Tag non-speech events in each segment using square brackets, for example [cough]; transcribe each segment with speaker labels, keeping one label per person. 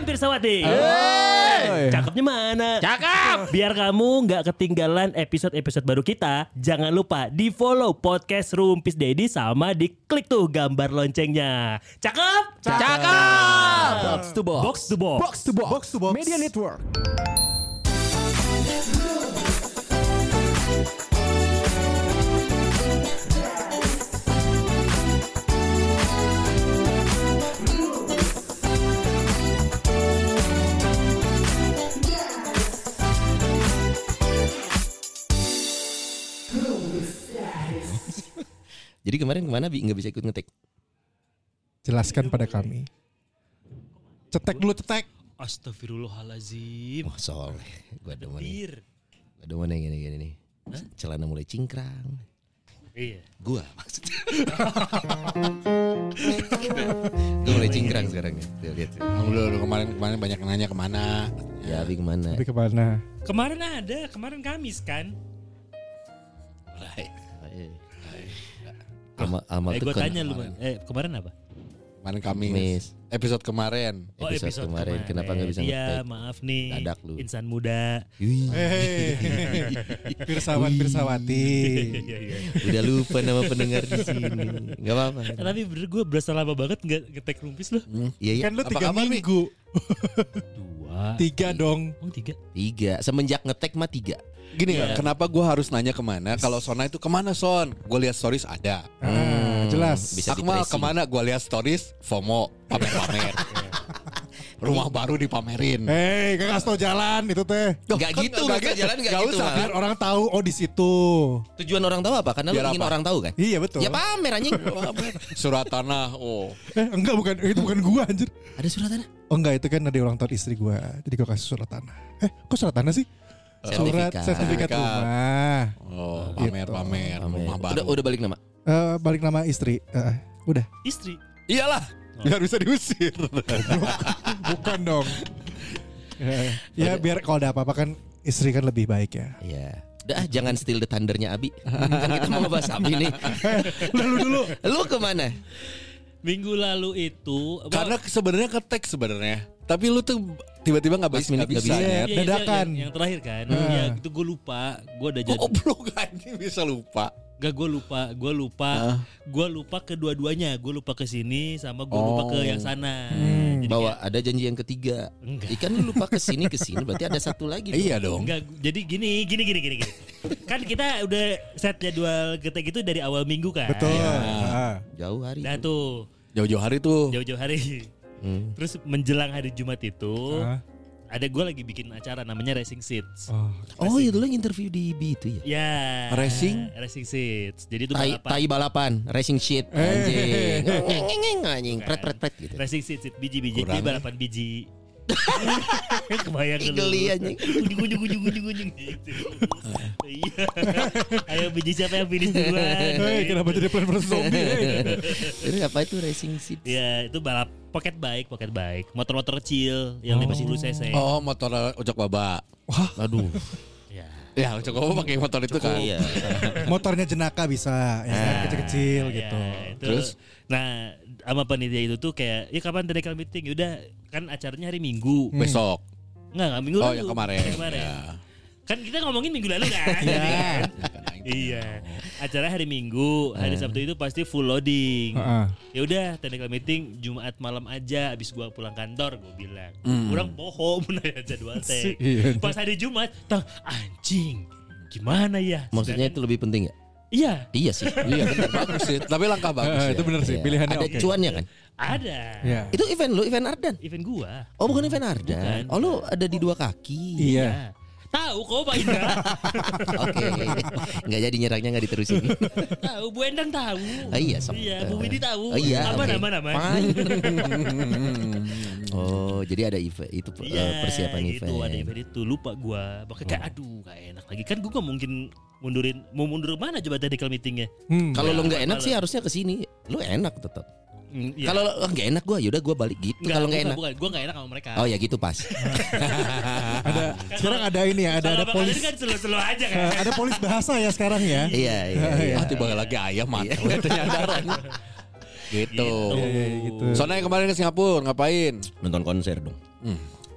Speaker 1: Pirsawati.
Speaker 2: Hey!
Speaker 1: Cakepnya mana?
Speaker 2: Cakep.
Speaker 1: Biar kamu nggak ketinggalan episode-episode baru kita, jangan lupa di follow podcast Rumpis Dedi sama di klik tuh gambar loncengnya. Cakep?
Speaker 2: Cakep.
Speaker 3: Box to box.
Speaker 1: Box to box.
Speaker 3: Box to box.
Speaker 2: Box to box.
Speaker 3: Media network.
Speaker 2: Jadi kemarin kemana Bi nggak bisa ikut ngetik?
Speaker 4: Jelaskan pada kami. Cetek dulu cetek.
Speaker 1: Astagfirullahalazim.
Speaker 2: Wah soleh. Gue demen nih.
Speaker 1: Bir.
Speaker 2: Gue demen yang gini-gini nih. Celana mulai cingkrang.
Speaker 1: Iya.
Speaker 2: Gua [laughs] maksudnya. Gue mulai cingkrang sekarang nih. Tuh, lihat. tuh.
Speaker 5: Lu, lu kemarin kemarin banyak yang nanya kemana?
Speaker 2: Ya Bi kemana?
Speaker 4: Tapi [laughs] kemana?
Speaker 1: Kemarin ada, kemarin Kamis kan?
Speaker 2: Eh, Ama, ama
Speaker 1: eh
Speaker 2: tuh
Speaker 1: gue
Speaker 2: kan
Speaker 1: tanya lu, Man. eh kemarin apa? Oh,
Speaker 5: Kemarin Kamis.
Speaker 2: Kamis. Iya.
Speaker 5: Episode kemarin.
Speaker 2: Episode kemarin, kenapa nggak bisa
Speaker 1: Iya,
Speaker 2: ngetek?
Speaker 1: maaf nih.
Speaker 2: Dadak lu.
Speaker 1: Insan
Speaker 2: [laughs]
Speaker 1: muda. Eh.
Speaker 2: Wih,
Speaker 4: Hehehe. Pirsawan Pirsawati.
Speaker 1: Iya, iya.
Speaker 2: udah lupa nama pendengar di sini. Gak apa-apa.
Speaker 1: Nah, Tapi bener gue berasa lama banget nggak ngetek rumpis loh.
Speaker 2: Iya, iya.
Speaker 4: Kan lu
Speaker 5: Apa
Speaker 4: tiga
Speaker 5: kabar, Mi?
Speaker 4: minggu.
Speaker 1: Dua.
Speaker 4: Tiga dong.
Speaker 1: Oh tiga.
Speaker 2: Tiga. Semenjak ngetek mah tiga.
Speaker 5: Gini
Speaker 1: Iya.
Speaker 5: ya, kenapa gue harus nanya kemana? Kalau Sona itu kemana Son? Gue lihat stories ada.
Speaker 4: Ah, jelas.
Speaker 2: Bisa
Speaker 5: Akmal
Speaker 2: di-tracing.
Speaker 5: kemana? Gue lihat stories FOMO
Speaker 2: [laughs]
Speaker 5: pamer-pamer.
Speaker 2: Iya.
Speaker 5: Rumah baru
Speaker 4: Hmm.
Speaker 5: dipamerin.
Speaker 4: Hei, gak kasih tau jalan itu teh.
Speaker 2: Gak gitu, maksudnya jalan gak gitu.
Speaker 4: usah
Speaker 2: Mal.
Speaker 4: biar orang tahu oh di situ.
Speaker 2: Tujuan orang tahu apa? Karena lu
Speaker 5: Biar
Speaker 2: ingin
Speaker 5: apa?
Speaker 2: orang tahu kan?
Speaker 4: Iya betul.
Speaker 2: Ya pamer anjing.
Speaker 5: Surat tanah. Oh.
Speaker 4: eh, enggak bukan itu bukan gua anjir.
Speaker 2: Ada surat tanah?
Speaker 4: Oh enggak itu kan ada ulang tahun istri gua. Jadi gua kasih surat tanah. Eh, kok surat tanah sih? Surat
Speaker 2: Sertifikat.
Speaker 4: sertifikat
Speaker 5: Sertifikat.
Speaker 4: rumah.
Speaker 5: Oh, pamer-pamer
Speaker 2: Gitu. Pamer.
Speaker 5: rumah baru.
Speaker 2: Udah, udah balik nama.
Speaker 4: Eh, balik nama istri. Eh, udah.
Speaker 1: Istri.
Speaker 5: Iyalah, biar bisa diusir.
Speaker 4: Bukan dong. Eh, [laughs] ya biar kalau ada apa-apa kan istri kan lebih baik ya.
Speaker 2: Iya. Udah ah, jangan steal the thundernya Abi. kan kita mau ngebahas Abi nih.
Speaker 4: Lalu dulu.
Speaker 2: Lu kemana?
Speaker 1: Minggu lalu itu
Speaker 5: Karena sebenarnya ke tag sebenarnya. Tapi lu tuh tiba-tiba nggak
Speaker 2: Last
Speaker 5: bisa nggak
Speaker 2: minute nggak bisa.
Speaker 5: bisa. Nyet.
Speaker 1: Iya, iya,
Speaker 4: dadakan.
Speaker 1: Yang, yang terakhir kan.
Speaker 4: Ah.
Speaker 1: Iya, itu gue lupa. Gue udah
Speaker 2: Iya.
Speaker 1: jadi.
Speaker 5: Goblok [laughs] anjing bisa lupa.
Speaker 1: Gak gue lupa, gue lupa,
Speaker 5: Ah.
Speaker 1: gue lupa kedua-duanya. Gue lupa ke sini sama gue lupa ke
Speaker 5: Oh.
Speaker 1: yang sana.
Speaker 4: Hmm.
Speaker 1: Jadi
Speaker 2: Bawa
Speaker 1: kayak-
Speaker 2: ada janji yang ketiga.
Speaker 1: Enggak.
Speaker 2: Ikan lu lupa ke sini ke sini berarti ada satu lagi. dong.
Speaker 5: Iya dong.
Speaker 1: Enggak, jadi gini, gini, gini, gini, gini. kan kita udah set jadwal getek itu dari awal minggu kan.
Speaker 4: Betul. Ah.
Speaker 2: Jauh hari.
Speaker 1: Nah tuh
Speaker 5: Jauh-jauh hari tuh.
Speaker 1: jauh-jauh hari.
Speaker 2: Hmm.
Speaker 1: Terus menjelang hari Jumat itu
Speaker 4: Ah.
Speaker 1: ada gue lagi bikin acara namanya Racing Seats.
Speaker 4: Oh.
Speaker 2: Oh, itu yang interview di B itu ya.
Speaker 1: Ya.
Speaker 5: Racing?
Speaker 1: Racing Seats. Jadi itu
Speaker 2: Tai,
Speaker 1: balapan.
Speaker 2: tai balapan, racing shit, anjing, Ngeng, ngeng, ngeng, anjing, pret pret pret gitu. [laughs]
Speaker 1: Racing Seats, seats, biji-biji. Jadi
Speaker 5: Kurang.
Speaker 1: balapan biji. [laughs] Kebayang lu.
Speaker 2: Geli anjing.
Speaker 1: Ujung-ujung, ujung-ujung, ujung. Gitu. Iya. Ayo biji siapa yang finish duluan.
Speaker 4: Hei, kenapa jadi plan versus zombie? [laughs] hei?
Speaker 2: Jadi apa itu racing shit?
Speaker 1: Ya itu balap pocket bike, pocket bike, motor-motor kecil yang 50 cc.
Speaker 5: Oh, motor ojek baba.
Speaker 2: Aduh.
Speaker 4: [laughs]
Speaker 1: Ya.
Speaker 5: Ya, ojek baba pakai motor itu kan.
Speaker 2: Iya.
Speaker 4: Motornya jenaka bisa, ya kan? kecil-kecil
Speaker 1: Ya,
Speaker 4: gitu.
Speaker 1: itu.
Speaker 5: iya, Terus?
Speaker 1: nah sama panitia itu tuh kayak, ya kapan technical meeting? Udah kan acaranya hari Minggu.
Speaker 5: Besok.
Speaker 1: Enggak, enggak minggu
Speaker 5: Hmm. Oh,
Speaker 1: lalu.
Speaker 5: yang kemarin.
Speaker 1: Kemarin.
Speaker 5: Ya.
Speaker 1: Kan kita ngomongin minggu lalu kan. Iya. [laughs] iya. Acara hari Minggu, hari
Speaker 2: Iya.
Speaker 1: Sabtu itu pasti full loading.
Speaker 4: Heeh.
Speaker 1: Ya udah, technical meeting Jumat malam aja abis gua pulang kantor gua bilang.
Speaker 2: Hmm.
Speaker 1: Kurang [laughs] poho mun aya jadwal teh.
Speaker 4: Iya.
Speaker 1: Pas hari Jumat, tang anjing. Gimana ya?
Speaker 2: Maksudnya
Speaker 1: Sedangkan-
Speaker 2: itu lebih penting ya?
Speaker 1: iya,
Speaker 2: Iya sih.
Speaker 5: Iya, bener. bagus sih. Tapi langkah
Speaker 4: [laughs] Eh,
Speaker 5: bagus. ya.
Speaker 4: itu bener sih
Speaker 2: Iya.
Speaker 4: pilihannya
Speaker 2: Ada
Speaker 4: oke.
Speaker 2: cuannya kan?
Speaker 1: ada.
Speaker 4: Iya.
Speaker 2: Itu event lu, event Ardan.
Speaker 1: Event gua.
Speaker 2: Oh bukan event Ardan.
Speaker 1: Bukan.
Speaker 2: Oh lu ada di dua kaki.
Speaker 4: Iya.
Speaker 1: Ya. Tahu kok Pak Indra.
Speaker 2: [laughs] Oke. Nggak jadi nyerangnya nggak
Speaker 1: [laughs]
Speaker 2: diterusin.
Speaker 1: tahu Bu Endang tahu.
Speaker 2: Ah, iya, sama.
Speaker 1: Iya, Bu Widi tahu.
Speaker 2: Oh, iya.
Speaker 1: Apa
Speaker 2: oke.
Speaker 1: nama-nama? [laughs]
Speaker 2: Fine. Oh jadi ada event itu eh,
Speaker 1: Iya,
Speaker 2: persiapan
Speaker 1: gitu,
Speaker 2: event.
Speaker 1: ada event itu lupa gua makanya kayak aduh gak enak lagi kan gua gak mungkin mundurin mau mundur mana coba technical meetingnya
Speaker 4: Hmm.
Speaker 2: Kalau lu nggak enak
Speaker 1: Kalau-
Speaker 2: sih harusnya ke sini. Lu enak tetap.
Speaker 1: Mm, iya.
Speaker 2: Kalau lu, "Ah, nggak enak gua yaudah gua balik gitu.
Speaker 1: Nggak,
Speaker 2: Kalau nggak
Speaker 1: bukan,
Speaker 2: enak.
Speaker 1: bukan gua gak enak sama mereka
Speaker 2: Oh ya gitu
Speaker 1: [laughs]
Speaker 2: pas.
Speaker 4: Ada sekarang ada ini ya, ada
Speaker 1: Kalau
Speaker 4: ada
Speaker 1: bakal
Speaker 4: polis
Speaker 1: ini kan selo-selo aja kan
Speaker 4: [laughs] eh, ada polis bahasa ya sekarang ya.
Speaker 2: Iya iya. iya.
Speaker 5: Ah, tiba lagi ayam mata. Gitu.
Speaker 1: Gitu.
Speaker 4: Iya, gitu. iya, gitu.
Speaker 5: Sona yang kemarin ke Singapura ngapain?
Speaker 1: Iya.
Speaker 2: Nonton konser dong.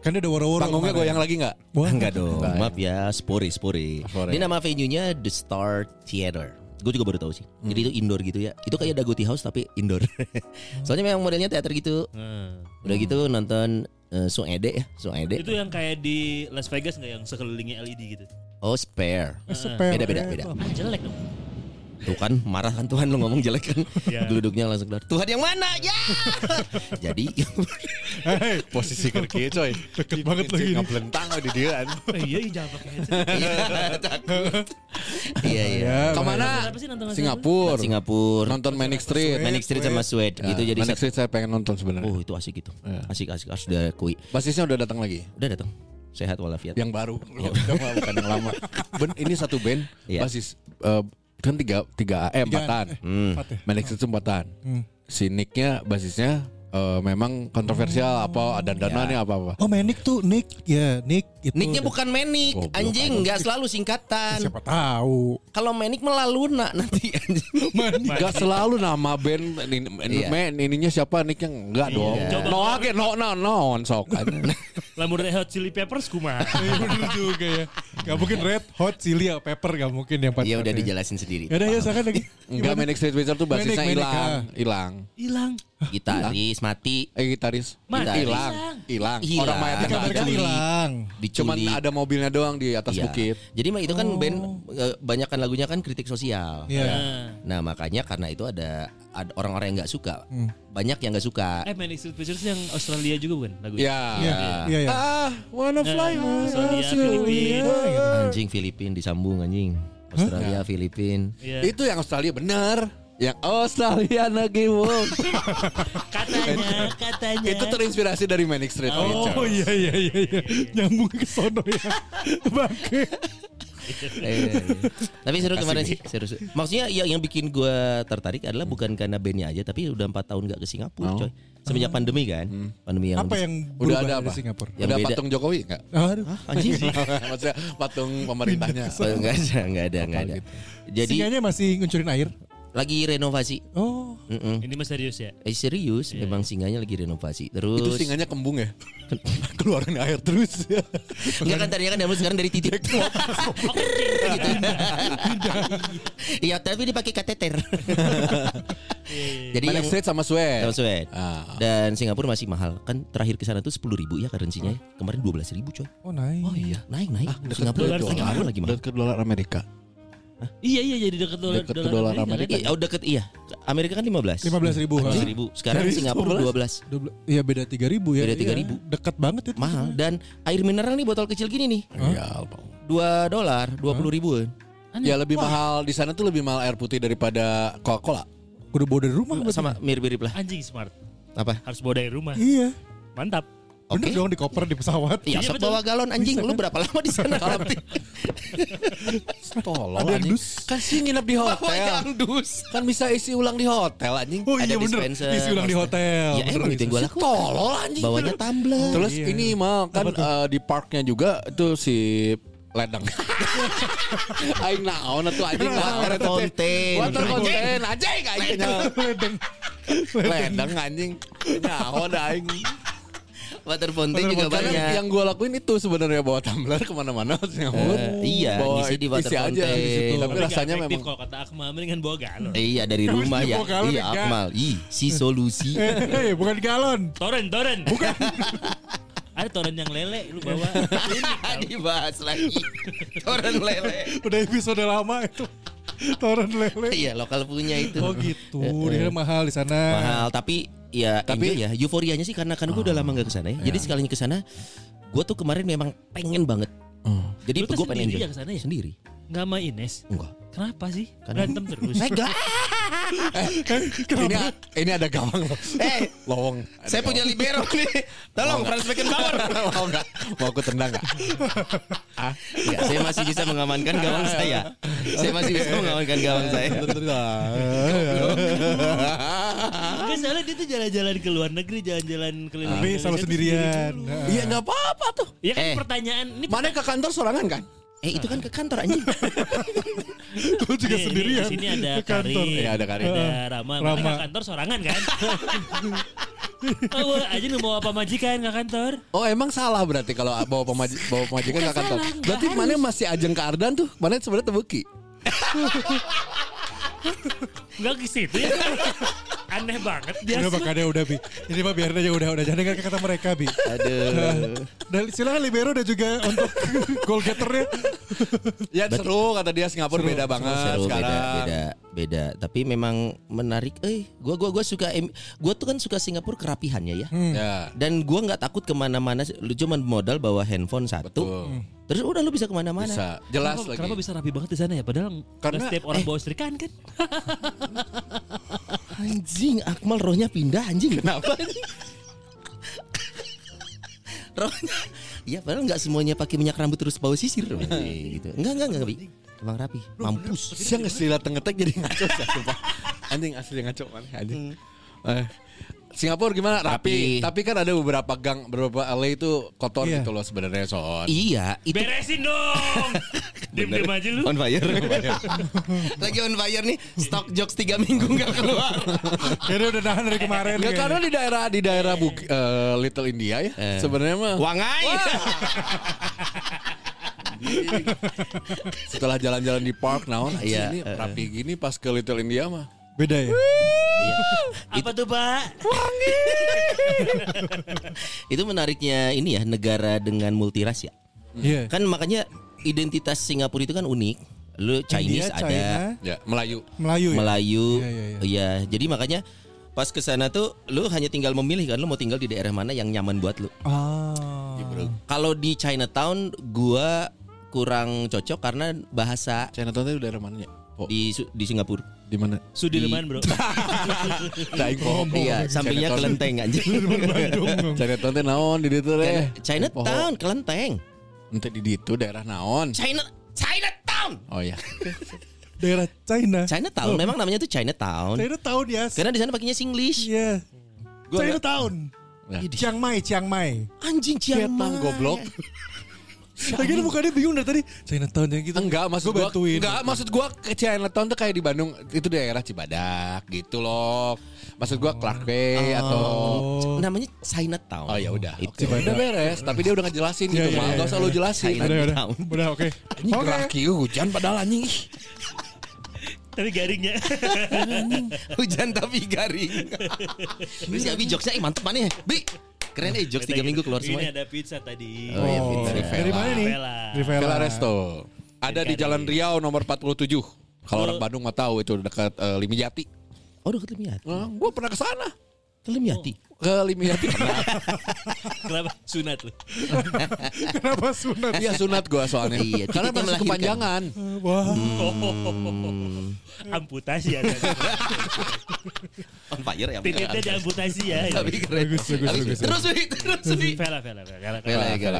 Speaker 4: Kan dia udah woro-woro.
Speaker 5: Panggungnya
Speaker 4: kemarin.
Speaker 5: goyang lagi nggak?
Speaker 4: Wah,
Speaker 2: Enggak dong,
Speaker 5: Enggak ya.
Speaker 2: maaf ya, Spori, Spori.
Speaker 5: Spori.
Speaker 2: Ini nama venue-nya The Star Theater. Gue juga baru tahu sih.
Speaker 5: Hmm.
Speaker 2: Jadi itu indoor gitu ya. Itu kayak Dagoti House tapi indoor.
Speaker 5: [laughs]
Speaker 2: Soalnya memang modelnya teater gitu. Udah
Speaker 5: Hmm.
Speaker 2: gitu nonton eh, Sung Ede ya, Sung Ede.
Speaker 1: Nah, Itu yang kayak di Las Vegas nggak yang sekelilingnya LED gitu?
Speaker 2: Oh, Spare.
Speaker 4: Spare.
Speaker 2: Beda, beda, beda.
Speaker 1: Ah jelek dong.
Speaker 2: Tuh kan marah kan Tuhan lu ngomong jelek kan.
Speaker 1: [laughs] Iya.
Speaker 2: Duduknya langsung keluar. Tuhan yang mana?
Speaker 5: [laughs]
Speaker 2: Ya. Jadi [laughs]
Speaker 4: Hei,
Speaker 5: Posisi kerja coy.
Speaker 4: Deket banget lagi ini. Ya,
Speaker 5: Ngeblentang di dia.
Speaker 1: Eh, iya, iya, jangan pakai headset.
Speaker 2: iya iya.
Speaker 4: ya,
Speaker 5: Kemana?
Speaker 1: Apa sih nonton Las Vegas?
Speaker 5: Singapura.
Speaker 2: Singapura,
Speaker 5: Nonton Manic Street.
Speaker 2: Manic Street sama Sweat
Speaker 5: Ya,
Speaker 2: gitu jadi
Speaker 5: Manic
Speaker 2: satu.
Speaker 5: Street saya pengen nonton sebenarnya.
Speaker 2: Oh, itu asik itu.
Speaker 5: Iya.
Speaker 2: Asik asik harus udah kui.
Speaker 5: Basisnya udah datang lagi.
Speaker 2: Udah datang. Sehat walafiat.
Speaker 5: Yang baru. Bukan bukan yang lama. Ben- ini satu band
Speaker 2: Iya.
Speaker 5: basis eh, kan tiga tiga eh, empatan.
Speaker 2: Hmm.
Speaker 4: Empat ya?
Speaker 5: Manic Street empatan.
Speaker 4: Hmm.
Speaker 5: Si Nick-nya basisnya eh, memang kontroversial apa ada
Speaker 2: Iya.
Speaker 5: dananya apa apa.
Speaker 4: Oh, Manic tuh Nick. Ya, Nick itu.
Speaker 2: Nicknya bukan Manic,
Speaker 5: Goblok.
Speaker 2: anjing nggak selalu singkatan.
Speaker 4: Siapa tahu.
Speaker 2: Kalau Manic malah Luna nanti anjing.
Speaker 5: Gak selalu nama band ini,
Speaker 2: Iya.
Speaker 5: man, ininya siapa nicknya enggak dong.
Speaker 1: Coba.
Speaker 5: No ake no no no sok.
Speaker 2: [laughs]
Speaker 1: Lamun Red Hot Chili Peppers kumaha?
Speaker 4: Iya bener juga ya. Gak mungkin red hot chili ya pepper gak mungkin yang
Speaker 2: Iya udah
Speaker 4: pacarnya.
Speaker 2: dijelasin sendiri.
Speaker 4: Ya udah ya silakan lagi.
Speaker 5: Enggak Manic Street Wizard tuh basisnya
Speaker 4: Manic, Manic,
Speaker 5: hilang,
Speaker 4: ah.
Speaker 5: hilang.
Speaker 1: Hilang.
Speaker 2: Gitaris mati,
Speaker 5: Eh gitaris
Speaker 1: Mati.
Speaker 5: hilang,
Speaker 2: Hilang.
Speaker 5: hilang. Orang mayatnya
Speaker 2: Dikabarkan
Speaker 5: enggak ada.
Speaker 4: Mereka hilang.
Speaker 2: diculik.
Speaker 5: Cuman ada mobilnya doang di atas
Speaker 2: Iya.
Speaker 5: bukit. Oh.
Speaker 2: Jadi mah itu kan band eh, banyakkan lagunya kan kritik sosial.
Speaker 4: Iya.
Speaker 1: Nah.
Speaker 2: Nah makanya karena itu ada ada orang-orang yang nggak suka,
Speaker 5: Hmm.
Speaker 2: banyak yang nggak suka.
Speaker 1: Eh, Manic Street Pictures yang Australia juga bukan lagunya?
Speaker 5: Ya.
Speaker 4: Iya. Iya ya.
Speaker 5: Ah, wanna fly.
Speaker 1: Nah, Australia,
Speaker 4: Iya,
Speaker 1: Filipina.
Speaker 4: gitu.
Speaker 2: Anjing Filipin disambung anjing.
Speaker 5: Ya.
Speaker 2: Australia, Filipin.
Speaker 1: Iya.
Speaker 5: Itu yang Australia bener. Yang Australia lagi
Speaker 2: [laughs]
Speaker 5: Wong.
Speaker 1: Katanya,
Speaker 2: Iya.
Speaker 1: katanya.
Speaker 5: Itu terinspirasi dari Manic Street Wizard.
Speaker 4: Oh iya iya iya iya. Nyambung ke sono ya. Bangke.
Speaker 2: Eh, tapi seru kemarin sih, seru. seru. Maksudnya ya, yang bikin gua tertarik adalah
Speaker 5: Hmm.
Speaker 2: bukan karena bandnya aja, tapi udah empat tahun nggak ke
Speaker 5: Oh.
Speaker 2: Singapura, coy. Semenjak pandemi kan,
Speaker 5: Hmm.
Speaker 2: pandemi
Speaker 4: Hmm.
Speaker 2: yang
Speaker 4: Apa yang
Speaker 5: Udah
Speaker 4: berubah
Speaker 5: ada
Speaker 4: dari
Speaker 5: apa? Ya.
Speaker 4: Singapura?
Speaker 2: Yang
Speaker 5: Udah
Speaker 2: beda.
Speaker 5: patung Jokowi
Speaker 2: [laughs]
Speaker 5: enggak?
Speaker 4: Aduh. [laughs]
Speaker 2: anjing
Speaker 5: Maksudnya patung pemerintahnya.
Speaker 2: Oh, nggak ada, nggak ada, nggak
Speaker 5: gitu.
Speaker 2: ada. Jadi
Speaker 4: Singanya masih nguncurin air.
Speaker 2: lagi renovasi.
Speaker 4: Oh.
Speaker 2: Mm-mm.
Speaker 1: Ini mas serius ya?
Speaker 2: Eh serius, emang singanya lagi renovasi. Terus
Speaker 5: Iya. Itu singanya kembung
Speaker 2: [laughs]
Speaker 5: ya? Keluarin air terus.
Speaker 2: Enggak kan tadinya kan dia sekarang dari titik. Gitu. [laughs] Iya, tapi dipakai kateter.
Speaker 5: Iya.
Speaker 2: Jadi
Speaker 5: Manic
Speaker 2: yang-
Speaker 5: Street sama Sweat.
Speaker 2: sama Sweden.
Speaker 5: Ah.
Speaker 2: Dan Singapura masih mahal. Kan terakhir ke sana tuh 10 ribu ya currency-nya. Kemarin 12 ribu coy.
Speaker 4: Oh naik.
Speaker 2: iya. Naik naik.
Speaker 5: iya. Ah, deket
Speaker 2: Singapura
Speaker 5: dolar
Speaker 2: Singapura lagi mahal.
Speaker 5: Deket dolar Amerika.
Speaker 1: Iya iya jadi dekat dolar
Speaker 5: Deket dolar Amerika.
Speaker 2: Iya, oh deket iya. Amerika kan 15.
Speaker 4: 15 ribu.
Speaker 2: 15 ribu. Sekarang
Speaker 5: Dari
Speaker 2: Singapura 12.
Speaker 4: Iya beda 3 ribu ya.
Speaker 2: Beda
Speaker 4: Iya,
Speaker 2: 3.000.
Speaker 4: Dekat banget itu.
Speaker 2: Mahal dan air mineral nih botol kecil gini nih.
Speaker 5: Iya, Bang.
Speaker 2: 2 dolar, 20 ribuan.
Speaker 5: Ya lebih mahal di sana tuh lebih mahal air putih daripada Coca-Cola.
Speaker 4: Udah bawa dari rumah. berarti.
Speaker 2: Sama mirip-mirip
Speaker 5: ya.
Speaker 2: lah.
Speaker 1: Anjing smart.
Speaker 2: Apa?
Speaker 1: Harus bawa dari rumah.
Speaker 4: Iya.
Speaker 1: Mantap.
Speaker 4: Bener
Speaker 2: Oke.
Speaker 4: dong di koper di pesawat.
Speaker 2: Iya, sok bawa galon anjing. Lu berapa lama di sana?
Speaker 5: Tolong
Speaker 4: Ada yang
Speaker 5: anjing.
Speaker 4: dus.
Speaker 5: Kan sih nginep di
Speaker 2: Bawa
Speaker 5: hotel.
Speaker 2: yang dus.
Speaker 5: Kan bisa isi ulang di hotel anjing.
Speaker 4: Oh
Speaker 2: Ada
Speaker 4: iya bener.
Speaker 2: dispenser.
Speaker 4: Isi ulang di hotel.
Speaker 2: Ya
Speaker 4: Bener,
Speaker 2: emang itu yang gue
Speaker 4: dispenser.
Speaker 2: lakukan.
Speaker 5: Tolol anjing.
Speaker 2: Bawanya tumbler.
Speaker 5: Terus ini mal kan eh, di parknya juga itu si ledeng. Aing naon atuh anjing
Speaker 2: Water fountain.
Speaker 5: Water
Speaker 2: Anjing.
Speaker 5: fountain anjing anjing.
Speaker 4: Ledeng.
Speaker 5: Ledeng anjing. Nyaho dah aing.
Speaker 2: Water fountain juga
Speaker 5: Karena
Speaker 2: banyak.
Speaker 5: yang gue lakuin itu sebenarnya bawa tumbler [laughs] kemana-mana Singapura.
Speaker 2: Eh, iya, ngisi di water
Speaker 5: isi aja
Speaker 2: fountain.
Speaker 5: di situ. Tapi
Speaker 1: nggak
Speaker 5: rasanya
Speaker 1: efektif
Speaker 5: memang
Speaker 1: kalau kata Akmal mendingan bawa galon.
Speaker 2: Eh, iya dari rumah
Speaker 4: dia
Speaker 2: ya.
Speaker 4: bawa galon
Speaker 2: Iya
Speaker 4: enggak?
Speaker 2: Akmal. Ih, si solusi. [laughs]
Speaker 4: [laughs] Hei, Iya, bukan galon.
Speaker 1: Toren, toren. Bukan. [laughs] Ada toren yang lele lu bawa. Unik tau.
Speaker 2: [laughs] Dibahas
Speaker 1: [laughs]
Speaker 2: lagi. Orang lele.
Speaker 4: Udah episode lama itu. Toren lele.
Speaker 2: Iya, lokal punya itu.
Speaker 4: [laughs] Oh gitu. Dia mahal di sana.
Speaker 2: Mahal, tapi ya tapi
Speaker 5: Tapi-
Speaker 2: ya euforianya sih karena kan
Speaker 1: Oh.
Speaker 2: gue udah lama gak kesana ya. Jadi
Speaker 1: Iya.
Speaker 2: sekalinya kesana, gue tuh kemarin memang pengen banget. Jadi
Speaker 5: Eh,
Speaker 1: Lu tuh
Speaker 2: gue
Speaker 1: sendiri
Speaker 2: pengen enjoy.
Speaker 1: yang kesana ya?
Speaker 2: Sendiri.
Speaker 1: Nggak sama Ines.
Speaker 2: Enggak.
Speaker 1: Kenapa sih?
Speaker 2: Karena-
Speaker 1: Berantem terus.
Speaker 2: Enggak.
Speaker 5: ini ini ada [laughs] gawang loh.
Speaker 2: Eh,
Speaker 5: Lowong. Ada
Speaker 2: saya punya libero nih. Tolong transferkan
Speaker 5: gawang.
Speaker 2: power.
Speaker 5: [laughs] Mau enggak? Mau aku tendang [laughs] enggak?
Speaker 2: Ya, saya masih bisa mengamankan gawang saya. Saya masih bisa mengamankan gawang
Speaker 1: Iya.
Speaker 2: saya.
Speaker 1: Enggak soalnya dia tuh jalan-jalan ke luar negeri, jalan-jalan keliling.
Speaker 4: Tapi
Speaker 1: Indonesia kan.
Speaker 4: selalu
Speaker 1: tuh
Speaker 4: sendirian.
Speaker 1: Iya, dulu.
Speaker 4: Nah.
Speaker 5: [laughs] Iya enggak apa-apa tuh.
Speaker 1: Ya kan
Speaker 2: Eh.
Speaker 1: pertanyaan ini
Speaker 5: Mana ke kantor sorangan kan?
Speaker 2: Eh, itu kan ke kantor anjing.
Speaker 4: Lu
Speaker 1: Iya,
Speaker 4: juga
Speaker 1: ini-
Speaker 4: sendirian.
Speaker 1: Di sini ada
Speaker 4: Ke kantor. Eh,
Speaker 2: Iya,
Speaker 1: Karin.
Speaker 5: Iya, ada Karin.
Speaker 1: Ada Rama. Mereka
Speaker 4: Rama.
Speaker 1: kantor sorangan kan? Oh, aja lu mau apa majikan ke kantor?
Speaker 5: Oh emang salah berarti kalau bawa pemaji bawa pemajikan ke kantor. Berarti mana masih ajeng ke Ardan tuh? Mana sebenarnya tebuki?
Speaker 1: Enggak ke situ ya. Aneh banget dia.
Speaker 4: Udah makanya udah bi. Ini mah biarin aja udah udah jangan dengar kata mereka bi.
Speaker 5: Aduh.
Speaker 4: Dan silakan libero dan juga untuk [laughs] goal getternya.
Speaker 5: ya seru kata dia Singapura
Speaker 1: Ah,
Speaker 5: beda banget
Speaker 2: Seru,
Speaker 5: sekarang.
Speaker 2: beda, beda, beda. Tapi memang menarik. Eh, gua, gua, gua suka. em- Gua tuh kan suka Singapura
Speaker 1: Hmm.
Speaker 2: kerapihannya ya.
Speaker 5: Ya.
Speaker 2: Dan gua nggak takut kemana-mana. Lu cuman modal bawa handphone satu.
Speaker 5: Tuh.
Speaker 2: Terus udah lu bisa kemana-mana.
Speaker 5: Bisa. Jelas
Speaker 1: kenapa,
Speaker 5: lagi.
Speaker 1: kenapa bisa rapi banget di sana ya? Padahal
Speaker 5: Karena-
Speaker 1: nggak setiap orang
Speaker 2: eh,
Speaker 1: bawa setrikaan kan?
Speaker 2: Anjing, Akmal rohnya pindah anjing.
Speaker 5: [laughs]
Speaker 2: Kenapa? [laughs] rohnya. Ya padahal nggak semuanya pakai minyak rambut terus bau sisir anjing, gitu. Enggak enggak enggak, Bi. Emang rapi, mampus.
Speaker 5: Siang ngasih lihat ngetek jadi ngaco sih sumpah. Anjing asli ngaco mana anjing. Eh, Singapura gimana? Rapi.
Speaker 2: Rapi.
Speaker 5: Tapi kan ada beberapa gang, beberapa alley itu kotor
Speaker 4: Iya.
Speaker 5: gitu loh sebenarnya Son.
Speaker 2: Iya, itu
Speaker 1: Beresin
Speaker 2: [laughs]
Speaker 1: dong. Diam-diam aja lu.
Speaker 2: on fire. [laughs] Lagi on fire nih, stok jokes 3 minggu nggak keluar.
Speaker 4: Jadi udah nahan dari kemarin.
Speaker 5: Ya
Speaker 4: kayaknya.
Speaker 5: karena di daerah di daerah Buk- eh, Little India ya sebenarnya mah
Speaker 2: Wangai.
Speaker 5: setelah jalan-jalan di park naon
Speaker 2: Iya,
Speaker 5: ini
Speaker 2: eh,
Speaker 5: rapi gini pas ke Little India mah
Speaker 4: beda ya.
Speaker 2: Iya.
Speaker 1: Apa tuh, Pak?
Speaker 2: itu menariknya ini ya negara dengan multiras ya.
Speaker 4: Iya.
Speaker 2: Kan makanya identitas Singapura itu kan unik. Lu
Speaker 4: India,
Speaker 2: Chinese ada,
Speaker 4: Iya, China,
Speaker 5: ya Melayu
Speaker 4: Melayu. ya?
Speaker 2: Melayu.
Speaker 4: Iya,
Speaker 2: Iya,
Speaker 4: iya, iya.
Speaker 2: jadi makanya pas ke sana tuh lu hanya tinggal memilih kan lu mau tinggal di daerah mana yang nyaman buat lu.
Speaker 4: Ah.
Speaker 2: Kalau di Chinatown gua kurang cocok karena bahasa
Speaker 5: Chinatown itu daerah mananya po di,
Speaker 2: di Su- di Singapura.
Speaker 5: Oh, mana
Speaker 1: Sudirman,
Speaker 2: [laughs]
Speaker 1: Bro.
Speaker 5: nah, oh,
Speaker 2: iya, sampingnya kelenteng anjing.
Speaker 5: Chinatown teh naon di ditu teh
Speaker 2: Chinatown, kelenteng.
Speaker 5: ente di ditu daerah naon
Speaker 2: China Chinatown.
Speaker 4: [laughs]
Speaker 5: oh ya
Speaker 4: Daerah China.
Speaker 2: Chinatown memang namanya tuh Chinatown.
Speaker 4: China tahun ya.
Speaker 2: Karena di sana pakainya Singlish.
Speaker 4: Iya.
Speaker 2: Gua
Speaker 4: China tahun.
Speaker 5: Ya.
Speaker 4: Chiang Mai, Chiang Mai.
Speaker 2: Anjing Chiang
Speaker 5: Vietnam
Speaker 2: Mai.
Speaker 5: goblok
Speaker 4: Lagi lu bukannya bingung dari tadi China tahun yang gitu.
Speaker 5: enggak
Speaker 4: Gua
Speaker 5: maksud gua
Speaker 4: bantuin.
Speaker 5: enggak maksud gua ke Chinatown tuh kayak di Bandung itu daerah Cibadak gitu loh maksud gua Clark Way atau
Speaker 2: Oh. Namanya Chinatown.
Speaker 5: Oh ya udah.
Speaker 2: Itu.
Speaker 5: Oke. Udah beres, tapi dia udah ngejelasin
Speaker 4: Iya,
Speaker 5: gitu.
Speaker 4: iya,
Speaker 5: Mal,
Speaker 4: iya,
Speaker 5: Gak usah
Speaker 4: iya.
Speaker 5: lu jelasin.
Speaker 2: China.
Speaker 4: Udah, udah.
Speaker 2: Tahun.
Speaker 4: Udah, oke.
Speaker 5: Ini
Speaker 4: Oke.
Speaker 5: gerah kieu hujan padahal anjing. Ih,
Speaker 1: Tapi garingnya.
Speaker 2: [laughs] Hujan tapi garing.
Speaker 4: Iya.
Speaker 2: Terus gak bi jokesnya, eh mantep mana ya? Bi, keren eh jokes 3 minggu keluar
Speaker 1: Ini
Speaker 2: semua.
Speaker 1: ada pizza tadi.
Speaker 2: Oh, iya,
Speaker 4: Oh,
Speaker 2: Villa.
Speaker 4: dari mana nih?
Speaker 1: Villa.
Speaker 4: Dari
Speaker 5: Villa Resto. Ada di
Speaker 1: Dekat
Speaker 5: Jalan
Speaker 1: di-
Speaker 5: Riau nomor 47. Kalau orang Bandung mah tahu itu dekat eh, Limijati.
Speaker 2: Oh udah ke Limiyati.
Speaker 5: Nah, gua pernah ke sana.
Speaker 2: Ke Limiyati.
Speaker 5: Ke Limijati pernah.
Speaker 1: Kenapa? Sunat lu.
Speaker 4: Kenapa sunat?
Speaker 5: [laughs] Iya sunat gua soalnya.
Speaker 2: Iya,
Speaker 5: Karena
Speaker 2: titiknya
Speaker 5: masih
Speaker 2: melahirkan.
Speaker 5: kepanjangan.
Speaker 4: Wah.
Speaker 1: Amputasi ya.
Speaker 2: [laughs] On fire ya.
Speaker 1: Titiknya diamputasi ya.
Speaker 2: Tapi keren.
Speaker 4: Bagus, bagus,
Speaker 2: Tapi-
Speaker 4: bagus.
Speaker 2: Terus Bi, terus Bi.
Speaker 1: Vela, Vela, Vela.
Speaker 2: Vela, vela,
Speaker 5: Vela, vela,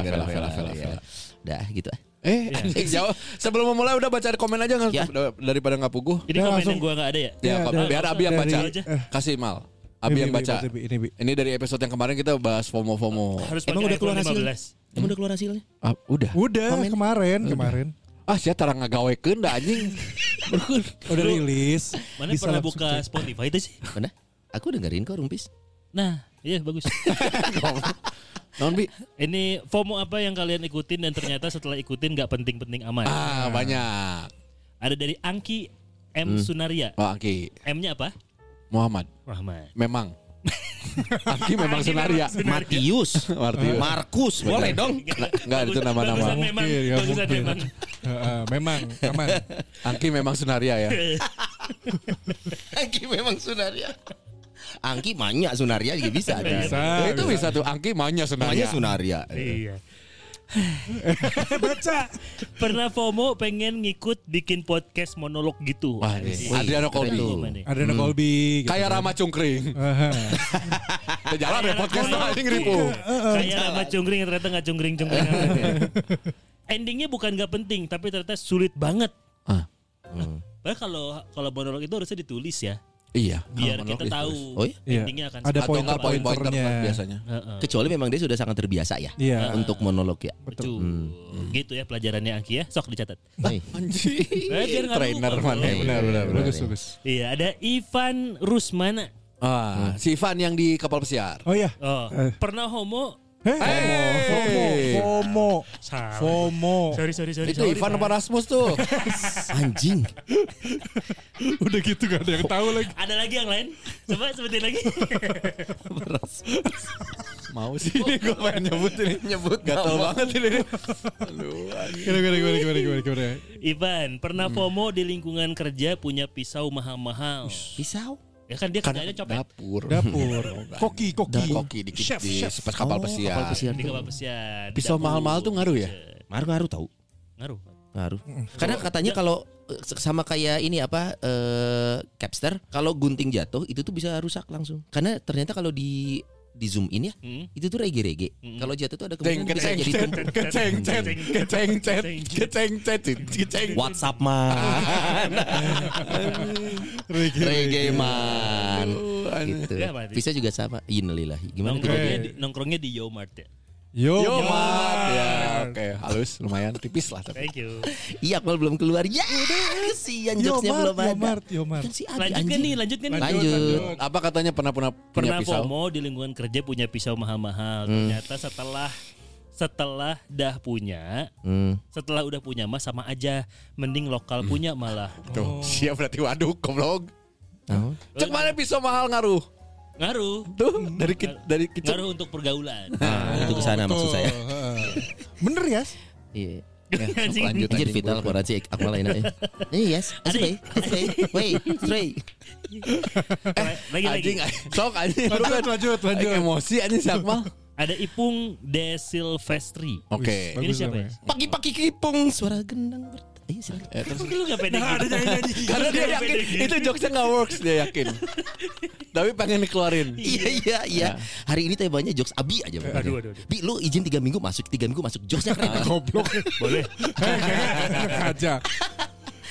Speaker 2: vela,
Speaker 5: vela,
Speaker 2: vela,
Speaker 5: vela,
Speaker 2: vela. Dah gitu ah.
Speaker 5: Eh, anjing, jauh. Sebelum memulai udah baca komen aja nggak?
Speaker 2: Ya.
Speaker 5: daripada nggak puguh.
Speaker 1: Ini
Speaker 4: Udah,
Speaker 1: komen
Speaker 4: langsung.
Speaker 1: yang gua nggak ada ya?
Speaker 5: Ya,
Speaker 4: Ya,
Speaker 5: Pak,
Speaker 4: dari-
Speaker 5: biar Abi yang
Speaker 4: dari-
Speaker 5: baca.
Speaker 4: eh.
Speaker 5: Kasih Mal.
Speaker 4: Ini,
Speaker 5: Abi yang
Speaker 4: Bi,
Speaker 5: baca.
Speaker 4: baca, Bi, ini, Bi.
Speaker 5: Ini dari episode yang kemarin kita bahas FOMO-FOMO.
Speaker 1: Harus
Speaker 2: Emang
Speaker 1: pakai
Speaker 2: udah keluar
Speaker 1: iPhone
Speaker 2: hasil?
Speaker 1: 15.
Speaker 2: Emang udah keluar hasilnya?
Speaker 5: Ah, udah.
Speaker 4: Udah
Speaker 2: Komen.
Speaker 4: kemarin, kemarin.
Speaker 5: Ah, sia tarang ngagawekeun da anjing. Bener.
Speaker 4: Udah rilis.
Speaker 1: Mana
Speaker 4: Bisa
Speaker 1: pernah
Speaker 4: langsung
Speaker 1: buka
Speaker 4: cek.
Speaker 1: Spotify itu sih?
Speaker 2: Mana? Aku dengerin kok Rumpis.
Speaker 1: Nah, iya bagus.
Speaker 5: Naon Bi?
Speaker 1: [laughs] Ini FOMO apa yang kalian ikutin dan ternyata setelah ikutin nggak penting-penting amat.
Speaker 5: Ah, banyak.
Speaker 1: Ada dari Angki M Sunaria.
Speaker 5: Oh, Angki.
Speaker 1: M-nya apa?
Speaker 5: Muhammad.
Speaker 1: Rahman.
Speaker 5: Memang. [laughs] Angki memang
Speaker 1: ya.
Speaker 5: senaria.
Speaker 1: [laughs]
Speaker 2: Matius.
Speaker 5: Matius.
Speaker 2: Markus. Boleh dong.
Speaker 5: Enggak itu
Speaker 1: Bagusan
Speaker 5: nama-nama.
Speaker 1: Kan memang.
Speaker 4: Mungkin, Iya, nggak
Speaker 1: Bagusan
Speaker 4: mungkin.
Speaker 1: memang.
Speaker 4: Heeh, memang aman.
Speaker 5: Angki memang senaria ya.
Speaker 2: Angki memang Sunaria. Angki manya Sunaria juga bisa. kan?
Speaker 4: Bisa.
Speaker 5: Eh, itu bisa tuh Angki
Speaker 2: Manya
Speaker 5: maunya senaria.
Speaker 2: Sunaria.
Speaker 1: Iya.
Speaker 4: Eh, Baca.
Speaker 1: Pernah FOMO pengen ngikut bikin podcast monolog gitu.
Speaker 5: Wah,
Speaker 2: iya.
Speaker 1: Anjing.
Speaker 5: ini. Adriano
Speaker 2: keren
Speaker 5: Colby.
Speaker 2: tuh.
Speaker 1: Gimana nih?
Speaker 4: Ada hmm. Colby. gitu.
Speaker 5: Kayak Rama Cungkring.
Speaker 4: Aha.
Speaker 5: Kita jalan
Speaker 1: Iya,
Speaker 5: ya podcast
Speaker 1: Kayak- gitu.
Speaker 5: anjing ribu.
Speaker 1: Iya. Kayak sama cungkring ternyata nggak cungkring cungkring. Endingnya bukan nggak penting tapi ternyata sulit banget.
Speaker 5: Ah,
Speaker 1: Padahal kalau kalau monolog itu harusnya ditulis ya
Speaker 5: Iya.
Speaker 1: biar
Speaker 5: Kalau
Speaker 1: kita
Speaker 5: monolog
Speaker 1: tahu
Speaker 2: ditulis. Oh iya?
Speaker 4: Iya.
Speaker 1: endingnya akan
Speaker 4: Ada
Speaker 5: Atau enggak poin-pointer
Speaker 4: pointer-pointernya.
Speaker 5: kan biasanya.
Speaker 1: Heeh,
Speaker 2: Kecuali memang dia sudah sangat terbiasa ya.
Speaker 4: Iya.
Speaker 2: Untuk monolog ya. [laughs]
Speaker 1: betul.
Speaker 5: Hmm,
Speaker 1: Gitu ya pelajarannya Angki ya. Sok dicatat.
Speaker 2: Baik.
Speaker 5: Anjing.
Speaker 1: Eh, biar nggak
Speaker 5: Iya, Trainer
Speaker 1: lupa,
Speaker 5: mana? ya?
Speaker 1: Bro.
Speaker 5: Benar benar benar.
Speaker 4: Bagus, bagus.
Speaker 1: Iya, ada Ivan Rusmana.
Speaker 5: [laughs] Ah, si Ivan yang di kapal pesiar.
Speaker 4: Oh iya.
Speaker 1: Oh,
Speaker 4: Eh.
Speaker 1: pernah homo?
Speaker 4: Hei,
Speaker 5: Hey.
Speaker 4: FOMO,
Speaker 1: Salah.
Speaker 4: FOMO, FOMO.
Speaker 1: Sorry, sorry, sorry.
Speaker 5: Itu
Speaker 1: sorry,
Speaker 5: Ivan
Speaker 1: Bang.
Speaker 5: apa Rasmus tuh?
Speaker 2: Anjing.
Speaker 4: Udah gitu gak ada yang tahu lagi.
Speaker 1: Ada lagi yang lain? Coba sebutin
Speaker 5: [laughs]
Speaker 1: lagi.
Speaker 5: Mau sih [laughs] ini gue pengen nyebut ini nyebut gatel banget ini. Aduh,
Speaker 4: Gimana gimana gimana gimana gimana gimana.
Speaker 1: Ivan, pernah
Speaker 5: Hmm.
Speaker 1: FOMO di lingkungan kerja punya pisau mahal-mahal.
Speaker 2: Pisau.
Speaker 1: Ya kan dia kerjanya copet.
Speaker 5: dapur.
Speaker 4: Dapur, koki, koki,
Speaker 5: Dan koki dikit
Speaker 4: chef,
Speaker 5: di
Speaker 4: chef.
Speaker 5: sepas
Speaker 2: Oh,
Speaker 5: kapal
Speaker 2: [laughs]
Speaker 5: pesiar.
Speaker 2: Kapal pesiar.
Speaker 1: Di kapal pesiar. di
Speaker 5: Pisau
Speaker 1: dapur.
Speaker 5: mahal-mahal tuh ngaruh ya?
Speaker 2: Ngaruh-ngaruh tahu.
Speaker 1: Ngaruh.
Speaker 2: Ngaruh. Karena katanya kalau eh, sama kayak ini apa eh capster, kalau gunting jatuh itu tuh bisa rusak langsung. Karena ternyata kalau di di zoom in ya,
Speaker 1: Hmm.
Speaker 2: itu tuh rege-rege.
Speaker 1: Hmm.
Speaker 2: Kalau jatuh tuh ada
Speaker 5: Ceng
Speaker 2: kemungkinan bisa
Speaker 5: keceng
Speaker 2: jadi
Speaker 5: cet,
Speaker 2: tumpu-
Speaker 5: keceng cet, keceng cet, keceng cet, keceng.
Speaker 2: WhatsApp man,
Speaker 4: Regi,
Speaker 2: rege man,
Speaker 5: Aduh, aneh.
Speaker 2: gitu.
Speaker 1: Ya, berarti.
Speaker 2: Bisa juga sama. Innalillahi. Gimana tuh?
Speaker 1: Nongkrongnya di, nongkrongnya di Yomart ya.
Speaker 4: Yo,
Speaker 5: Yo,
Speaker 4: Mat.
Speaker 5: Mat. Ya, oke, halus lumayan tipis lah tapi.
Speaker 1: Thank you.
Speaker 2: Iya, Akmal belum keluar. Ya, si
Speaker 4: Yo,
Speaker 2: jokesnya
Speaker 4: Mart,
Speaker 2: belum
Speaker 4: Yo,
Speaker 2: ada.
Speaker 4: Mart, Yo, Mart.
Speaker 2: Kan si Abi,
Speaker 1: Lanjutkan
Speaker 2: anjing.
Speaker 1: nih, lanjutkan nih.
Speaker 2: Lanjut.
Speaker 5: Apa katanya pernah pernah punya
Speaker 1: Pernah
Speaker 5: pisau? Hmm.
Speaker 1: FOMO di lingkungan kerja punya pisau mahal-mahal. Ternyata setelah setelah dah punya,
Speaker 2: Hmm.
Speaker 1: setelah udah punya mah sama aja. Mending
Speaker 5: Hmm.
Speaker 1: lokal punya malah.
Speaker 5: Tuh, siap berarti waduk goblok.
Speaker 2: Oh.
Speaker 5: Cek mana pisau mahal ngaruh?
Speaker 1: Ngaruh.
Speaker 5: Tuh, dari ki- dari kicau.
Speaker 1: Ngaruh untuk pergaulan.
Speaker 5: [laughs] Ah.
Speaker 2: Nah, itu kesana maksud saya.
Speaker 4: Bener ya?
Speaker 2: Iya.
Speaker 1: Anjing.
Speaker 5: Lanjut
Speaker 2: Anjir
Speaker 5: anjing,
Speaker 2: vital
Speaker 5: gua-
Speaker 2: koran si Akmal lain aja. Iya, yes. Asli, asli. Wait, Trey.
Speaker 1: lagi lagi.
Speaker 5: Anjing, sok anjing. Lu kan-
Speaker 4: lanjut,
Speaker 5: Aing emosi anjing si Akmal.
Speaker 1: Ada Ipung De Silvestri.
Speaker 5: Oke.
Speaker 1: Ini siapa ya?
Speaker 2: Pagi-pagi kipung suara gendang. ber- Iya, silakan.
Speaker 5: Eh, terus-
Speaker 1: Kok lu gak pede gitu?
Speaker 5: Karena dia
Speaker 1: Kenapa
Speaker 5: yakin
Speaker 1: dia gitu?
Speaker 5: itu jokesnya nggak works dia yakin. Tapi pengen dikeluarin.
Speaker 2: Iya iya iya. Hari ini temanya jokes Abi aja. pokoknya.
Speaker 1: Aduh, aduh, aduh.
Speaker 2: Bi lu izin tiga minggu masuk tiga minggu masuk jokesnya
Speaker 4: [laughs]
Speaker 2: keren. aja.
Speaker 4: Goblok. Boleh. Aja.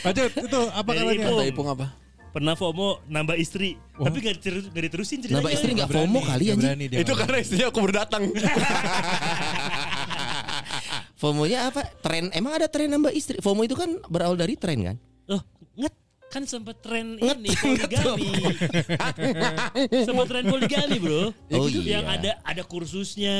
Speaker 4: Lanjut, itu apa
Speaker 1: Dari
Speaker 4: kalanya?
Speaker 1: Ipung.
Speaker 5: Kata Ipung apa?
Speaker 1: Pernah FOMO nambah istri, tapi gak, diteru- gak diterusin ceritanya.
Speaker 2: Nambah istri nggak
Speaker 4: Berani,
Speaker 2: FOMO kali
Speaker 4: dia
Speaker 2: anjing.
Speaker 4: berani, dia
Speaker 5: itu
Speaker 4: berani.
Speaker 5: karena istrinya aku berdatang.
Speaker 2: FOMO-nya apa? Tren emang ada tren nambah istri. FOMO itu kan berawal dari tren kan?
Speaker 1: Oh, nget kan sempet tren
Speaker 2: Nget,
Speaker 1: ini
Speaker 2: nget,
Speaker 1: poligami. [laughs] sempet tren poligami, Bro. Yang
Speaker 2: Oh, iya.
Speaker 1: Yang ada ada kursusnya.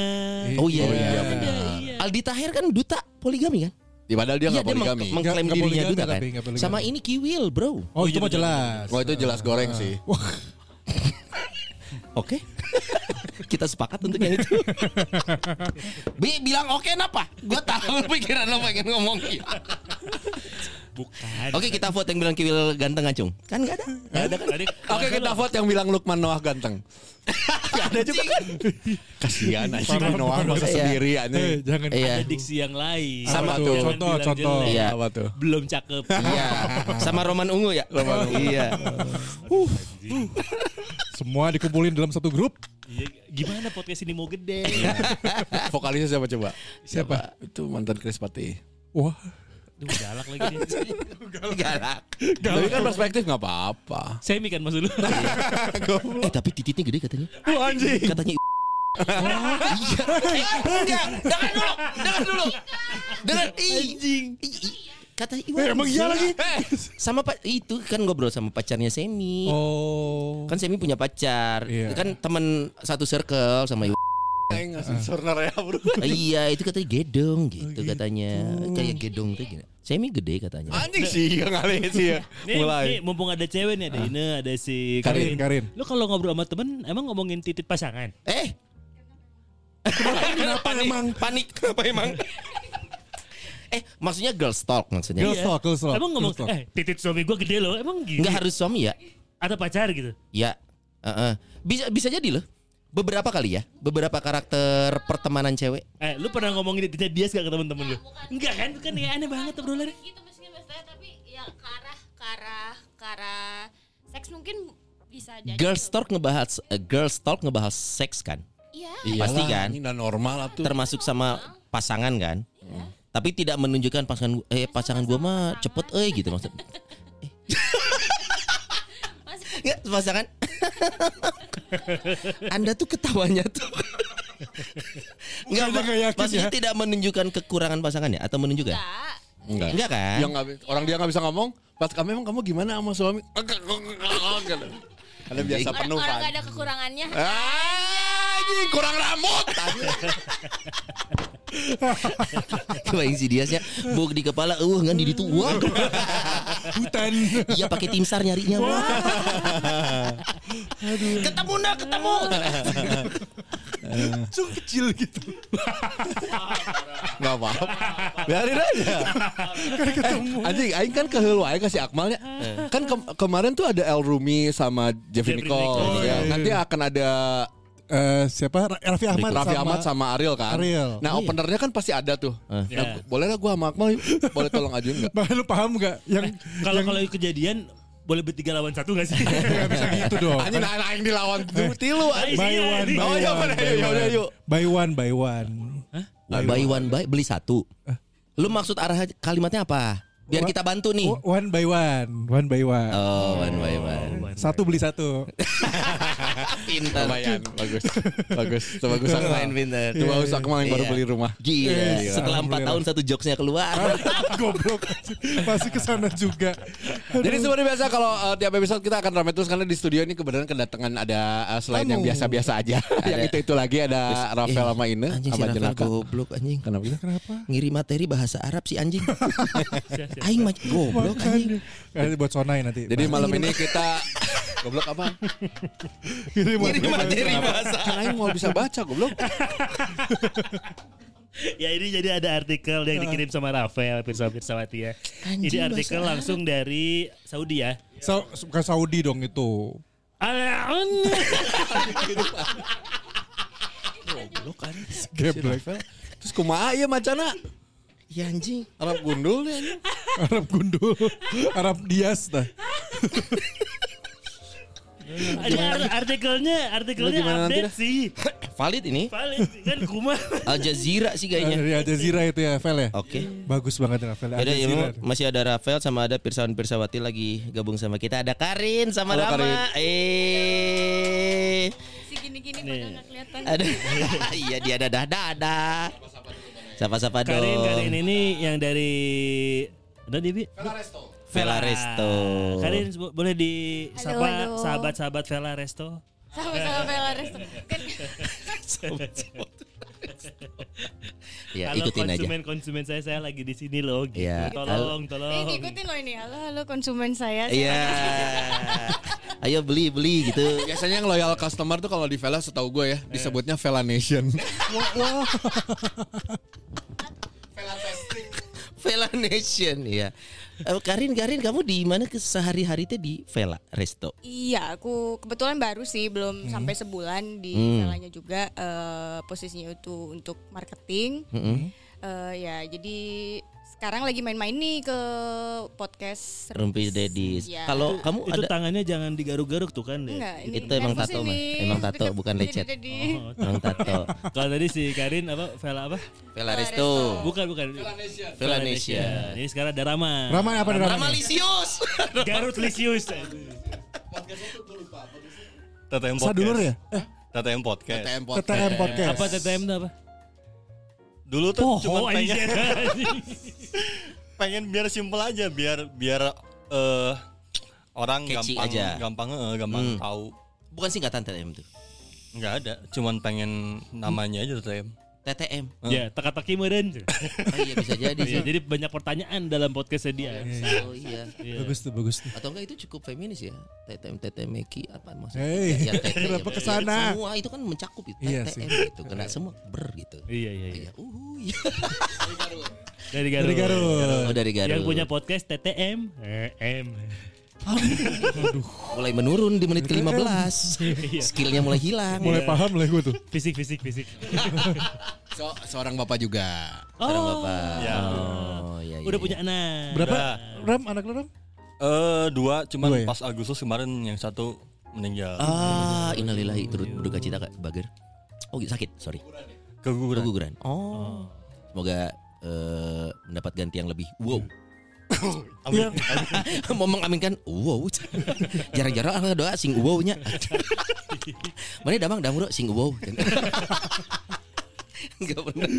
Speaker 2: Oh iya.
Speaker 5: Oh, iya,
Speaker 1: Ada,
Speaker 5: benar.
Speaker 1: iya.
Speaker 2: Aldi Tahir kan duta poligami kan?
Speaker 5: Ya, padahal dia
Speaker 2: Iya
Speaker 5: nggak
Speaker 2: dia meng-
Speaker 5: poligami.
Speaker 2: mengklaim
Speaker 4: Nggak
Speaker 2: dirinya
Speaker 4: poligami,
Speaker 2: duta kan.
Speaker 4: tapi nggak poligami.
Speaker 2: Sama ini Kiwil bro.
Speaker 4: Oh, itu mah jelas.
Speaker 5: Oh itu jelas goreng sih.
Speaker 2: Oke. [laughs] Kita sepakat untuk yang itu. [laughs] Bi bilang oke napa? Gue tahu [laughs] pikiran lo pengen ngomong. iya.
Speaker 1: Bukan.
Speaker 2: Oke kita vote yang bilang Kiwil ganteng acung. Kan gak ada.
Speaker 1: Nggak ada kan? Tadi
Speaker 5: Oke kita vote yang bilang Lukman Noah ganteng. Gak ada juga kan? Kasihan anjing
Speaker 4: Parah,
Speaker 5: Noah
Speaker 4: parah.
Speaker 5: masa
Speaker 2: Iya.
Speaker 5: sendiri
Speaker 4: Eh,
Speaker 5: anjing.
Speaker 4: jangan.
Speaker 2: Iya.
Speaker 1: ada diksi yang lain. Jangan
Speaker 5: Sama tuh.
Speaker 1: bilang
Speaker 4: Contoh,
Speaker 1: jelek,
Speaker 4: contoh.
Speaker 2: Iya.
Speaker 5: Apa tuh?
Speaker 1: Belum cakep.
Speaker 2: Iya. Sama Roman Ungu ya. Roman Ungu. Iya.
Speaker 4: Semua dikumpulin dalam satu grup.
Speaker 1: Iya, Gimana podcast ini mau gede?
Speaker 5: Vokalisnya siapa coba?
Speaker 4: Siapa?
Speaker 5: Itu mantan Chris Pati.
Speaker 4: Wah,
Speaker 1: Duh, galak lagi dia.
Speaker 2: [laughs] [laughs] Galak.
Speaker 5: Tapi kan perspektif nggak apa-apa.
Speaker 1: Semi kan maksud lu?
Speaker 2: Eh tapi titiknya gede katanya.
Speaker 5: anjing.
Speaker 2: Katanya. iya. Eh, enggak. Dengar dulu. Dengar dulu. Dengar. Anjing. Kata Iwan.
Speaker 4: emang iya lagi?
Speaker 2: Eh. Sama pak itu kan ngobrol sama pacarnya Semi.
Speaker 4: Oh.
Speaker 2: Iya. Kan Semi punya pacar.
Speaker 4: Iya.
Speaker 2: Kan teman satu circle sama
Speaker 4: [laughs]
Speaker 2: Iwan.
Speaker 5: Enggak sensor ya [laughs] bro.
Speaker 2: iya, itu katanya
Speaker 4: Oh,
Speaker 2: gedong gitu katanya. Kayak gedong tuh gini. Semi gede katanya.
Speaker 5: Anjing sih yang kali sih ya.
Speaker 1: Nih, nih,
Speaker 5: Mulai.
Speaker 1: mumpung ada cewek nih, ada Ine, ada si
Speaker 4: Karin, Karin.
Speaker 1: Lu kalau ngobrol sama temen, emang ngomongin titik pasangan?
Speaker 2: Eh,
Speaker 4: Kenapa emang?
Speaker 2: panik kenapa emang? eh, maksudnya girl talk maksudnya.
Speaker 4: Girls talk, girls talk.
Speaker 1: Emang ngomong,
Speaker 4: girls talk.
Speaker 1: eh titik suami gua gede loh, emang gini?
Speaker 2: Enggak harus suami ya?
Speaker 1: Atau pacar gitu?
Speaker 2: Ya. Heeh. Bisa bisa jadi loh. Beberapa kali ya, beberapa karakter pertemanan cewek.
Speaker 1: Eh, lu pernah ngomongin titiknya dia gak ke temen-temen lu? Enggak kan? Kan ya aneh banget obrolannya.
Speaker 6: gitu meski maksudnya tapi ya ke arah ke arah ke arah seks mungkin bisa jadi gitu.
Speaker 2: Girl
Speaker 6: tuh.
Speaker 2: talk ngebahas eh, girl talk ngebahas seks kan?
Speaker 6: iya
Speaker 2: Pasti kan?
Speaker 5: Ini udah normal lah tuh.
Speaker 2: termasuk sama pasangan kan tapi tidak menunjukkan pasangan gu- eh pasangan gua mah cepet eh gitu maksud
Speaker 6: Masih-
Speaker 2: nggak pasangan anda tuh ketawanya tuh nggak
Speaker 4: Bukannya nggak yakin
Speaker 2: maksudnya
Speaker 4: ya.
Speaker 2: tidak menunjukkan kekurangan pasangannya atau menunjukkan
Speaker 6: enggak
Speaker 5: Enggak.
Speaker 2: enggak kan
Speaker 5: [laughs] Yang nggak- orang dia nggak bisa ngomong. Pas kamu emang kamu gimana sama suami? Anda gitu. biasa
Speaker 6: Orang,
Speaker 5: penuh
Speaker 6: orang
Speaker 5: kan.
Speaker 6: gak ada kekurangannya.
Speaker 5: Ah, anjing, kurang rambut.
Speaker 2: Kebayang si Diasnya Bog ya. di kepala Uh ngan di ditu Wah
Speaker 4: [laughs] Hutan.
Speaker 2: Iya pakai tim sar nyarinya Wah Ketemu nak ketemu
Speaker 4: Langsung kecil gitu.
Speaker 5: Gak apa-apa. Biarin aja. Eh, anjing, aing kan kehelu aing kasih Akmalnya. Kan ke- kemarin tuh ada El Rumi sama Jeffrey
Speaker 1: Jeffrey
Speaker 5: Nichols.
Speaker 1: Nichols.
Speaker 5: ya. Nanti akan ada
Speaker 4: Eh, siapa? Ra- Raffi Ahmad
Speaker 5: Raffi
Speaker 4: sama,
Speaker 5: Ahmad sama Ariel kan.
Speaker 4: Ariel. Iya. Eh.
Speaker 5: Nah, openernya kan pasti ada tuh. Nah,
Speaker 1: Ya.
Speaker 2: Iya.
Speaker 5: boleh lah gua sama Akmal yuk. boleh tolong ajuin
Speaker 4: [laughs]
Speaker 5: enggak?
Speaker 4: Bah, lu paham gak? Yang
Speaker 1: Kalau
Speaker 4: yang
Speaker 1: kalau kejadian boleh bertiga lawan satu
Speaker 5: [laughs]
Speaker 1: gak sih?
Speaker 4: nggak bisa gitu dong.
Speaker 2: [laughs]
Speaker 5: Anjing nah, nah, aing
Speaker 4: [laughs]
Speaker 5: dilawan
Speaker 4: Eh.
Speaker 5: tuh, tilu anjing.
Speaker 4: Buy
Speaker 1: Iya,
Speaker 4: one,
Speaker 1: ini.
Speaker 4: buy
Speaker 5: Oh, iya,
Speaker 4: one,
Speaker 5: bener.
Speaker 4: buy
Speaker 5: Iya,
Speaker 4: one.
Speaker 5: udah, yuk.
Speaker 4: Buy one, buy one.
Speaker 2: Buy one buy Beli satu Lu maksud arah kalimatnya apa Biar kita bantu nih
Speaker 4: O- One by one, one by one.
Speaker 2: Oh one by
Speaker 5: [laughs]
Speaker 2: one
Speaker 4: Satu beli satu.
Speaker 2: Pintar
Speaker 5: Lumayan, bagus. Bagus. Coba gue
Speaker 2: Lumayan pintar.
Speaker 5: Coba usah Akmal yang baru
Speaker 2: Iya.
Speaker 5: beli Iya. rumah.
Speaker 2: Gila
Speaker 4: Yes.
Speaker 2: Setelah 4 tahun satu jokesnya keluar
Speaker 4: Goblok. Masih kesana juga.
Speaker 5: Jadi seperti biasa kalau uh, tiap episode kita akan ramai terus karena di studio ini kebetulan kedatangan ada uh, selain yang
Speaker 4: Tamu. iya.
Speaker 5: biasa-biasa
Speaker 4: [laughs]
Speaker 5: aja, yang
Speaker 2: Ada-
Speaker 5: itu-itu lagi ada Rafael
Speaker 2: Eh,
Speaker 5: sama Ine
Speaker 2: Anjing si
Speaker 5: sama
Speaker 2: Rafael
Speaker 5: Jenaka.
Speaker 2: goblok anjing
Speaker 5: Kenapa gitu?
Speaker 4: Kenapa?
Speaker 2: Ngiri materi bahasa Arab si
Speaker 5: [laughs]
Speaker 2: anjing Aing mah goblok anjing
Speaker 4: Makanya. Kayaknya buat sonai kan. nanti.
Speaker 5: Jadi malam
Speaker 4: [laughs]
Speaker 5: ini kita goblok apa?
Speaker 4: Jadi buat-
Speaker 2: Ngiri materi bahasa
Speaker 5: Kan aing mau bisa baca goblok.
Speaker 1: ya ini jadi ada artikel
Speaker 5: Iya.
Speaker 1: yang dikirim sama Rafael Pirsa Pirsawati ya. Ini
Speaker 2: Anjing,
Speaker 1: artikel
Speaker 2: bahasa
Speaker 1: langsung dari Saudi ya.
Speaker 4: Sa- bukan Saudi dong itu.
Speaker 1: Alaun.
Speaker 2: Goblok kan
Speaker 4: Geblek.
Speaker 5: Terus kumaha ieu macana?
Speaker 2: Ya anjing
Speaker 5: Arab gundul nih anjing.
Speaker 4: Arab gundul, Arab dias dah.
Speaker 1: [laughs] Ini ar- artikelnya artikelnya
Speaker 5: Lu gimana nanti
Speaker 1: update
Speaker 5: dah?
Speaker 1: sih.
Speaker 2: Valid ini
Speaker 1: Paling
Speaker 5: [laughs]
Speaker 1: kan kuma.
Speaker 2: Al Jazeera sih kayaknya
Speaker 4: Ya Jazeera itu ya, Vel ya.
Speaker 2: Iya, Oke
Speaker 4: Bagus banget Rafael. Al
Speaker 2: Yaudah, ya,
Speaker 4: Jazeera.
Speaker 2: memang masih ada Rafael sama ada Pirsawan Pirsawati lagi gabung sama kita. Ada Karin sama
Speaker 5: Halo, Karin.
Speaker 2: Rama. Eh.
Speaker 6: Si gini-gini pada gak kelihatan.
Speaker 2: Ada. [laughs] Iya dia ada dah dada. Sapa-sapa dong.
Speaker 1: Karin Karin ini yang dari Nah, Dewi.
Speaker 2: Vela Resto. [laughs]
Speaker 1: Karin Kan bo- boleh di sapa
Speaker 6: halo.
Speaker 1: sahabat-sahabat Vela Resto.
Speaker 6: Sama-sama Bella Resto. Kan
Speaker 2: Ya,
Speaker 1: Halo
Speaker 2: ikutin aja.
Speaker 1: konsumen-konsumen saya saya lagi di sini loh. Gitu.
Speaker 2: Iya.
Speaker 1: Tolong,
Speaker 6: ini
Speaker 1: tolong.
Speaker 6: ngikutin loh ini. Halo, halo konsumen saya.
Speaker 2: Iya. Ayo beli beli gitu.
Speaker 5: Eh, Biasanya yang loyal customer tuh kalau di Vela setahu gue ya disebutnya Vela [laughs] Nation.
Speaker 2: Vela Nation ya. Eh, Karin Karin kamu di mana ke sehari-hari teh di Vela Resto?
Speaker 6: Iya, aku kebetulan baru sih belum sampai sebulan di
Speaker 2: Hmm.
Speaker 6: Velanya juga eh, posisinya itu untuk marketing.
Speaker 2: Mm-mm.
Speaker 6: Eh, ya, jadi sekarang lagi main-main nih ke podcast
Speaker 2: Rumpis Dedis.
Speaker 6: Iya.
Speaker 2: Kalau kamu
Speaker 1: Itu
Speaker 2: ada
Speaker 1: tangannya jangan digaruk-garuk tuh kan. ya?
Speaker 6: Enggak, ini
Speaker 2: Iya. Itu emang
Speaker 6: nervous
Speaker 2: tato,
Speaker 6: ini.
Speaker 2: Mas. Emang tato, bukan
Speaker 6: Jadi-
Speaker 2: lecet. Oh.
Speaker 6: jadi-
Speaker 2: Orang
Speaker 4: [laughs]
Speaker 2: tato.
Speaker 1: Kalau tadi si Karin apa Vela apa?
Speaker 2: Vela Resto.
Speaker 1: Bukan bukan.
Speaker 2: Vela Nation.
Speaker 1: Ini sekarang ada Rama.
Speaker 4: Rama apa nih Rama? nih?
Speaker 2: Ramalisius.
Speaker 1: Garut Lisius.
Speaker 7: TTM Podcast.
Speaker 4: Sadulur ya? Eh,
Speaker 7: TTM Podcast.
Speaker 5: TM
Speaker 4: TTM
Speaker 5: Podcast.
Speaker 4: Podcast.
Speaker 1: Apa TTM itu apa?
Speaker 7: Dulu tuh cuma
Speaker 1: Oh,
Speaker 7: pengen,
Speaker 1: anjir.
Speaker 2: iya.
Speaker 7: pengen biar simpel aja, biar biar eh, orang
Speaker 2: Catchy
Speaker 7: gampang
Speaker 2: aja.
Speaker 7: gampang eh, gampang
Speaker 2: Hmm.
Speaker 7: tahu.
Speaker 2: Bukan singkatan TTM tuh.
Speaker 7: Nggak ada, cuman pengen namanya aja TTM.
Speaker 2: TTM.
Speaker 1: [laughs] Ya, teka-teki meureun.
Speaker 2: Oh iya bisa jadi
Speaker 1: Iya,
Speaker 4: [laughs]
Speaker 2: sih.
Speaker 1: jadi banyak pertanyaan dalam podcastnya dia.
Speaker 2: Oh iya.
Speaker 1: Iya.
Speaker 4: Bagus tuh, bagus tuh.
Speaker 2: Atau enggak itu cukup feminis ya? TTM TTM Meki apa maksudnya?
Speaker 4: Hey,
Speaker 2: Ya, ya, TTM,
Speaker 4: kenapa
Speaker 2: ya,
Speaker 4: kesana?
Speaker 2: Semua itu kan mencakup itu
Speaker 4: Iya
Speaker 2: TTM
Speaker 4: sih.
Speaker 2: gitu. Kena semua ber gitu.
Speaker 1: Iya, iya, iya.
Speaker 2: Iya. Uh, iya.
Speaker 1: Dari Garut.
Speaker 4: Dari Garut.
Speaker 2: Oh dari Garut.
Speaker 1: Yang punya podcast TTM. Eh, M.
Speaker 2: mulai menurun di menit
Speaker 4: [laughs]
Speaker 2: ke-15.
Speaker 4: Iya.
Speaker 2: Skillnya mulai hilang.
Speaker 4: Mulai paham lah gue tuh.
Speaker 1: Fisik, fisik, fisik.
Speaker 5: So- seorang bapak juga.
Speaker 2: Sekarang Bapak.
Speaker 7: Ya.
Speaker 2: Oh, iya, iya,
Speaker 1: Udah
Speaker 2: iya.
Speaker 1: punya anak.
Speaker 4: Berapa?
Speaker 7: Udah.
Speaker 4: Ram, anak lu Ram?
Speaker 7: Eh dua, cuman
Speaker 4: Dua ya?
Speaker 7: pas Agustus kemarin yang satu meninggal.
Speaker 2: Ah, innalillahi turut berduka cita Kak Bagir. Oh, sakit, sorry.
Speaker 7: Keguguran.
Speaker 2: Keguguran. Oh. Semoga eh, mendapat ganti yang lebih. [coughs] Wow.
Speaker 7: Amin.
Speaker 2: [coughs] Mau mengaminkan wow. [coughs] Jarang-jarang orang doa sing wow-nya. [coughs] Mana damang damuro sing wow. [coughs] Enggak benar.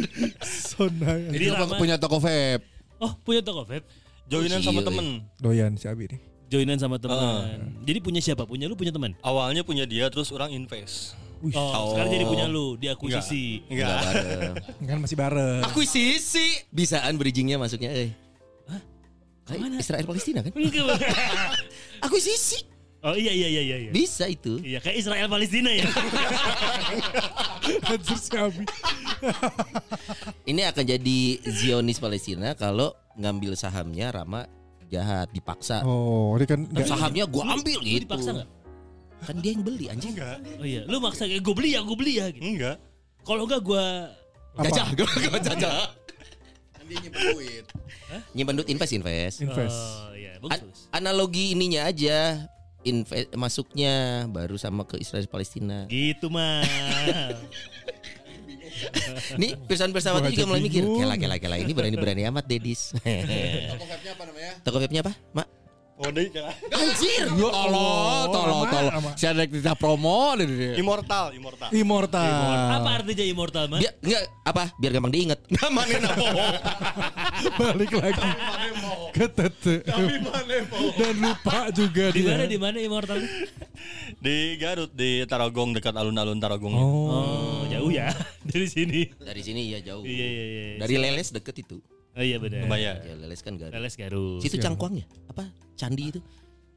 Speaker 4: Sonai.
Speaker 1: Jadi
Speaker 5: Punya
Speaker 1: Rama.
Speaker 5: punya toko vape.
Speaker 1: Oh, punya toko vape.
Speaker 7: Joinan sama temen.
Speaker 4: Doyan si Abi nih.
Speaker 1: joinan sama teman. Jadi punya siapa? Punya lu punya teman.
Speaker 7: Awalnya punya dia terus orang invest.
Speaker 1: Oh, sekarang jadi punya lu, dia akuisisi.
Speaker 2: Enggak
Speaker 7: Enggak.
Speaker 2: bareng.
Speaker 4: Kan masih bareng.
Speaker 2: Aku sisi. Bisaan bridgingnya masuknya. Eh. Hah? Israel Palestina kan?
Speaker 1: Enggak.
Speaker 2: Aku sisi.
Speaker 1: [laughs] oh iya iya iya iya. iya.
Speaker 2: Bisa itu.
Speaker 1: Iya kayak Israel Palestina ya.
Speaker 4: [laughs] Anjir si Abi.
Speaker 2: Ini akan jadi Zionis Palestina kalau ngambil sahamnya Rama jahat dipaksa.
Speaker 4: Oh, ini kan enggak
Speaker 2: sahamnya gua ambil
Speaker 1: Lu
Speaker 2: gitu.
Speaker 1: dipaksa nggak?
Speaker 2: Kan dia yang beli anjing.
Speaker 7: Enggak.
Speaker 1: Oh iya, lu maksa kayak gue beli ya, gue beli ya. Gitu.
Speaker 7: Enggak.
Speaker 1: Kalau enggak gua
Speaker 4: Apa?
Speaker 2: Jajah, gua gua jajah. Nyimpen duit invest invest.
Speaker 4: invest.
Speaker 1: Oh iya,
Speaker 2: An-
Speaker 1: bagus.
Speaker 2: analogi ininya aja invest masuknya baru sama ke Israel Palestina.
Speaker 1: Gitu mah.
Speaker 2: Nih, pesan bersama
Speaker 4: Gua
Speaker 2: juga
Speaker 4: aja
Speaker 2: mulai mikir,
Speaker 4: bingung.
Speaker 2: kela kela kela ini berani-berani amat Dedis.
Speaker 5: Konsepnya apa namanya?
Speaker 2: Toko webnya apa, Mak?
Speaker 7: Waduh, ya.
Speaker 2: Anjir.
Speaker 5: Ya Allah, tolong
Speaker 4: Ama,
Speaker 5: tolong.
Speaker 4: ama.
Speaker 5: Si ada kita promo deh, deh.
Speaker 7: [laughs] Immortal, immortal.
Speaker 4: Immortal.
Speaker 1: [laughs] Apa artinya immortal man?
Speaker 2: Biar enggak apa? Biar gampang diingat. [laughs] Namanya apa?
Speaker 4: Balik lagi ke tete. Dan lupa juga
Speaker 1: Di mana
Speaker 4: dia.
Speaker 1: di mana immortal?
Speaker 7: Di Garut, di Tarogong dekat alun-alun Tarogong. ya.
Speaker 4: Oh.
Speaker 1: Oh, jauh ya [laughs] dari sini.
Speaker 2: Dari sini ya jauh.
Speaker 1: Iya iya iya.
Speaker 2: Dari Leles deket itu.
Speaker 1: Oh iya benar.
Speaker 7: Lumayan.
Speaker 2: Ya Leles kan Garut.
Speaker 1: Leles Garut.
Speaker 2: Situ cangkuang ya? Apa? Candi itu?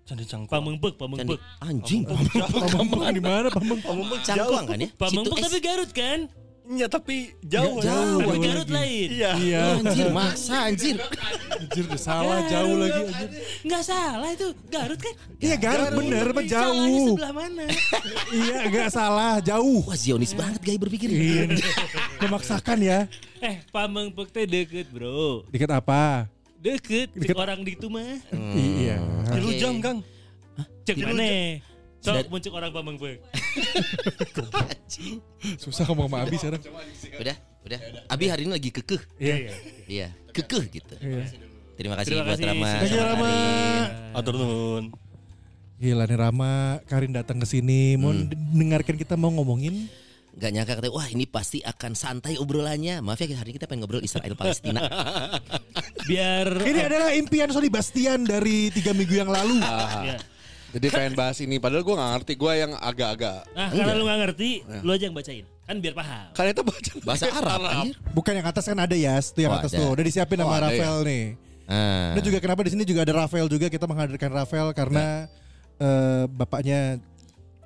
Speaker 7: Candi Cangkuang.
Speaker 1: Pamengpek,
Speaker 2: Candi.
Speaker 1: Pamengpek.
Speaker 2: Anjing.
Speaker 4: Pamengpek di mana Pamengpek?
Speaker 2: Pamengpek cangkuang kan ya?
Speaker 1: Pamengpek
Speaker 2: Situ
Speaker 1: tapi
Speaker 2: es-
Speaker 1: Garut kan?
Speaker 7: Iya, tapi jauh.
Speaker 2: Ya, jauh.
Speaker 1: Tapi
Speaker 4: jauh
Speaker 1: Garut
Speaker 4: lagi.
Speaker 1: lain.
Speaker 7: Iya.
Speaker 4: Iya.
Speaker 2: Anjir, maksa anjir.
Speaker 4: Anjir, udah salah jauh lagi. anjir.
Speaker 1: Enggak salah itu Garut kan?
Speaker 4: Iya Garut bener, mah
Speaker 1: Salahnya
Speaker 4: jauh.
Speaker 1: sebelah
Speaker 4: [laughs]
Speaker 1: mana?
Speaker 4: Iya nggak salah, jauh.
Speaker 2: Wah, Zionis banget gay berpikir.
Speaker 4: Memaksakan ya.
Speaker 1: eh, Pamengpek teh deket, Bro.
Speaker 4: Dikit apa?
Speaker 1: Deket, cek
Speaker 4: Deket.
Speaker 1: orang di itu mah.
Speaker 4: Iya.
Speaker 7: Cilujang, Kang.
Speaker 1: Cek mana?
Speaker 2: Sedar-
Speaker 1: Sok muncul orang Pamengpek.
Speaker 4: Susah ngomong sama Abi sekarang.
Speaker 2: Udah, udah. Abi hari ini lagi kekeh.
Speaker 4: Iya.
Speaker 2: Iya, kekeh gitu.
Speaker 4: Iya.
Speaker 2: Terima kasih
Speaker 1: Terima
Speaker 2: buat
Speaker 1: kasih.
Speaker 2: Rama.
Speaker 1: Terima kasih,
Speaker 2: sama
Speaker 4: Rama.
Speaker 2: Karin.
Speaker 7: Atur nuhun.
Speaker 4: Gila nih Rama, Karin datang ke sini mau dengarkan kita mau ngomongin
Speaker 2: Gak nyangka katanya, wah ini pasti akan santai obrolannya. Maaf ya hari ini kita pengen ngobrol Israel Palestina.
Speaker 1: Biar
Speaker 4: [laughs] Ini adalah impian Sony Bastian dari tiga minggu yang lalu.
Speaker 1: Ya.
Speaker 5: Jadi pengen bahas ini padahal gue gak ngerti gue yang agak-agak
Speaker 1: Nah, karena lu gak ngerti,
Speaker 4: Iya.
Speaker 1: lu aja yang bacain. Kan biar paham.
Speaker 5: Kan itu baca
Speaker 2: Bahasa Arab. anjir.
Speaker 4: Bukan yang atas kan ada ya, itu yang
Speaker 2: Oh,
Speaker 4: atas
Speaker 2: ada.
Speaker 4: tuh udah disiapin
Speaker 5: Oh,
Speaker 4: sama
Speaker 5: ada
Speaker 4: Rafael nih.
Speaker 2: Ah.
Speaker 4: Dan juga kenapa di sini juga ada Rafael juga kita menghadirkan Rafael karena eh, bapaknya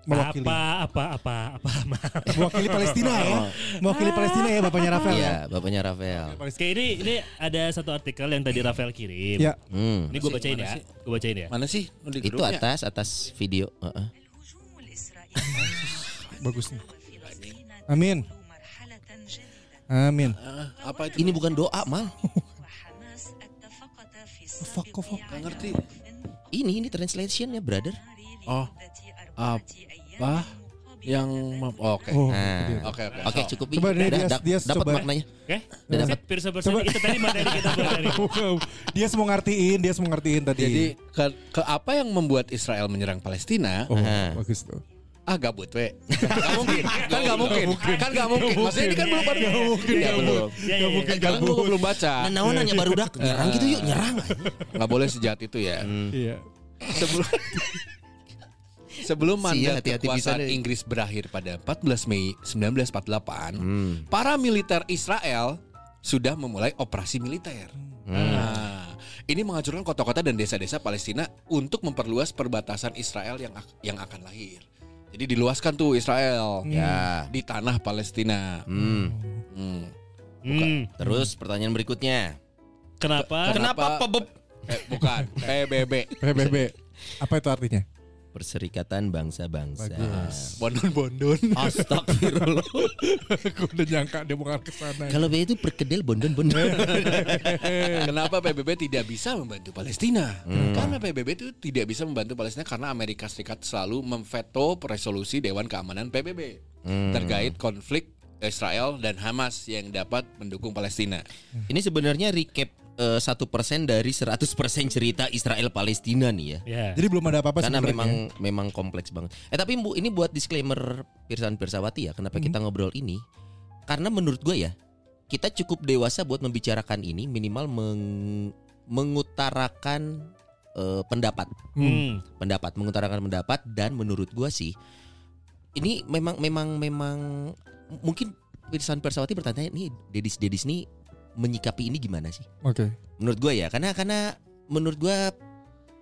Speaker 4: mewakili
Speaker 1: Apa, apa, apa, apa,
Speaker 4: [laughs]
Speaker 1: maaf.
Speaker 4: mewakili Palestina ya. Mewakili Palestina ya bapaknya Rafael. ya.
Speaker 2: Iya, bapaknya Rafael.
Speaker 1: Oke, ini, ini ada satu artikel yang tadi Rafael kirim.
Speaker 4: Ya.
Speaker 2: Hmm.
Speaker 1: Ini gue bacain ya. Gue bacain ya.
Speaker 5: Mana sih? Lu di
Speaker 2: Itu
Speaker 5: gedungnya?
Speaker 2: atas atas video. Heeh.
Speaker 8: الهجوم الإسرائيلي
Speaker 4: Bagus nih.
Speaker 8: فلسطين
Speaker 4: Amin.
Speaker 8: مرحلة جديدة
Speaker 4: Amin.
Speaker 5: Eh, Apa itu?
Speaker 2: Ini bukan doa mal.
Speaker 8: وحماس اتفقتا في
Speaker 4: Fuck, fuck.
Speaker 8: السابق على
Speaker 5: ngerti.
Speaker 8: وقف
Speaker 2: Ini ini translationnya brother.
Speaker 8: ناري
Speaker 5: Oh.
Speaker 8: لمدة أربعة أيام
Speaker 5: Apa? Yang map- Oke
Speaker 4: Oh.
Speaker 2: Nah.
Speaker 5: Oke oke
Speaker 2: Oke cukup
Speaker 4: Coba
Speaker 2: Ih,
Speaker 4: dia-
Speaker 2: dah-
Speaker 4: dia-
Speaker 2: dah-
Speaker 4: dia
Speaker 2: dapat
Speaker 4: coba.
Speaker 2: maknanya.
Speaker 1: Oke?
Speaker 2: Udah dapat.
Speaker 1: Sip, Pirsa Pirsa, itu tadi materi
Speaker 2: [laughs]
Speaker 1: kita buat hari ini.
Speaker 4: Wow. Dia semua ngertiin, dia semua ngertiin tadi.
Speaker 5: Jadi ke, ke apa yang membuat Israel menyerang Palestina?
Speaker 4: oh,
Speaker 2: Nah.
Speaker 4: bagus tuh.
Speaker 5: Ah gabut we. [laughs] Gak mungkin. Kan gak mungkin. Kan gak mungkin. Maksudnya ini kan belum ada.
Speaker 1: Gak mungkin,
Speaker 5: Iya, belum.
Speaker 1: Ya, ya, ya.
Speaker 5: Kan Karena gue belum baca.
Speaker 2: Nah, naonannya baru dak nyerang gitu yuk nyerang.
Speaker 5: Gak boleh sejahat itu ya.
Speaker 4: Iya.
Speaker 5: Sebelum
Speaker 2: [laughs]
Speaker 5: Sebelum
Speaker 2: Siang,
Speaker 5: mandat
Speaker 2: hati-hati
Speaker 5: kekuasaan
Speaker 2: pisan, eh.
Speaker 5: Inggris berakhir pada 14 Mei 1948,
Speaker 2: Hmm.
Speaker 5: para militer Israel sudah memulai operasi militer.
Speaker 2: Hmm.
Speaker 5: Nah, ini menghancurkan kota-kota dan desa-desa Palestina untuk memperluas perbatasan Israel yang ak- yang akan lahir. Jadi diluaskan tuh Israel
Speaker 2: Ya.
Speaker 5: di tanah Palestina.
Speaker 2: Hmm.
Speaker 5: Hmm.
Speaker 1: Hmm,
Speaker 2: [laughs] Terus pertanyaan berikutnya.
Speaker 1: Ah, Kenapa?
Speaker 5: Kenapa PBB? Eh, bukan PBB.
Speaker 4: PBB. Apa itu artinya?
Speaker 2: Perserikatan bangsa-bangsa.
Speaker 5: Bondon-bondon.
Speaker 2: Astagfirullah.
Speaker 4: Aku udah nyangka dia mau ngarah ke sana.
Speaker 2: [laughs] Kalau B itu perkedel bondon-bondon.
Speaker 5: [laughs] Kenapa PBB tidak bisa membantu Palestina? Karena PBB itu tidak bisa membantu Palestina karena Amerika Serikat selalu memveto resolusi Dewan Keamanan PBB terkait konflik Israel dan Hamas yang dapat mendukung Palestina.
Speaker 2: Ini sebenarnya recap eh, satu persen dari 100% cerita Israel Palestina nih ya.
Speaker 1: Ya.
Speaker 4: Jadi belum ada apa-apa
Speaker 2: Karena
Speaker 4: sebenarnya.
Speaker 2: memang memang kompleks banget. Eh tapi Bu, ini buat disclaimer Pirsan Pirsawati ya, kenapa kita ngobrol ini? Karena menurut gue ya, kita cukup dewasa buat membicarakan ini minimal meng- mengutarakan eh, pendapat,
Speaker 1: Hmm.
Speaker 2: pendapat mengutarakan pendapat dan menurut gua sih ini memang memang memang mungkin Pirsan Persawati bertanya nih Dedis Dedis nih menyikapi ini gimana sih?
Speaker 4: Oke.
Speaker 2: Menurut gua ya, karena karena menurut gua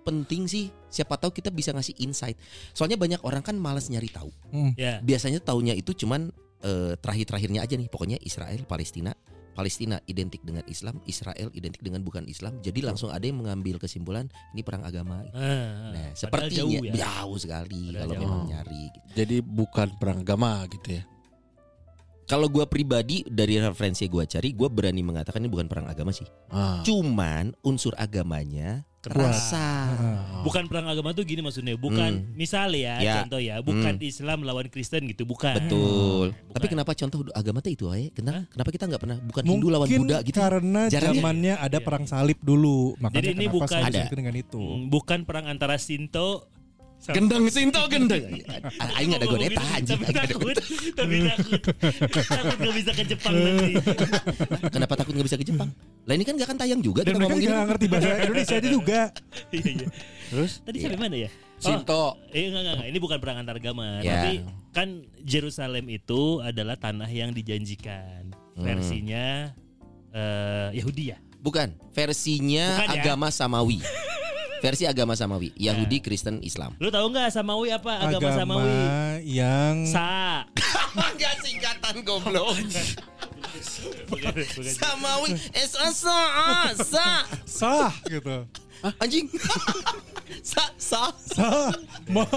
Speaker 2: penting sih siapa tahu kita bisa ngasih insight. Soalnya banyak orang kan malas nyari tahu.
Speaker 1: Ya.
Speaker 2: Biasanya taunya itu cuman eh, terakhir-terakhirnya aja nih. Pokoknya Israel Palestina, Palestina identik dengan Islam, Israel identik dengan bukan Islam. Jadi langsung ada yang mengambil kesimpulan ini perang agama.
Speaker 1: Ah, padahal
Speaker 2: Nah, sepertinya
Speaker 1: jauh
Speaker 2: jauh,
Speaker 1: ya.
Speaker 2: sekali
Speaker 1: Padahal
Speaker 2: kalau
Speaker 1: jauh.
Speaker 2: memang nyari gitu.
Speaker 5: Jadi bukan perang agama gitu ya.
Speaker 2: Kalau gua pribadi dari referensi yang gua cari, gua berani mengatakan ini bukan perang agama sih.
Speaker 5: [laughs] Ah.
Speaker 2: Cuman unsur agamanya
Speaker 1: Keras. Ah.
Speaker 2: terasa.
Speaker 1: Bukan perang agama tuh gini maksudnya, bukan misalnya ya,
Speaker 2: Ya.
Speaker 1: contoh ya, bukan Islam lawan Kristen gitu,
Speaker 2: Eh,
Speaker 1: bukan.
Speaker 2: Betul.
Speaker 1: Bukan.
Speaker 2: Tapi kenapa contoh agama teh itu aja? Kenapa, kenapa kita nggak pernah bukan Hindu
Speaker 4: Mungkin
Speaker 2: lawan Buddha gitu?
Speaker 4: karena
Speaker 2: Jarang ya?
Speaker 4: zamannya ada perang salib dulu, makanya
Speaker 1: Jadi ini
Speaker 4: kenapa
Speaker 1: bukan-
Speaker 4: selalu
Speaker 2: Ada.
Speaker 4: disebut dengan itu.
Speaker 1: Hmm, bukan perang antara Sinto
Speaker 2: Gendeng Sinto gendeng. A- Aing Kan ada
Speaker 1: Ngomong
Speaker 2: goneta
Speaker 1: gitu,
Speaker 2: anjing.
Speaker 1: Tapi
Speaker 2: aing ada
Speaker 1: takut,
Speaker 2: goneta.
Speaker 1: tapi takut. takut gak bisa ke Jepang
Speaker 2: [laughs]
Speaker 1: nanti.
Speaker 2: Kenapa takut nggak bisa ke Jepang? Lah ini kan nggak akan tayang
Speaker 4: Dan
Speaker 2: juga kita
Speaker 4: mereka
Speaker 2: ngomong gini.
Speaker 4: nggak ngerti bahasa Indonesia aja juga.
Speaker 1: Iya, iya.
Speaker 5: Terus?
Speaker 1: Tadi
Speaker 2: Iya.
Speaker 1: sampai mana ya? Oh,
Speaker 5: Sinto.
Speaker 1: Eh enggak, enggak, enggak. ini bukan perang antar agama,
Speaker 2: Ya.
Speaker 1: tapi kan Jerusalem itu adalah tanah yang dijanjikan.
Speaker 2: Hmm.
Speaker 1: Versinya eh, Yahudi ya.
Speaker 2: Bukan, versinya
Speaker 1: Bukan ya?
Speaker 2: agama [laughs] Samawi. Versi agama Samawi, Yahudi, Kristen, Islam.
Speaker 1: Lu tahu nggak Samawi apa agama,
Speaker 4: Agama,
Speaker 1: Samawi?
Speaker 4: yang
Speaker 1: Sa.
Speaker 2: [laughs] Enggak singkatan goblok.
Speaker 1: [laughs]
Speaker 2: Samawi S A S A Sa
Speaker 4: sah gitu.
Speaker 2: [laughs] anjing. Sa sa.
Speaker 4: Sah. Ma.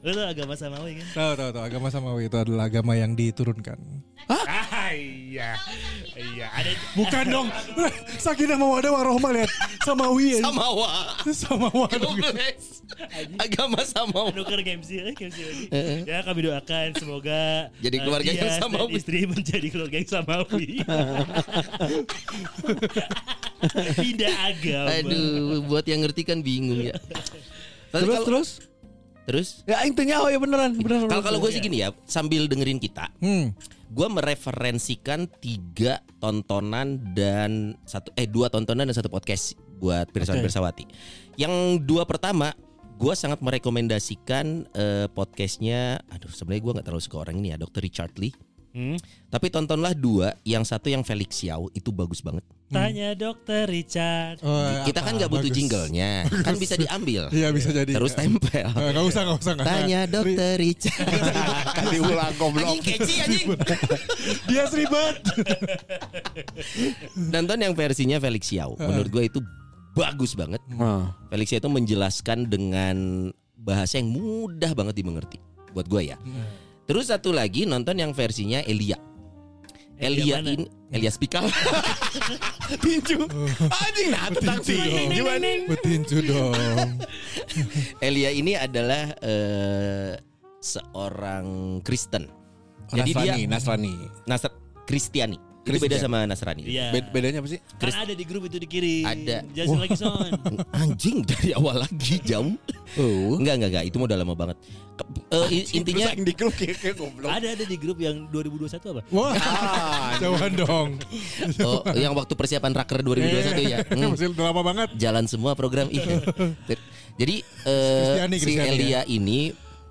Speaker 1: Lu tahu agama Samawi kan?
Speaker 4: Tahu tahu tahu agama Samawi itu adalah agama yang diturunkan.
Speaker 1: Ah, iya. Iya, ada
Speaker 2: [laughs]
Speaker 4: Bukan dong. Sakinah mawadah warahmah lihat Samawi ya.
Speaker 2: Samawa.
Speaker 4: Samawi.
Speaker 2: agama Samawi.
Speaker 1: nuker game sih, eh, game sih lagi. Ya kami doakan semoga
Speaker 2: Jadi
Speaker 1: eh,
Speaker 2: keluarga yang
Speaker 1: Dias dan
Speaker 2: Samawi.
Speaker 1: Istri menjadi keluarga yang Samawi.
Speaker 2: [laughs]
Speaker 1: Pindah agama.
Speaker 2: Aduh, buat yang ngerti kan bingung ya. Tapi
Speaker 5: Terus
Speaker 2: kalau-
Speaker 5: terus.
Speaker 2: terus.
Speaker 5: Ya
Speaker 2: iya,
Speaker 5: intinya oh ya beneran, beneran.
Speaker 2: Kalau kalau gue sih gini ya, sambil dengerin kita,
Speaker 4: Hmm.
Speaker 2: gue mereferensikan tiga tontonan dan satu eh dua tontonan dan satu podcast buat Pirsawan Pirsawati. Yang dua pertama, gue sangat merekomendasikan eh, podcastnya. Aduh, sebenarnya gue nggak terlalu suka orang ini ya, Dr. Richard Lee.
Speaker 1: Hmm.
Speaker 2: Tapi tontonlah dua, yang satu yang Felix Xiao itu bagus banget.
Speaker 1: Tanya dokter Richard.
Speaker 4: Eh,
Speaker 2: Kita kan
Speaker 4: apa?
Speaker 2: nggak butuh
Speaker 4: Bagus.
Speaker 2: jinglenya, kan
Speaker 4: [laughs]
Speaker 2: bisa diambil.
Speaker 4: Iya bisa jadi.
Speaker 2: Terus tempel.
Speaker 4: Eh, Nggak usah nggak usah nggak usah.
Speaker 2: Tanya dokter Richard.
Speaker 5: diulang
Speaker 2: anjing keci anjing.
Speaker 4: Dia seribet.
Speaker 2: Nonton yang versinya Felix Xiao. Menurut gue itu bagus banget. Felix Xiao itu menjelaskan dengan bahasa yang mudah banget dimengerti buat gue ya. Terus satu lagi nonton yang versinya Elia.
Speaker 1: Elia
Speaker 2: Elia
Speaker 1: mana?
Speaker 2: in Elia Spikal.
Speaker 5: Tinju. Anjing nah tentang
Speaker 4: Tinju dong.
Speaker 5: tinju anjing.
Speaker 4: Petinju dong.
Speaker 2: Elia ini adalah eh, seorang Kristen. Jadi dia
Speaker 5: Nasrani, Nasrani.
Speaker 2: Nasr Kristiani. Itu beda
Speaker 5: Kristian.
Speaker 2: sama Nasrani.
Speaker 1: Iya.
Speaker 5: Bed- bedanya apa sih?
Speaker 1: Kan ada di grup itu dikirim.
Speaker 2: Ada.
Speaker 1: Jelasin lagi
Speaker 2: [laughs]
Speaker 1: son.
Speaker 2: Anjing dari awal lagi jauh.
Speaker 5: Oh.
Speaker 2: Enggak enggak enggak, itu mah udah lama banget. Ke- eh, i- intinya
Speaker 5: Intinya di grup ya, kayak kayak goblok.
Speaker 1: ada ada di grup yang 2021 apa?
Speaker 4: Wah.
Speaker 5: Ah,
Speaker 4: Jauhan dong.
Speaker 2: oh, yang waktu persiapan raker 2021
Speaker 4: Iya.
Speaker 2: ya. Hmm,
Speaker 4: Masih udah lama banget.
Speaker 2: jalan semua program itu. Jadi eh,
Speaker 4: Kristiani,
Speaker 2: si
Speaker 4: Kristiani ya.
Speaker 2: Elia ini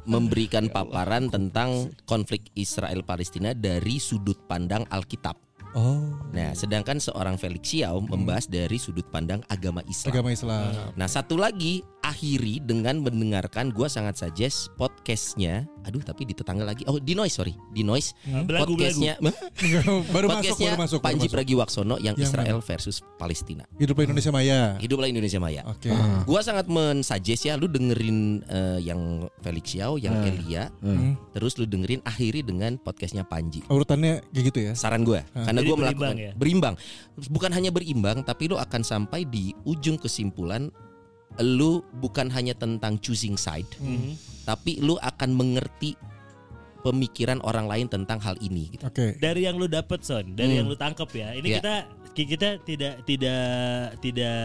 Speaker 2: memberikan paparan tentang konflik Israel Palestina dari sudut pandang Alkitab.
Speaker 4: Oh.
Speaker 2: Nah, sedangkan seorang Felix Xiao membahas dari sudut pandang agama Islam.
Speaker 4: Agama Islam.
Speaker 2: Nah, satu lagi akhiri dengan mendengarkan gua sangat suggest podcastnya. Aduh, tapi di tetangga lagi. Oh, di noise sorry, di noise.
Speaker 1: Belagu belagu.
Speaker 2: Podcastnya
Speaker 4: [laughs] baru masuk
Speaker 2: podcastnya
Speaker 4: baru masuk. baru
Speaker 2: ya. Panji
Speaker 4: masuk.
Speaker 2: Pragiwaksono yang,
Speaker 4: Yang Ah.
Speaker 2: Israel versus Palestina.
Speaker 4: Hiduplah Indonesia Maya.
Speaker 2: Hiduplah Indonesia Maya.
Speaker 4: Oke.
Speaker 2: Gua sangat mensuggest ya lu dengerin eh, yang Felix Xiao, yang Elia,
Speaker 4: Hmm.
Speaker 2: terus lu dengerin akhiri dengan podcastnya Panji.
Speaker 4: Urutannya kayak gitu ya.
Speaker 2: Saran gua karena
Speaker 1: Jadi
Speaker 2: gua
Speaker 1: berimbang
Speaker 2: melakukan
Speaker 1: ya?
Speaker 2: berimbang. Bukan hanya berimbang, tapi lu akan sampai di ujung kesimpulan lu bukan hanya tentang choosing side,
Speaker 1: Mhm.
Speaker 2: tapi lu akan mengerti pemikiran orang lain tentang hal ini
Speaker 1: Iya.
Speaker 2: gitu.
Speaker 4: Oke.
Speaker 1: Dari yang lu dapet son, dari
Speaker 2: Hmm.
Speaker 1: yang lu tangkep ya. Ini
Speaker 2: Iya.
Speaker 1: kita ki- kita tidak tidak tidak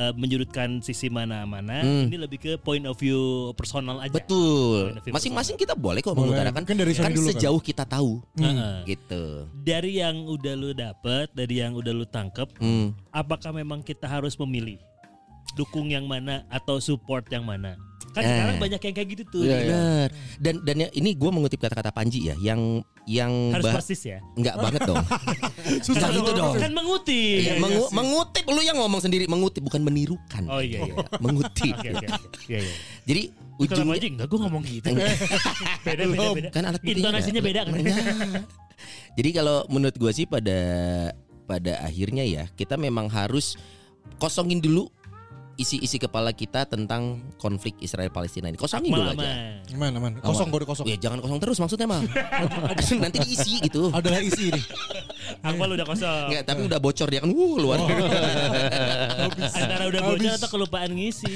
Speaker 1: eh, menyudutkan sisi mana-mana.
Speaker 2: Hmm.
Speaker 1: Ini lebih ke point of view personal aja.
Speaker 2: Betul.
Speaker 1: Point of view
Speaker 2: Masing-masing kita boleh kok
Speaker 4: Boleh.
Speaker 2: mengutarakan
Speaker 4: Mungkin dari
Speaker 2: kan
Speaker 4: Sony dulu kan.
Speaker 2: sejauh kita tahu
Speaker 1: Heeh.
Speaker 2: gitu.
Speaker 1: Dari yang udah lu dapet, dari yang udah lu tangkep,
Speaker 2: Hmm.
Speaker 1: apakah memang kita harus memilih? dukung yang mana atau support yang mana. Kan
Speaker 2: Eh.
Speaker 1: sekarang banyak yang kayak gitu tuh.
Speaker 5: Iya,
Speaker 1: Jadi
Speaker 5: iya.
Speaker 2: Bener. Dan dan ya- ini gue mengutip kata-kata Panji ya, yang yang
Speaker 1: Harus
Speaker 2: bah-
Speaker 1: persis ya.
Speaker 2: nggak banget dong. Susah gitu Nah, dong.
Speaker 1: Kan mengutip.
Speaker 2: Iya, mengu- mengutip lu yang ngomong sendiri mengutip bukan menirukan.
Speaker 1: Oh, iya, iya.
Speaker 2: mengutip.
Speaker 1: Oke oke. oke. Iya iya.
Speaker 2: Jadi
Speaker 1: Kenapa
Speaker 2: ujungnya
Speaker 1: aja enggak gue ngomong gitu. beda beda beda.
Speaker 2: kan alat buktinya
Speaker 1: Intonasinya
Speaker 2: nggak-
Speaker 1: beda kan.
Speaker 2: Nah. Jadi kalau menurut gue sih pada pada akhirnya ya kita memang harus kosongin dulu isi-isi kepala kita tentang konflik Israel Palestina ini. Kosongin dulu
Speaker 1: Malah
Speaker 2: aja.
Speaker 1: mah.
Speaker 4: Gimana man? Kosong gue udah kosong.
Speaker 2: Ya jangan kosong terus maksudnya
Speaker 1: [laughs]
Speaker 2: mah. Nanti diisi gitu.
Speaker 4: Adalah isi ini.
Speaker 1: Aku udah kosong.
Speaker 2: Enggak, tapi udah bocor dia kan uh luar.
Speaker 1: Oh. Antara udah bocor atau kelupaan ngisi.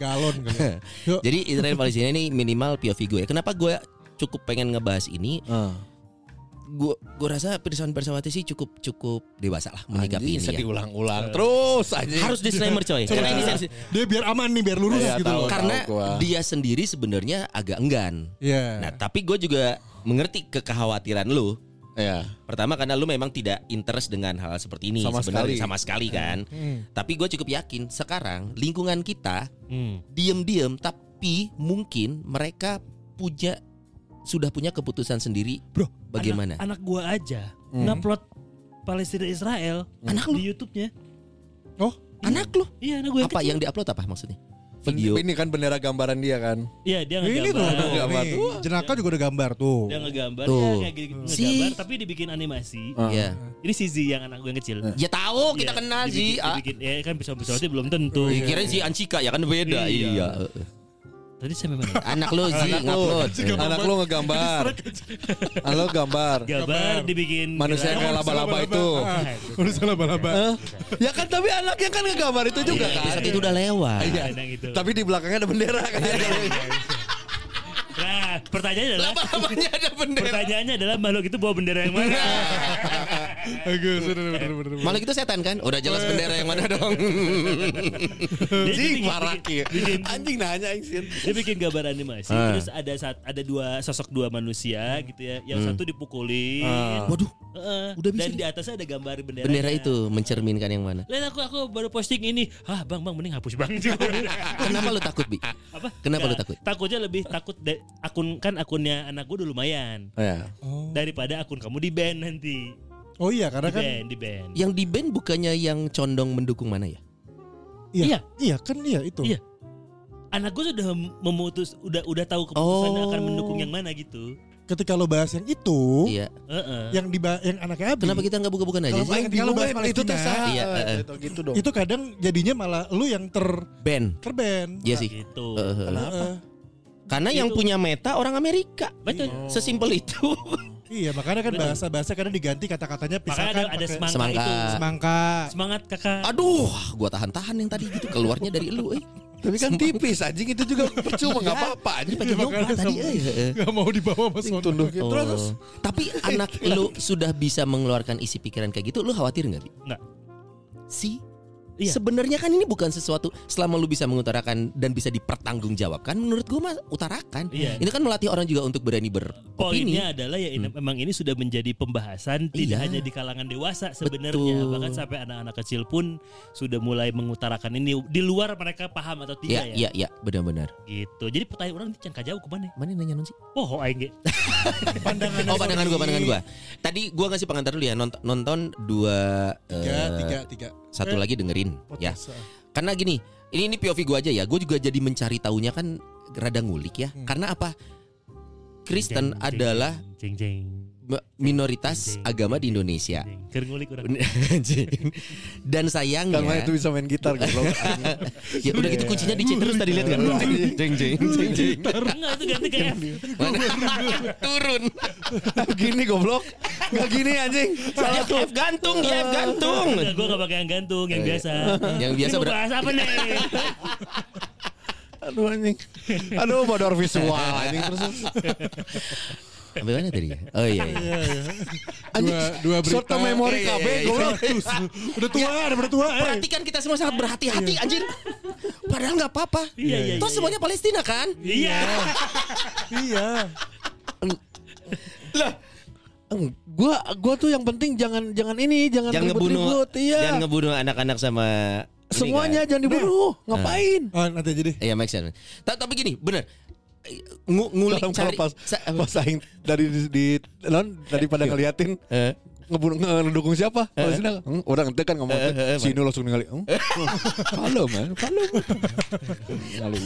Speaker 4: Galon kali. ya. Yuk.
Speaker 2: Jadi Israel Palestina ini minimal POV gue. Kenapa gue cukup pengen ngebahas ini?
Speaker 5: Ah.
Speaker 2: Gue gue rasa Pirsawan Persawati sih cukup cukup dewasa lah menyikapi
Speaker 5: Anjing,
Speaker 2: ini
Speaker 5: bisa
Speaker 2: ya.
Speaker 5: diulang-ulang terus aja.
Speaker 2: Harus disclaimer coy. Karena ini sensi-
Speaker 4: Dia biar aman nih, biar lurus
Speaker 5: Iya,
Speaker 4: gitu
Speaker 5: tahu.
Speaker 4: loh.
Speaker 2: karena
Speaker 5: gua. Eh.
Speaker 2: dia sendiri sebenarnya agak enggan. Nah,
Speaker 4: Iya.
Speaker 2: tapi gue juga mengerti kekhawatiran lu.
Speaker 5: ya.
Speaker 2: Pertama karena lu memang tidak interest dengan hal seperti ini
Speaker 5: Sama
Speaker 2: sebenarnya
Speaker 5: sekali. Eh.
Speaker 2: sama sekali kan.
Speaker 4: Hmm.
Speaker 2: Tapi gue cukup yakin sekarang lingkungan kita
Speaker 1: Hmm.
Speaker 2: diem-diem tapi mungkin mereka punya sudah punya keputusan sendiri
Speaker 1: Bro,
Speaker 2: bagaimana Hmm.
Speaker 1: Anak, anak gua aja ngupload Palestina Israel
Speaker 2: Anak
Speaker 1: di YouTube-nya.
Speaker 4: Oh,
Speaker 2: anak, lu
Speaker 1: Iya, anak gua yang
Speaker 2: apa
Speaker 1: kecil.
Speaker 2: yang diupload apa maksudnya
Speaker 5: Ben-
Speaker 2: video
Speaker 5: Ini kan bendera gambaran dia kan.
Speaker 1: Iya, dia
Speaker 4: ini tuh,
Speaker 1: ngegambar.
Speaker 4: tuh,
Speaker 5: Gambar
Speaker 4: nih.
Speaker 5: tuh.
Speaker 4: jenaka juga udah gambar tuh.
Speaker 1: Dia ngegambar
Speaker 2: Tuh.
Speaker 1: ya kayak gini
Speaker 2: Si.
Speaker 1: ngegambar tapi dibikin animasi.
Speaker 2: ya
Speaker 1: Ini si Z yang anak gue yang kecil.
Speaker 2: ya tahu kita
Speaker 1: Iya,
Speaker 2: kenal
Speaker 1: dibikin,
Speaker 2: sih ah,
Speaker 1: dibikin, ya kan bisa bisa belum tentu.
Speaker 2: kira si Ancika ya kan beda
Speaker 1: Iya.
Speaker 2: iya
Speaker 1: Tadi sampai mana?
Speaker 2: anak lu Zi ngupload Eh,
Speaker 5: Anak lu ngegambar. Anak lu gambar.
Speaker 1: Gambar dibikin gitu.
Speaker 5: Manusia yang
Speaker 1: gerak. [laughs]
Speaker 5: kayak laba-laba itu.
Speaker 4: Udah laba-laba.
Speaker 5: Hah? Ya kan tapi anaknya kan ngegambar itu
Speaker 2: eh.
Speaker 5: juga
Speaker 2: Iya,
Speaker 5: kan.
Speaker 2: episode itu udah lewat Iya,
Speaker 5: Iya.
Speaker 1: Nah, gitu.
Speaker 5: Tapi di belakangnya ada bendera kan.
Speaker 1: Nah, pertanyaannya adalah
Speaker 2: Lama-lamanya ada bendera
Speaker 1: pertanyaannya adalah makhluk itu bawa bendera yang
Speaker 2: [laughs]
Speaker 1: mana?
Speaker 4: Bagus, bener, bener, bener, bener.
Speaker 2: malah itu setan kan udah jelas bendera yang mana dong
Speaker 1: Dia
Speaker 5: Anjing
Speaker 1: bikin-
Speaker 5: paraki.
Speaker 1: bikin-
Speaker 5: Anjing nanya anjing.
Speaker 1: dia bikin gambar animasi
Speaker 2: Ah.
Speaker 1: terus ada saat ada dua sosok dua manusia gitu ya yang satu dipukulin
Speaker 2: waduh
Speaker 1: Heeh.
Speaker 2: Hmm. Ah. Udah
Speaker 1: dan
Speaker 2: bisa nih.
Speaker 1: di atasnya ada gambar bendera
Speaker 2: bendera itu mencerminkan yang mana
Speaker 1: Lihat aku aku baru posting ini. Ah, Bang, Bang mending hapus Bang. [laughs]
Speaker 2: kenapa lu takut bi
Speaker 1: Apa?
Speaker 2: Kenapa
Speaker 1: Nggak,
Speaker 2: lu takut?
Speaker 1: Takutnya lebih takut da- akun kan akunnya anak gue udah lumayan
Speaker 5: Ya.
Speaker 4: Oh.
Speaker 1: daripada akun kamu di ban nanti.
Speaker 4: Oh iya, karena
Speaker 1: Di
Speaker 2: Nah,
Speaker 4: kan
Speaker 1: ban, di ban.
Speaker 2: yang di band bukannya yang condong mendukung mana ya
Speaker 4: iya. Iya, kan iya itu.
Speaker 1: Iya. Anak gue sudah memutus udah udah tahu keputusannya
Speaker 2: Oh.
Speaker 1: akan mendukung yang mana gitu.
Speaker 4: Ketika lo bahas yang itu,
Speaker 2: iya
Speaker 1: Heeh.
Speaker 4: yang di yang anaknya Abi.
Speaker 2: kenapa gitu kita nggak buka-bukan aja
Speaker 4: Kalau
Speaker 2: sih
Speaker 4: Aing bingung bahas
Speaker 5: itu
Speaker 4: Palestina.
Speaker 5: tuh salah.
Speaker 2: Iya, eh,
Speaker 5: Itu gitu dong.
Speaker 4: itu kadang jadinya malah lu yang ter
Speaker 2: band
Speaker 4: terben.
Speaker 5: Nah,
Speaker 2: Iya sih.
Speaker 1: Gitu.
Speaker 2: Heeh.
Speaker 4: Heeh.
Speaker 2: Karena yang
Speaker 1: Itu-
Speaker 2: punya meta orang Amerika.
Speaker 1: Betul.
Speaker 5: Oh.
Speaker 2: Sesimpel itu. [laughs]
Speaker 4: Iya, makanya kan bahasa-bahasa kadang diganti kata-katanya
Speaker 1: Makanya ada,
Speaker 4: pisahkan
Speaker 1: ada
Speaker 4: pakai
Speaker 1: semangka,
Speaker 2: Semangka.
Speaker 1: itu.
Speaker 4: semangka.
Speaker 1: Semangat kakak.
Speaker 2: Aduh, gua tahan-tahan yang tadi gitu keluarnya dari lu eh.
Speaker 5: Tapi kan tipis anjing itu [laughs] juga percuma enggak apa-apa anjing.
Speaker 2: Pakai nyoba tadi eh. eh.
Speaker 4: Gak mau dibawa sama
Speaker 5: Sing
Speaker 4: [laughs] sono.
Speaker 5: tunduk
Speaker 2: Oh.
Speaker 5: gitu. Terus
Speaker 2: Tapi anak lu sudah bisa mengeluarkan isi pikiran kayak gitu, lu khawatir nggak? Bi?
Speaker 1: Nggak.
Speaker 2: Si
Speaker 1: Iya.
Speaker 2: Sebenarnya kan ini bukan sesuatu selama lu bisa mengutarakan dan bisa dipertanggungjawabkan menurut gua mah utarakan.
Speaker 1: Iya.
Speaker 2: Ini kan melatih orang juga untuk berani beropini.
Speaker 1: Poinnya adalah ya ini- memang ini sudah menjadi pembahasan tidak
Speaker 2: Hmm. Iya.
Speaker 1: hanya di kalangan dewasa
Speaker 2: Betul.
Speaker 1: sebenarnya bahkan sampai anak-anak kecil pun sudah mulai mengutarakan ini di luar mereka paham atau
Speaker 2: Iya,
Speaker 1: tidak ya,
Speaker 2: iya, iya, benar-benar.
Speaker 1: gitu. Jadi pertanyaan orang ini jangka jauh kemana?
Speaker 2: Mana yang nanya non sih?
Speaker 1: Oh, aing ge.
Speaker 4: Pandangan
Speaker 2: Oh pandangan gue pandangan gue. Tadi gue ngasih pengantar dulu ya nonton, nonton dua
Speaker 4: Tiga,
Speaker 2: eh,
Speaker 4: tiga, tiga.
Speaker 2: satu
Speaker 4: Eh,
Speaker 2: lagi dengerin ya.
Speaker 4: Podcast.
Speaker 2: Karena gini ini ini POV gue aja ya. Gue juga jadi mencari tahunya kan rada ngulik ya. Karena apa?
Speaker 1: Jeng,
Speaker 2: Kristen
Speaker 1: jeng,
Speaker 2: adalah
Speaker 1: jeng jeng.
Speaker 2: me- minoritas
Speaker 1: jeng,
Speaker 2: agama di Indonesia.
Speaker 1: jeng. Keur ngulik urang.
Speaker 2: Anjing. Dan
Speaker 5: Kang Maha
Speaker 2: sayangnya
Speaker 5: itu bisa main gitar [laughs] gitu.
Speaker 2: ya udah gitu kuncinya di terus tadi lihat
Speaker 5: Iya.
Speaker 2: kan. Jeng jeng jeng jeng.
Speaker 1: Enggak itu ganti ke F.
Speaker 2: Turun.
Speaker 5: Gini goblok. Enggak gini anjing.
Speaker 2: Salah tuh. F gantung, ya F gantung.
Speaker 1: Enggak, gue gak pakai yang gantung, yang biasa.
Speaker 2: Oh, iya. Yang biasa
Speaker 1: Ini mau
Speaker 2: ber- Iya,
Speaker 1: bahas apa
Speaker 2: [laughs]
Speaker 1: nih? Iya,
Speaker 5: Aduh anjing. Aduh bodor visual anjing terus.
Speaker 2: Sampai mana tadi ya? Oh iya. iya.
Speaker 4: Eh,
Speaker 5: Anjing.
Speaker 4: Dua, dua berita.
Speaker 5: Soto memori
Speaker 2: Iya,
Speaker 5: KB
Speaker 2: iya, iya.
Speaker 5: goblok.
Speaker 4: Udah tua, udah pada tua. eh.
Speaker 2: Perhatikan kita semua sangat berhati-hati anjir. Padahal nggak apa-apa.
Speaker 1: Iya, iya,
Speaker 2: Toh
Speaker 1: iya,
Speaker 2: semuanya Palestina kan?
Speaker 1: Iya.
Speaker 4: Iya.
Speaker 5: Eng, Gua gua tuh yang penting jangan jangan ini, jangan
Speaker 2: Jangan ngebunuh
Speaker 5: ribut-ribut. Iya.
Speaker 2: jangan ngebunuh anak-anak sama Ini
Speaker 5: Semuanya jangan dibunuh. Ngapain?
Speaker 4: Oh, nanti jadi.
Speaker 2: Iya make sense. Ta- tapi gini, bener. Eh, Ngu ngulik
Speaker 5: Kalau
Speaker 2: cari
Speaker 5: pas
Speaker 2: sa-
Speaker 5: pas aing dari di, di non daripada ngeliatin
Speaker 2: Eh.
Speaker 5: ngebunuh ngedukung siapa? Palestina. Hmm, orang ente kan ngomong
Speaker 2: Eh, eh,
Speaker 5: sini langsung ningali. Hmm. [laughs] Halo man, halo. Halo.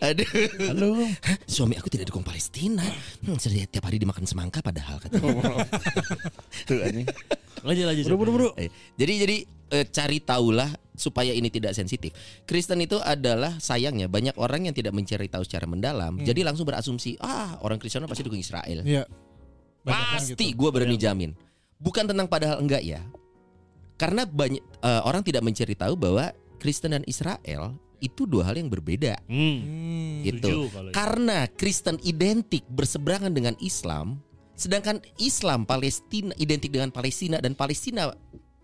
Speaker 2: Aduh.
Speaker 5: Halo.
Speaker 2: [laughs] Suami aku tidak dukung Palestina. Hmm, setiap tiap hari dimakan semangka padahal katanya.
Speaker 5: Oh,
Speaker 2: [laughs]
Speaker 5: Tuh anjing.
Speaker 1: Lanjut lanjut.
Speaker 5: Buru buru buru.
Speaker 2: Eh, jadi jadi eh, cari tahulah supaya ini tidak sensitif. Kristen itu adalah sayangnya banyak orang yang tidak mencari tahu secara mendalam.
Speaker 5: Hmm.
Speaker 2: Jadi langsung berasumsi ah orang Kristen pasti dukung Israel.
Speaker 4: Iya. Banyak kan
Speaker 2: Pasti
Speaker 4: gitu.
Speaker 2: gue berani jamin. Bukan tentang padahal enggak ya. Karena banyak eh, orang tidak mencari tahu bahwa Kristen dan Israel itu dua hal yang berbeda
Speaker 1: Hmm.
Speaker 4: Hmm.
Speaker 2: gitu.
Speaker 1: setuju kalau itu.
Speaker 2: Karena Kristen identik berseberangan dengan Islam, sedangkan Islam Palestina identik dengan Palestina dan Palestina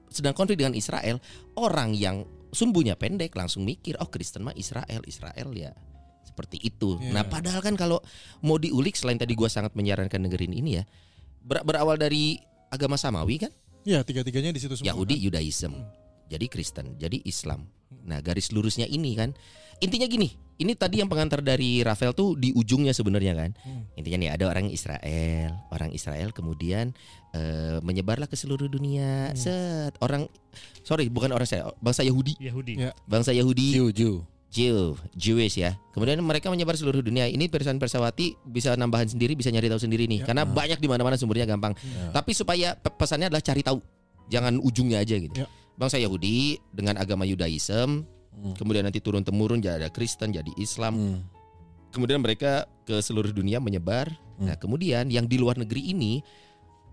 Speaker 2: sedang konflik dengan Israel, orang yang sumbunya pendek langsung mikir, oh Kristen mah Israel, Israel ya. Seperti itu.
Speaker 4: Iya.
Speaker 2: Nah, padahal kan kalau mau diulik selain tadi gua sangat menyarankan dengerin ini ya. ber- berawal dari agama Samawi kan?
Speaker 4: Iya, tiga-tiganya di situ semua.
Speaker 2: Yahudi Yudaism jadi Kristen jadi Islam nah garis lurusnya ini kan intinya gini ini tadi yang pengantar dari Rafael tuh di ujungnya sebenarnya kan intinya nih ada orang Israel orang Israel kemudian eh, menyebarlah ke seluruh dunia set orang sorry bukan orang saya bangsa Yahudi
Speaker 1: Yahudi.
Speaker 4: Ya.
Speaker 2: bangsa Yahudi
Speaker 5: Jiu jiu.
Speaker 2: Jew Jewish ya kemudian mereka menyebar seluruh dunia ini Persan Persawati bisa nambahan sendiri bisa nyari tahu sendiri
Speaker 4: Ya.
Speaker 2: nih karena banyak di mana-mana sumbernya gampang tapi supaya pe- pesannya adalah cari tahu, jangan ujungnya aja
Speaker 4: Ya.
Speaker 2: gitu. Bangsa Yahudi dengan agama Yudaism,
Speaker 5: Hmm.
Speaker 2: kemudian nanti turun temurun jadi ada Kristen, jadi Islam. Kemudian mereka ke seluruh dunia menyebar.
Speaker 5: Hmm.
Speaker 2: Nah, kemudian yang di luar negeri ini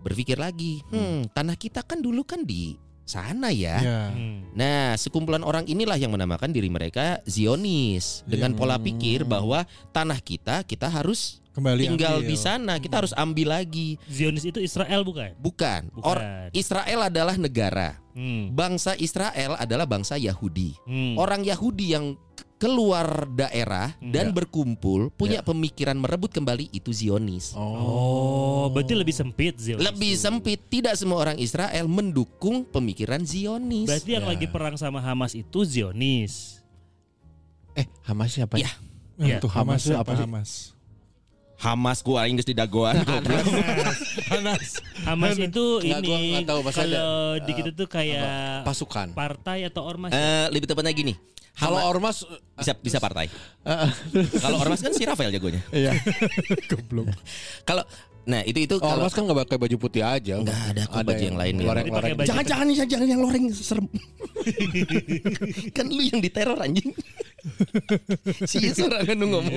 Speaker 2: berpikir lagi, hmm, tanah kita kan dulu kan di sana ya.
Speaker 4: Iya.
Speaker 1: Hmm.
Speaker 2: Nah, sekumpulan orang inilah yang menamakan diri mereka Zionis dengan
Speaker 5: Ya.
Speaker 2: pola pikir bahwa tanah kita kita harus
Speaker 4: Kembali
Speaker 2: tinggal
Speaker 4: ambil.
Speaker 2: di sana, kita harus ambil lagi.
Speaker 1: Zionis itu Israel bukan?
Speaker 2: Bukan.
Speaker 1: Bukan.
Speaker 2: Or- Israel adalah negara.
Speaker 1: Hmm.
Speaker 2: Bangsa Israel adalah bangsa Yahudi.
Speaker 1: Hmm.
Speaker 2: Orang Yahudi yang ke- keluar daerah dan berkumpul punya pemikiran merebut kembali itu Zionis.
Speaker 1: Oh, berarti lebih sempit Zionis.
Speaker 2: Lebih sempit, tidak semua orang Israel mendukung pemikiran Zionis.
Speaker 1: Berarti yang lagi perang sama Hamas itu Zionis.
Speaker 5: Eh, Hamas siapa?
Speaker 2: Ya.
Speaker 1: Iya.
Speaker 4: Ya. Tuh Hamas
Speaker 5: Hamas
Speaker 4: apa
Speaker 5: apa sih?
Speaker 4: Hamas?
Speaker 2: Hamas gua ingus di [laughs] dagoan.
Speaker 4: Hanas.
Speaker 1: Hamas itu
Speaker 5: Nggak, gua
Speaker 1: ini
Speaker 5: nggak tahu, pasti ada,
Speaker 1: kalau di
Speaker 5: eh,
Speaker 1: kita tuh
Speaker 2: ya?
Speaker 1: kayak
Speaker 5: Pasukan.
Speaker 1: partai atau ormas. ya?
Speaker 2: Eh, lebih tepatnya gini.
Speaker 5: Kalau
Speaker 2: Hamas-
Speaker 5: ormas
Speaker 2: bisa bisa partai. eh, Kalau ormas kan si Rafael jagonya.
Speaker 5: Iya.
Speaker 4: [laughs] Goblok.
Speaker 2: Kalau nah itu itu kalau
Speaker 5: ormas kan nggak pakai baju putih aja.
Speaker 2: Nggak ada kok baju yang lain.
Speaker 5: loreng-
Speaker 1: Jadi pakai
Speaker 5: loreng.
Speaker 1: baju-
Speaker 2: Jangan jangan jangan, jangan yang loreng serem. [laughs] kan lu yang diteror anjing. si sorangan lu ngomong.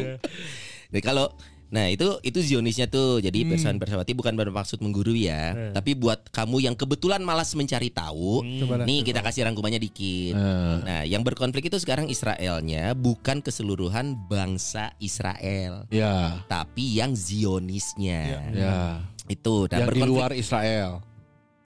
Speaker 2: Jadi kalau nah itu itu Zionisnya tuh. Jadi persoalan Persawati bukan bermaksud menggurui ya, tapi buat kamu yang kebetulan malas mencari tahu.
Speaker 4: Coba lah.
Speaker 2: Nih kita kasih rangkumannya dikit.
Speaker 5: Eh.
Speaker 2: Nah, yang berkonflik itu sekarang Israelnya bukan keseluruhan bangsa Israel,
Speaker 5: Ya.
Speaker 2: tapi yang Zionisnya.
Speaker 5: Ya.
Speaker 2: Itu nah,
Speaker 5: yang di
Speaker 2: berkonflik-
Speaker 5: luar Israel.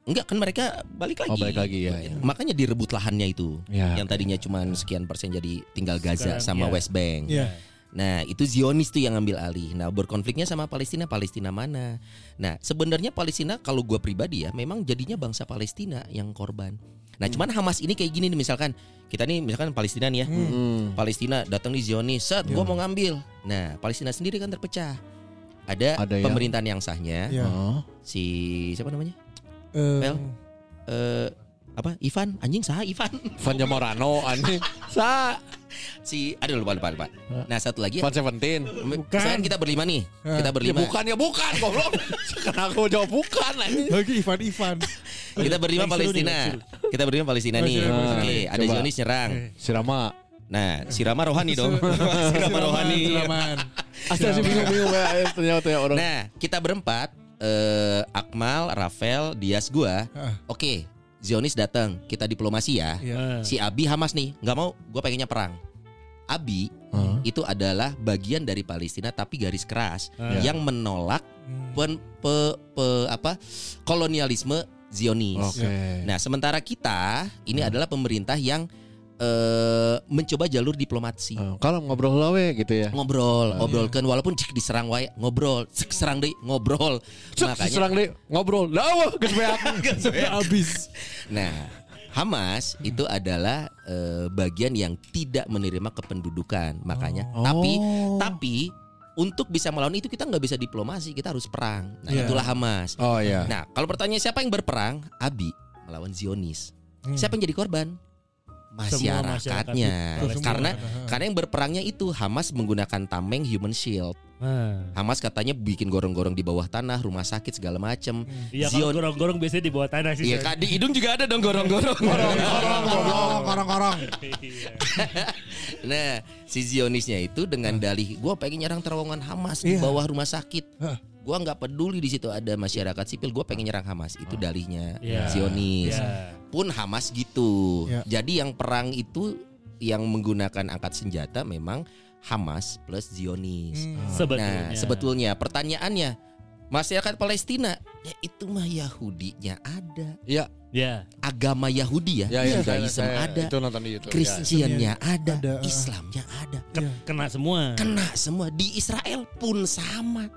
Speaker 2: Enggak kan mereka balik lagi.
Speaker 5: Oh, balik lagi, ya, ya.
Speaker 2: Makanya direbut lahannya itu.
Speaker 5: Ya.
Speaker 2: Yang tadinya cuman sekian persen jadi tinggal
Speaker 1: Sekarang,
Speaker 2: Gaza sama
Speaker 1: ya.
Speaker 2: West Bank.
Speaker 4: Iya.
Speaker 2: Nah, itu Zionis tuh yang ngambil alih. Nah, berkonfliknya sama Palestina, Palestina mana? Nah, sebenarnya Palestina kalau gua pribadi ya memang jadinya bangsa Palestina yang korban. Nah,
Speaker 5: Hmm.
Speaker 2: cuman Hamas ini kayak gini nih misalkan kita nih misalkan Palestina nih ya.
Speaker 5: Hmm.
Speaker 2: Palestina datang nih Zionis, set
Speaker 5: Iya.
Speaker 2: gua mau ngambil. Nah, Palestina sendiri kan terpecah. Ada,
Speaker 5: Ada ya. yang-
Speaker 2: pemerintahan yang sahnya
Speaker 4: Iya.
Speaker 5: Oh.
Speaker 2: si siapa namanya?
Speaker 4: Eh,
Speaker 2: eh apa Ivan anjing sah Ivan [laughs]
Speaker 5: Vanja Morano anjing. Sa.
Speaker 2: si aduh lupa lupa lupa nah satu lagi
Speaker 5: Van Seventeen.
Speaker 2: Misalkan kita berlima nih kita
Speaker 5: Iya. Ya
Speaker 2: berlima
Speaker 5: bukan ya bukan [laughs] goblok. Kenapa aku jawab bukan anjing.
Speaker 4: lagi Ivan
Speaker 2: [laughs]
Speaker 4: Ivan.
Speaker 2: kita berlima
Speaker 1: Yang seru nih,
Speaker 2: Palestina
Speaker 1: yang
Speaker 2: kita berlima Palestina nih
Speaker 4: Palestina,
Speaker 2: oke
Speaker 5: Palestina.
Speaker 2: ada
Speaker 5: Coba.
Speaker 2: Zionis nyerang
Speaker 5: Sirama.
Speaker 2: nah sirama rohani
Speaker 5: [laughs]
Speaker 2: dong [laughs] sirama rohani [laughs]
Speaker 4: Silaman.
Speaker 5: Astaga sih bingung-bingung ya ternyata [laughs] ya orang.
Speaker 2: nah kita berempat eh Akmal Rafael Dias gua
Speaker 4: Heeh.
Speaker 2: oke Zionis datang kita diplomasi ya
Speaker 4: Iya.
Speaker 2: si Abi Hamas nih nggak mau gua pengennya perang Abi itu adalah bagian dari Palestina tapi garis keras yang menolak
Speaker 4: Hmm.
Speaker 2: pen, pe- pe- apa kolonialisme Zionis.
Speaker 5: Oke.
Speaker 2: Nah, sementara kita ini adalah pemerintah yang eh, mencoba jalur diplomasi.
Speaker 5: Eh, Kalau ngobrol lawe gitu ya.
Speaker 2: Ngobrol, obrolkan walaupun cek diserang wae, ngobrol, [laughs] cek serang deh, ngobrol.
Speaker 5: Cek
Speaker 2: Makanya
Speaker 5: [laughs] serang deh ngobrol. Lah wah geus beak.
Speaker 4: Abis.
Speaker 2: nah, Hamas
Speaker 5: Hmm.
Speaker 2: itu adalah eh, bagian yang tidak menerima kependudukan, makanya. Oh.
Speaker 5: Oh.
Speaker 2: Tapi tapi untuk bisa melawan itu kita nggak bisa diplomasi, kita harus perang. Nah
Speaker 4: Iya.
Speaker 2: itulah Hamas.
Speaker 5: Oh ya.
Speaker 2: Nah kalau pertanyaan siapa yang berperang, Abi melawan Zionis.
Speaker 4: Hmm.
Speaker 2: Siapa yang jadi korban?
Speaker 1: Semua masyarakat
Speaker 2: Hmm. Masyarakatnya,
Speaker 1: itu. Semua.
Speaker 2: karena
Speaker 4: [laughs]
Speaker 2: karena yang berperangnya itu Hamas menggunakan tameng human shield.
Speaker 1: Nah,
Speaker 2: Hamas katanya bikin gorong-gorong di bawah tanah, rumah sakit segala macem.
Speaker 1: Iya kalau
Speaker 2: Zion-
Speaker 1: gorong-gorong biasanya di bawah tanah sih.
Speaker 2: Iya
Speaker 1: Shay.
Speaker 2: kak di hidung juga ada dong gorong-gorong.
Speaker 4: Korong, korong, korong, korong.
Speaker 1: Iya.
Speaker 2: Nah, si Zionisnya itu dengan dalih gua pengen nyerang terowongan Hamas di
Speaker 4: Iya.
Speaker 2: bawah rumah sakit.
Speaker 4: Hah.
Speaker 2: Gua nggak peduli di situ ada masyarakat sipil, gua pengen nyerang Hamas. Itu dalihnya
Speaker 1: [laughs] Iya.
Speaker 2: Zionis.
Speaker 1: Iya.
Speaker 2: Pun Hamas gitu.
Speaker 4: Iya.
Speaker 2: Jadi yang perang itu yang menggunakan angkat senjata memang Hamas plus Zionis.
Speaker 4: Hmm.
Speaker 1: Sebetulnya.
Speaker 2: Nah, sebetulnya pertanyaannya masyarakat Palestina ya itu mah Yahudinya ada,
Speaker 1: Iya.
Speaker 2: agama Yahudi ya,
Speaker 5: Iya,
Speaker 2: Judaism ada,
Speaker 5: Itu ya, nonton di YouTube.
Speaker 2: Kristiannya ada,
Speaker 4: Ada, eh.
Speaker 2: Islamnya ada.
Speaker 4: Iya.
Speaker 1: Kena semua.
Speaker 2: kena semua di Israel pun sama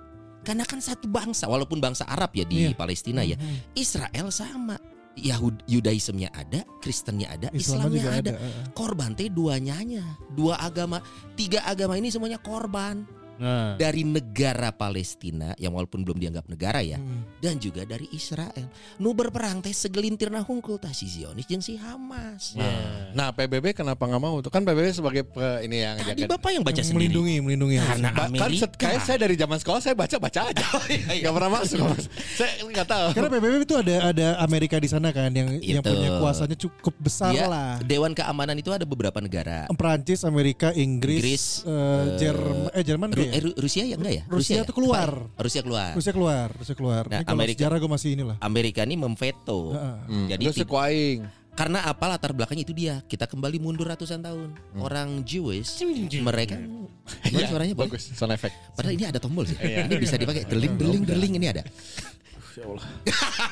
Speaker 2: karena kan satu bangsa walaupun bangsa Arab ya di
Speaker 4: Iya.
Speaker 2: Palestina ya Israel sama Yahud Yudaismnya ada Kristennya ada
Speaker 4: Islam
Speaker 2: Islamnya
Speaker 4: Hmm. juga
Speaker 2: ada.
Speaker 4: ada.
Speaker 2: korban teh dua nyanya dua agama tiga agama ini semuanya korban
Speaker 1: Nah.
Speaker 2: dari negara Palestina yang walaupun belum dianggap negara ya
Speaker 4: Hmm.
Speaker 2: dan juga dari Israel nu berperang teh segelintir nah hungkul tah si Zionis jeung si Hamas
Speaker 1: Iya.
Speaker 5: Nah PBB kenapa nggak mau tuh? Kan PBB sebagai pe- ini yang
Speaker 2: tadi
Speaker 5: jaga-
Speaker 2: bapak yang baca
Speaker 4: Yang
Speaker 2: sendiri
Speaker 4: melindungi, melindungi.
Speaker 2: karena
Speaker 5: Ba- kan
Speaker 2: Amerika
Speaker 5: set- kayak saya dari zaman sekolah saya baca baca [laughs] aja. Gak pernah masuk. Mas. saya nggak tahu.
Speaker 4: Karena PBB itu ada ada Amerika di sana kan yang yang
Speaker 2: Gitu. Iya.
Speaker 4: punya kuasanya cukup besar
Speaker 2: Dia-
Speaker 4: lah.
Speaker 2: Dewan Keamanan itu ada beberapa negara
Speaker 4: Perancis, Amerika, Inggris,
Speaker 2: Inggris,
Speaker 4: eh, Jerman, eh Jerman
Speaker 2: Ru-
Speaker 4: kayak
Speaker 2: eh, Ru- Rusia ya enggak ya?
Speaker 4: Rusia
Speaker 2: ya?
Speaker 4: tuh keluar.
Speaker 2: Apa ya? Rusia keluar.
Speaker 4: Rusia keluar, Rusia keluar.
Speaker 2: Nah,
Speaker 4: Ini kalau
Speaker 2: Amerika-
Speaker 4: sejarah gue masih
Speaker 1: [laughs]
Speaker 4: inilah.
Speaker 2: Amerika ini memveto.
Speaker 4: Heeh.
Speaker 5: Hmm.
Speaker 2: Jadi
Speaker 5: Terus
Speaker 2: tid-
Speaker 5: kuaing.
Speaker 2: karena apa latar belakangnya itu dia. Kita kembali mundur ratusan tahun.
Speaker 5: Hmm.
Speaker 2: Orang Jewish mereka Gimana
Speaker 4: Iya.
Speaker 5: Ya,
Speaker 2: suaranya bagus.
Speaker 5: bagus. Iya. Sound effect.
Speaker 2: Padahal ini ada tombol sih. ini bisa dipakai deling deling deling ini ada.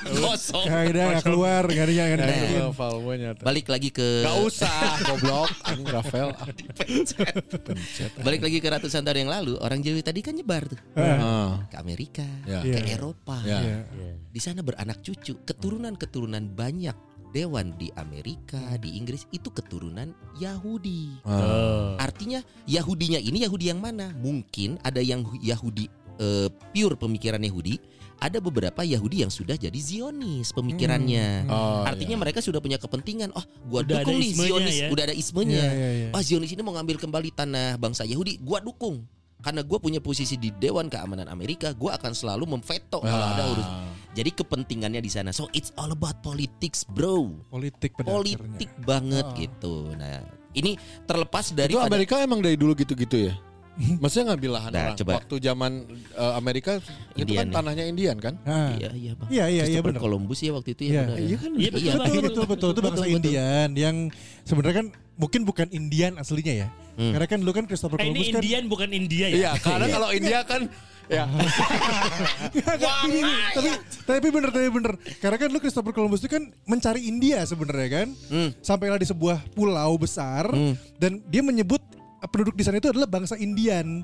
Speaker 2: Kosong.
Speaker 4: Kayak udah nggak keluar, nggak ada yang nggak ada
Speaker 2: Nah,
Speaker 4: yang
Speaker 5: Eh,
Speaker 4: ngertiin.
Speaker 5: Rafael gua nyata.
Speaker 2: Balik lagi ke
Speaker 5: Gak usah goblok [laughs] anjing Rafael. Ah, Pencet.
Speaker 2: balik lagi ke ratusan tahun yang lalu orang Jewish tadi kan nyebar tuh
Speaker 4: Heeh.
Speaker 5: Ah,
Speaker 2: ke Amerika,
Speaker 5: Ya.
Speaker 2: ke
Speaker 4: Iya.
Speaker 2: Eropa.
Speaker 5: Ya.
Speaker 4: Iya.
Speaker 2: Di sana beranak cucu, keturunan-keturunan banyak dewan di Amerika, di Inggris itu keturunan Yahudi.
Speaker 5: ah.
Speaker 2: Artinya Yahudinya ini Yahudi yang mana? Mungkin ada yang hu- Yahudi eh, pure pemikiran Yahudi, ada beberapa Yahudi yang sudah jadi Zionis pemikirannya.
Speaker 4: Hmm.
Speaker 5: Oh,
Speaker 2: Artinya mereka sudah punya kepentingan. Oh, gua
Speaker 1: Udah ada
Speaker 2: dukung nih
Speaker 1: ismenya
Speaker 2: Zionis,
Speaker 1: ya.
Speaker 2: udah ada
Speaker 4: Iya,
Speaker 2: ismenya.
Speaker 4: iya, iya.
Speaker 2: Wah Zionis ini mau ngambil kembali tanah bangsa Yahudi, gua dukung. Karena gua punya posisi di Dewan Keamanan Amerika, gua akan selalu memveto
Speaker 5: ya.
Speaker 2: kalau ada urus. Jadi kepentingannya di sana. So it's all about politics, bro.
Speaker 4: Politik pada
Speaker 2: Politik banget
Speaker 4: Oh.
Speaker 2: gitu. Nah, ini terlepas dari
Speaker 5: Itu Amerika emang dari dulu gitu-gitu [laughs] ya? Maksudnya ngambil lahan
Speaker 2: Nah,
Speaker 5: orang.
Speaker 2: coba.
Speaker 5: Waktu zaman eh, Amerika itu
Speaker 2: Indian
Speaker 5: kan
Speaker 2: ya.
Speaker 5: tanahnya Indian kan?
Speaker 4: akhirnya. Nah,
Speaker 2: Iya, iya, Bang.
Speaker 4: Iya, iya, iya
Speaker 2: Christopher
Speaker 4: benar.
Speaker 2: Columbus ya waktu itu ya.
Speaker 4: Iya.
Speaker 2: benar ya.
Speaker 5: Iya kan?
Speaker 1: Iya
Speaker 2: Iya,
Speaker 1: betul, betul,
Speaker 4: Betul, betul, betul. Itu bangsa
Speaker 2: betul.
Speaker 4: Indian yang sebenarnya kan mungkin bukan Indian aslinya ya.
Speaker 2: Hmm.
Speaker 4: Karena kan dulu kan Christopher
Speaker 1: Eh, ini
Speaker 4: Columbus kan
Speaker 1: Indian bukan India ya?
Speaker 5: Iya, karena kalau India kan ya
Speaker 4: Tapi gini, tapi tapi bener tapi bener karena kan lu Christopher Columbus itu kan mencari India sebenarnya kan
Speaker 2: Hmm.
Speaker 4: sampailah di sebuah pulau besar
Speaker 2: Hmm.
Speaker 4: dan dia menyebut eh, penduduk di sana itu adalah bangsa Indian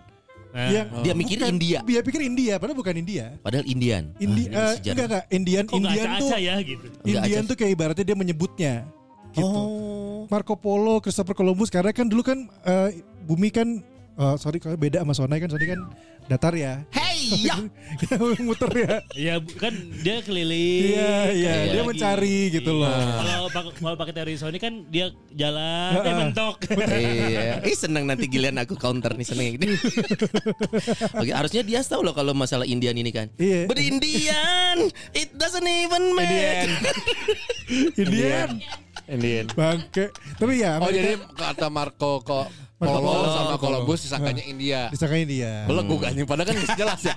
Speaker 1: Nah,
Speaker 4: yang
Speaker 2: Eh, Dia mikir
Speaker 4: bukan-
Speaker 2: India.
Speaker 4: dia pikir India padahal bukan India
Speaker 2: Padahal Indian.
Speaker 4: India
Speaker 2: Ah,
Speaker 4: eh,
Speaker 2: ini sejarah.
Speaker 4: enggak enggak Indian
Speaker 1: Kok nggak
Speaker 4: Indian tuh
Speaker 1: aca-aca ya gitu?
Speaker 2: Nggak
Speaker 4: Indian
Speaker 2: acak.
Speaker 4: tuh kayak ibaratnya dia menyebutnya gitu
Speaker 2: Oh.
Speaker 4: Marco Polo Christopher Columbus karena kan dulu kan eh, bumi kan eh, sorry kalau beda sama Sonai kan Sonai kan datar ya [laughs]
Speaker 2: Hey, ya.
Speaker 4: muter ya
Speaker 1: Ya bu- kan dia keliling.
Speaker 4: Iya, iya,
Speaker 1: keliling
Speaker 4: dia
Speaker 1: lagi.
Speaker 4: mencari gitu
Speaker 1: Iya.
Speaker 4: loh.
Speaker 1: Kalau pak- kalau pakai teori Sony kan dia jalan, dia
Speaker 4: Heeh.
Speaker 1: mentok. [laughs]
Speaker 2: Iya. Ih seneng nanti giliran aku counter nih seneng yang
Speaker 4: [laughs]
Speaker 2: gini. Oke, harusnya dia tahu loh kalau masalah Indian ini kan.
Speaker 4: Iya.
Speaker 2: But Indian, it doesn't even
Speaker 5: [laughs] Indian.
Speaker 2: matter.
Speaker 4: Indian
Speaker 5: [laughs] Indian.
Speaker 4: Bangke. Tapi ya
Speaker 5: Oh
Speaker 4: Amerika
Speaker 5: jadi kata Marco kok
Speaker 4: Marco
Speaker 5: Polo Nah.
Speaker 4: Polo.
Speaker 5: sama
Speaker 4: Marco
Speaker 5: Columbus
Speaker 4: Polo.
Speaker 5: disangkanya India.
Speaker 4: disangkain dia.
Speaker 5: Belenggu anjing padahal kan nggak jelas ya.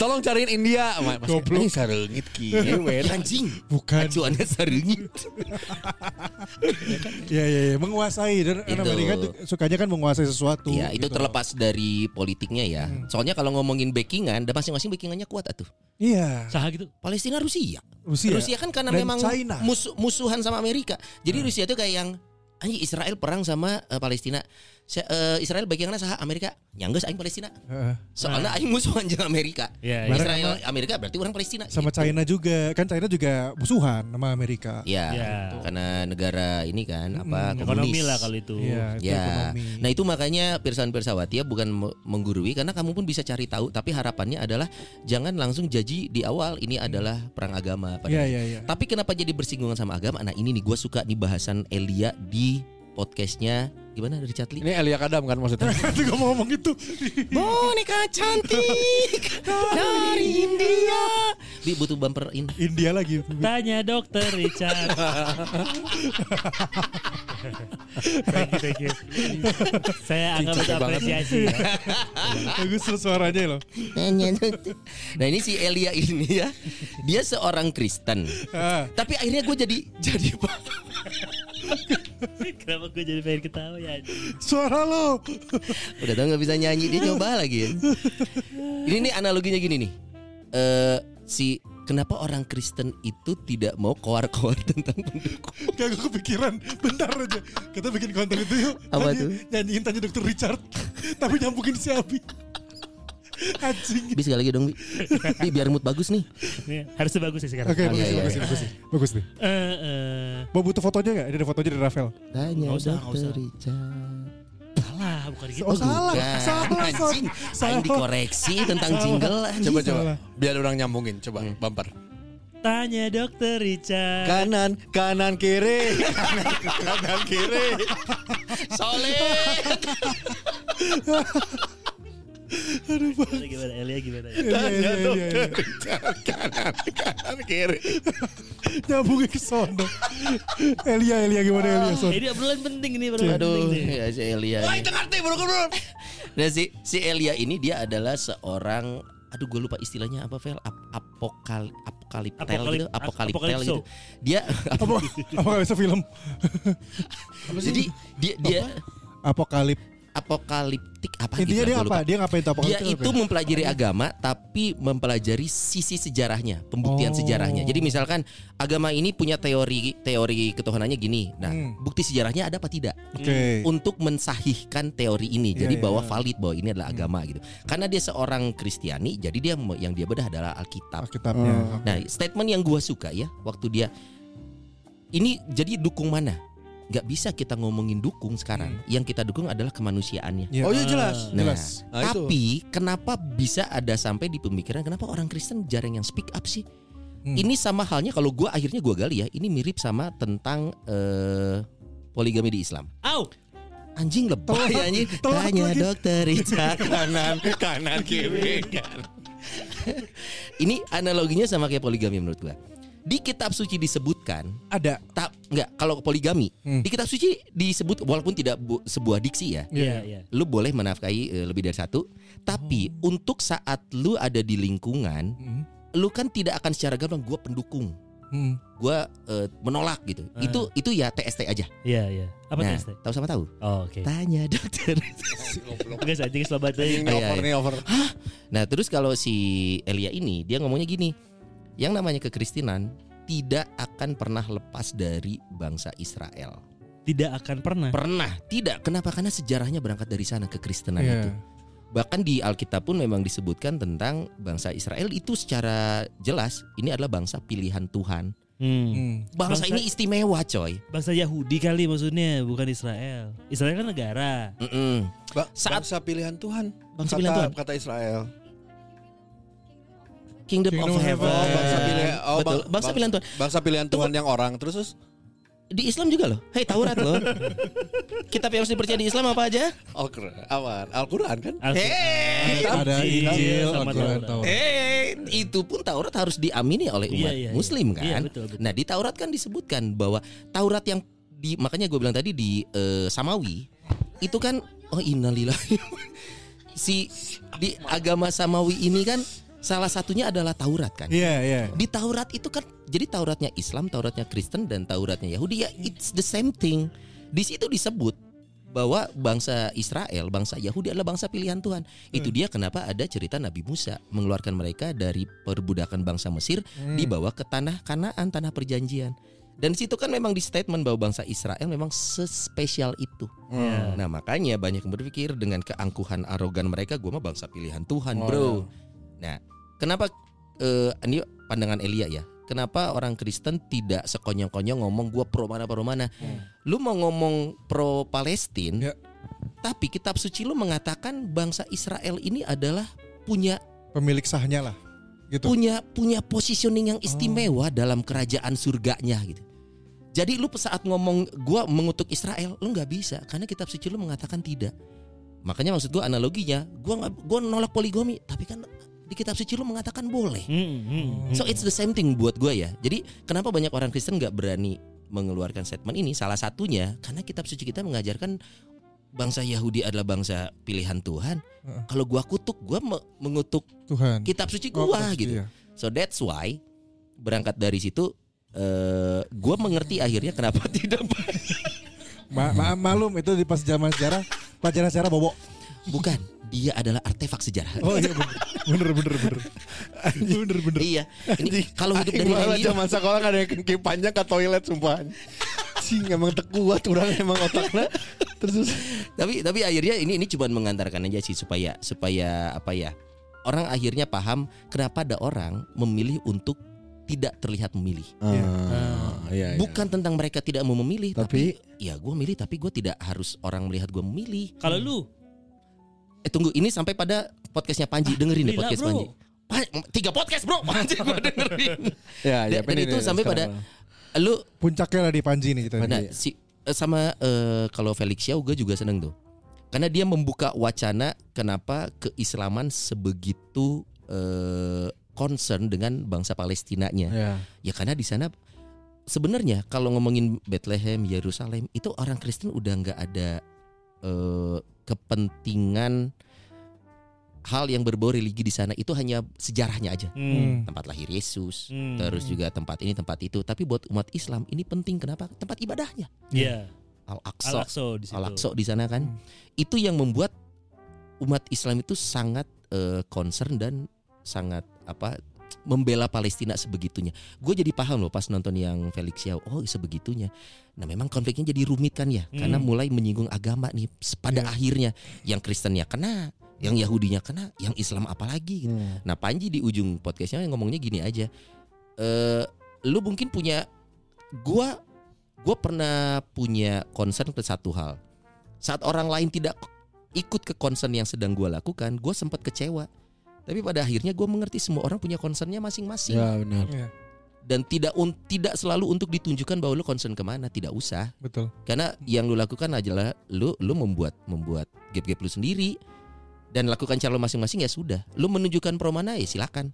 Speaker 5: Tolong cariin India. Mas,
Speaker 4: Goblok.
Speaker 5: ini sareungit kieu we.
Speaker 2: Anjing.
Speaker 4: Bukan.
Speaker 2: Acuannya sarungit.
Speaker 4: Ya ya ya menguasai dan
Speaker 2: Itu.
Speaker 4: Amerika tuh sukanya kan menguasai sesuatu.
Speaker 2: Iya, itu
Speaker 4: gitu. Hmm.
Speaker 2: terlepas dari politiknya ya. Soalnya kalau ngomongin backingan, ada masing-masing backingannya kuat atuh.
Speaker 4: Iya.
Speaker 1: Sah gitu.
Speaker 2: Palestina Rusia.
Speaker 4: Rusia.
Speaker 2: Rusia kan karena
Speaker 4: Iya. Dan
Speaker 2: memang
Speaker 4: China. Hmm.
Speaker 2: musuh- musuhan sama Amerika. Jadi Rusia itu kayak yang anjing Israel perang sama eh, Palestina. se- eh, Israel bagiannya saha Amerika nyangges aing Palestina
Speaker 4: Heeh. Nah.
Speaker 2: soalnya aing musuhan jeung Amerika
Speaker 1: Ya,
Speaker 4: Barang
Speaker 2: Israel Amerika berarti orang Palestina
Speaker 4: sama
Speaker 2: gitu.
Speaker 4: China juga kan China juga musuhan sama Amerika
Speaker 2: ya,
Speaker 1: Ya.
Speaker 2: karena negara ini kan apa
Speaker 4: Mm-mm.
Speaker 1: ekonomi
Speaker 2: komunis.
Speaker 1: lah kalau itu.
Speaker 4: Iya, itu
Speaker 2: Ya,
Speaker 4: ekonomi.
Speaker 2: nah itu makanya pirsan pirsawati ya bukan me- menggurui karena kamu pun bisa cari tahu tapi harapannya adalah jangan langsung jaji di awal ini
Speaker 4: Hmm.
Speaker 2: adalah perang agama pada
Speaker 4: Iya, iya, [laughs] iya.
Speaker 2: Tapi kenapa jadi bersinggungan sama agama? Nah ini nih gue suka nih bahasan Elia di podcastnya gimana dari Chatli?
Speaker 5: Ini Elia Kadam kan
Speaker 2: [laughs]
Speaker 5: maksudnya.
Speaker 2: Iya,
Speaker 4: Nanti gue mau ngomong itu.
Speaker 2: Boneka cantik dari India. Bi butuh bumperin.
Speaker 4: India lagi.
Speaker 1: Tanya dokter
Speaker 4: [laughs]
Speaker 1: Richard. thank you,
Speaker 4: [laughs]
Speaker 1: thank you. Saya anggap
Speaker 5: Cicak
Speaker 1: itu
Speaker 5: banget.
Speaker 1: apresiasi. ya. [laughs]
Speaker 4: Bagus loh suaranya loh.
Speaker 2: [laughs] Nah ini si Elia ini ya, dia seorang Kristen.
Speaker 4: Ah,
Speaker 2: Tapi akhirnya gue jadi [laughs] jadi paham.
Speaker 1: Kenapa gue jadi pengen ketawa ya?
Speaker 4: suara lo.
Speaker 2: [laughs] Udah tau nggak bisa nyanyi dia coba lagi. Ya. Ini nih analoginya gini nih. Eh si kenapa orang Kristen itu tidak mau koar-koar [laughs] tentang pendukung?
Speaker 4: Gak gue kepikiran. Bentar aja. Kita bikin konten itu yuk.
Speaker 2: Apa
Speaker 4: Nyanyi-
Speaker 2: tuh?
Speaker 4: Nyanyiin tanya dokter Richard. Tapi nyambungin si Abi. Anjing.
Speaker 2: Bi sekali lagi dong Bi. Bi biar mood bagus nih.
Speaker 1: Ini Harusnya bagus sih sekarang.
Speaker 4: Oke,
Speaker 1: Eh,
Speaker 4: bagus,
Speaker 2: iya,
Speaker 4: bagus,
Speaker 2: iya.
Speaker 4: bagus, bagus, bagus nih.
Speaker 1: eh,
Speaker 4: Mau butuh fotonya nggak? Ini ada fotonya dari Rafael.
Speaker 2: Tanya
Speaker 1: Nggak usah, nggak
Speaker 2: dokter
Speaker 1: usah.
Speaker 2: Richard.
Speaker 1: Salah, bukan gitu.
Speaker 4: Oh, salah,
Speaker 2: Bukan.
Speaker 4: salah, salah,
Speaker 2: anjing.
Speaker 4: salah.
Speaker 2: Aing dikoreksi tentang jingle anjing.
Speaker 5: Coba coba.
Speaker 4: Salah.
Speaker 5: Biar orang nyambungin coba bumper.
Speaker 1: Tanya dokter Richard.
Speaker 5: Kanan, kanan, kiri. [laughs] kanan, kiri.
Speaker 2: Soleh.
Speaker 1: Gimana, gimana Elia gimana?
Speaker 4: Iya, iya, iya, iya, iya.
Speaker 5: [laughs] kanan, kanan, kiri.
Speaker 4: [laughs] Nyambungin ke sono. Elia, Elia gimana Elia? Son?
Speaker 1: Ini obrolan penting nih, obrolan penting
Speaker 2: Aduh,
Speaker 1: nih.
Speaker 2: ya si Elia.
Speaker 5: Iya, Wah,
Speaker 2: nih.
Speaker 5: itu ngerti bro bro.
Speaker 2: Nah si si Elia ini dia adalah seorang aduh gue lupa istilahnya apa Vel Ap- apokal apokaliptel
Speaker 1: Apokalip-
Speaker 2: gitu apokaliptel
Speaker 1: apokalipso.
Speaker 2: gitu dia [laughs]
Speaker 4: Apa? Apa nggak bisa film?
Speaker 2: jadi dia dia
Speaker 4: Apokalip.
Speaker 2: apokaliptik apa
Speaker 4: Intinya
Speaker 2: gitu
Speaker 4: dia
Speaker 2: gua lupa.
Speaker 4: apa? ya? Dia ngapain tuh apokalip?
Speaker 2: dia itu mempelajari agama tapi mempelajari sisi sejarahnya
Speaker 4: Oh.
Speaker 2: pembuktian sejarahnya jadi misalkan agama ini punya teori teori ketuhanannya gini nah
Speaker 4: Hmm.
Speaker 2: bukti sejarahnya ada apa tidak Hmm.
Speaker 4: Oke.
Speaker 2: untuk mensahihkan teori ini
Speaker 4: Iya,
Speaker 2: jadi
Speaker 4: iya,
Speaker 2: bahwa
Speaker 4: iya.
Speaker 2: valid bahwa ini adalah agama gitu karena dia seorang Kristiani jadi dia mau- yang dia bedah adalah Alkitab
Speaker 4: Alkitabnya.
Speaker 2: nah statement yang gua suka ya waktu dia ini jadi dukung mana nggak bisa kita ngomongin dukung sekarang
Speaker 4: Hmm.
Speaker 2: yang kita dukung adalah kemanusiaannya
Speaker 4: Iya.
Speaker 5: Oh iya jelas.
Speaker 2: Nah,
Speaker 4: Jelas.
Speaker 5: Nah, itu.
Speaker 2: tapi kenapa bisa ada sampai di pemikiran kenapa orang Kristen jarang yang speak up sih?
Speaker 4: Hmm.
Speaker 2: Ini sama halnya kalau gua akhirnya gua gali ya, ini mirip sama tentang eh, poligami di Islam.
Speaker 1: Au,
Speaker 2: Anjing lebay
Speaker 4: Telat,
Speaker 2: anjing.
Speaker 4: telat
Speaker 2: Tanya
Speaker 4: lagi. [laughs]
Speaker 2: dokter Richard.
Speaker 5: kanan, kanan,
Speaker 2: Iya,
Speaker 5: kiri. kanan.
Speaker 2: ini analoginya sama kayak poligami menurut gua. Di kitab suci disebutkan
Speaker 4: Ada.
Speaker 2: tak nggak kalau poligami
Speaker 4: Hmm.
Speaker 2: di kitab suci disebut walaupun tidak bu- sebuah diksi ya.
Speaker 1: iya iya.
Speaker 2: lu boleh menafkahi eh, lebih dari satu tapi untuk saat lu ada di lingkungan
Speaker 4: Hmm.
Speaker 2: lu kan tidak akan secara gamblang gue pendukung
Speaker 4: Hmm.
Speaker 2: gue menolak gitu
Speaker 1: Eh.
Speaker 2: itu itu ya TST aja
Speaker 1: Iya iya. Apa
Speaker 2: nah
Speaker 1: tesnya?
Speaker 2: tahu sama tahu
Speaker 1: Oh, oke.
Speaker 2: tanya [laughs] dokter
Speaker 1: Guys, anjing selamat
Speaker 2: Iya,
Speaker 1: aja.
Speaker 5: Ini over nih over.
Speaker 2: nah terus kalau si Elia ini dia ngomongnya gini yang namanya kekristenan tidak akan pernah lepas dari bangsa Israel
Speaker 1: Tidak akan pernah.
Speaker 2: pernah tidak kenapa karena sejarahnya berangkat dari sana kekristenan
Speaker 4: Iya.
Speaker 2: itu bahkan di Alkitab pun memang disebutkan tentang bangsa Israel itu secara jelas ini adalah bangsa pilihan Tuhan.
Speaker 1: Hmm.
Speaker 4: Hmm.
Speaker 1: Bangsa-
Speaker 2: Bangsa, ini istimewa, coy.
Speaker 1: Bangsa Yahudi kali maksudnya, bukan Israel. Israel kan negara.
Speaker 2: Mm-mm.
Speaker 5: Ba-
Speaker 2: Saat-
Speaker 5: bangsa pilihan Tuhan.
Speaker 2: Bangsa
Speaker 5: kata,
Speaker 2: pilihan Tuhan.
Speaker 5: Kata Israel.
Speaker 2: Kingdom,
Speaker 4: Kingdom
Speaker 2: of
Speaker 4: of
Speaker 2: Heaven.
Speaker 5: Oh, bangsa pilihan. Oh,
Speaker 2: Betul,
Speaker 5: bang-
Speaker 2: bangsa
Speaker 5: bang-
Speaker 2: pilihan Tuhan.
Speaker 5: Bangsa pilihan Tuhan yang orang terus terus.
Speaker 2: Di Islam juga loh. Hei, Taurat loh. Kitab yang harus dipercaya di Islam apa aja?
Speaker 5: Oh, keren. Awan. Al-Quran kan?
Speaker 2: Iya.
Speaker 1: Hey,
Speaker 4: Ada Injil, Al-Quran, Iya, Taurat.
Speaker 2: Eh, itu pun Taurat harus diamini oleh
Speaker 1: Iya,
Speaker 2: umat
Speaker 1: iya, iya.
Speaker 2: Muslim kan.
Speaker 1: Iya, betul, betul.
Speaker 2: Nah, di Taurat kan disebutkan bahwa Taurat yang di makanya gue bilang tadi di eh, Samawi itu kan oh innalillahi si di agama Samawi ini kan salah satunya adalah Taurat kan.
Speaker 4: Iya, iya.
Speaker 2: Di Taurat itu kan jadi Tauratnya Islam, Tauratnya Kristen dan Tauratnya Yahudi ya it's the same thing. Di situ disebut bahwa bangsa Israel, bangsa Yahudi adalah bangsa pilihan Tuhan. Itu dia kenapa ada cerita Nabi Musa Hmm.
Speaker 4: Hmm.
Speaker 2: mengeluarkan mereka dari perbudakan bangsa Mesir dibawa ke tanah Kanaan, tanah perjanjian. Dan situ kan memang di statement bahwa bangsa Israel memang sespesial itu.
Speaker 5: Iya. Hmm.
Speaker 1: Hmm.
Speaker 2: Nah makanya banyak yang berpikir dengan keangkuhan arogan mereka, gue mah bangsa pilihan Tuhan,
Speaker 5: Oh,
Speaker 2: bro. Nah, kenapa eh, ini pandangan Elia ya? Kenapa orang Kristen tidak sekonyong-konyong ngomong gue pro mana pro mana? Lu mau ngomong pro Palestina,
Speaker 4: Ya.
Speaker 2: tapi Kitab Suci lu mengatakan bangsa Israel ini adalah punya
Speaker 4: Pemilik sahnya lah. Gitu.
Speaker 2: punya punya positioning yang istimewa dalam kerajaan surganya gitu. Jadi lu saat ngomong gua mengutuk Israel, lu nggak bisa karena kitab suci lu mengatakan tidak. Makanya maksud gua analoginya, gua nggak gua nolak poligami, tapi kan di kitab suci lu mengatakan
Speaker 1: Hmm,
Speaker 2: boleh. So it's the same thing buat gua ya. Jadi kenapa banyak orang Kristen nggak berani mengeluarkan statement ini? Salah satunya karena kitab suci kita mengajarkan bangsa Yahudi adalah bangsa pilihan Tuhan.
Speaker 4: Heeh.
Speaker 2: Kalau gua kutuk, gua me- mengutuk
Speaker 4: Tuhan.
Speaker 2: kitab suci
Speaker 4: Oh,
Speaker 2: gua
Speaker 4: pasti,
Speaker 2: gitu.
Speaker 4: ya.
Speaker 2: So that's why berangkat dari situ eh gua mengerti akhirnya kenapa [laughs] tidak
Speaker 4: Ma- ma- malum itu di pas zaman sejarah pelajaran sejarah bobo.
Speaker 2: bukan dia adalah artefak sejarah.
Speaker 4: Oh iya bener bener bener bener bener bener.
Speaker 2: [laughs] Iya, ini kalau hidup dari
Speaker 5: malah
Speaker 2: Henry
Speaker 5: zaman sekolah nggak ada yang kaki panjang ke toilet sumpah. Cing emang tekuat orang emang otaknya. Terus
Speaker 2: tapi tapi akhirnya ini ini cuma mengantarkan aja sih supaya supaya apa ya orang akhirnya paham kenapa ada orang memilih untuk tidak terlihat memilih
Speaker 5: Ah, iya,
Speaker 2: bukan tentang mereka tidak mau memilih
Speaker 5: Tapi-
Speaker 2: tapi, ya gue milih tapi gue tidak harus orang melihat gue memilih
Speaker 1: Kalau lu,
Speaker 2: eh tunggu ini sampai pada podcastnya Panji dengerin deh
Speaker 1: gila,
Speaker 2: podcast
Speaker 1: bro.
Speaker 2: Panji Pa- tiga podcast bro [laughs] Panji gue dengerin
Speaker 5: Ya,
Speaker 2: Dan- dan itu sampai pada lu
Speaker 4: Puncaknya lah di Panji nih kita. Iya.
Speaker 2: Nah,
Speaker 4: nih.
Speaker 2: si eh, sama eh, kalau Felix Xiao gue juga seneng tuh. Karena dia membuka wacana kenapa keislaman sebegitu eh, concern dengan bangsa Palestinanya.
Speaker 5: ya.
Speaker 2: Ya karena di sana sebenarnya kalau ngomongin Bethlehem, Yerusalem itu orang Kristen udah nggak ada eh, kepentingan hal yang berbau religi di sana itu hanya sejarahnya aja.
Speaker 1: Hmm.
Speaker 2: Tempat lahir Yesus,
Speaker 1: Hmm.
Speaker 2: terus juga tempat ini tempat itu. Tapi buat umat Islam ini penting kenapa? Tempat ibadahnya.
Speaker 1: Iya,
Speaker 2: Al-Aqsa.
Speaker 1: Alakso di situ. Hmm.
Speaker 2: Al-Aqsa di sana kan. Itu yang membuat umat Islam itu sangat eh, concern dan sangat apa membela Palestina sebegitunya. Gue jadi paham loh pas nonton yang Felix Yao. Oh, sebegitunya. Nah, memang konfliknya jadi rumit kan ya, karena
Speaker 1: Hmm.
Speaker 2: mulai menyinggung agama nih. Pada akhirnya yang Kristennya kena, yang Yahudinya kena, yang Islam apalagi gitu.
Speaker 1: Hmm.
Speaker 2: Nah Panji di ujung podcastnya ngomongnya gini aja, Eh lu mungkin punya, gua gua pernah punya concern ke satu hal. Saat orang lain tidak ikut ke concern yang sedang gua lakukan, gua sempat kecewa. Tapi pada akhirnya gua mengerti semua orang punya concernnya masing-masing
Speaker 5: Ya benar.
Speaker 2: dan tidak un, tidak selalu untuk ditunjukkan bahwa lu concern kemana, tidak usah.
Speaker 4: Betul.
Speaker 2: Karena yang lu lakukan adalah lu lu membuat membuat gap-gap lu sendiri dan lakukan cara lu masing-masing ya sudah. Lu menunjukkan pro mana ya silakan.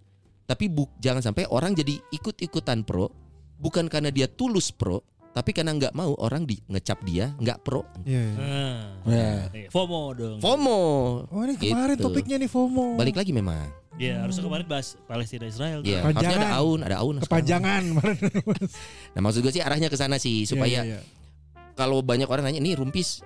Speaker 2: Tapi bu, jangan sampai orang jadi ikut-ikutan pro bukan karena dia tulus pro, tapi karena nggak mau orang di ngecap dia nggak pro.
Speaker 4: Iya. iya.
Speaker 1: Nah,
Speaker 5: Ya.
Speaker 1: iya. FOMO dong.
Speaker 2: FOMO.
Speaker 4: Oh ini kemarin
Speaker 2: Gitu.
Speaker 4: topiknya nih FOMO.
Speaker 2: Balik lagi memang.
Speaker 1: Ya, harusnya kemarin bahas Palestina Israel.
Speaker 2: Iya,
Speaker 4: Kepanjangan.
Speaker 2: harusnya ada aun, ada aun.
Speaker 4: kepanjangan.
Speaker 2: Nah, maksud gue sih arahnya ke sana sih [laughs] supaya
Speaker 4: Iya, iya, iya.
Speaker 2: kalau banyak orang nanya ini rumpis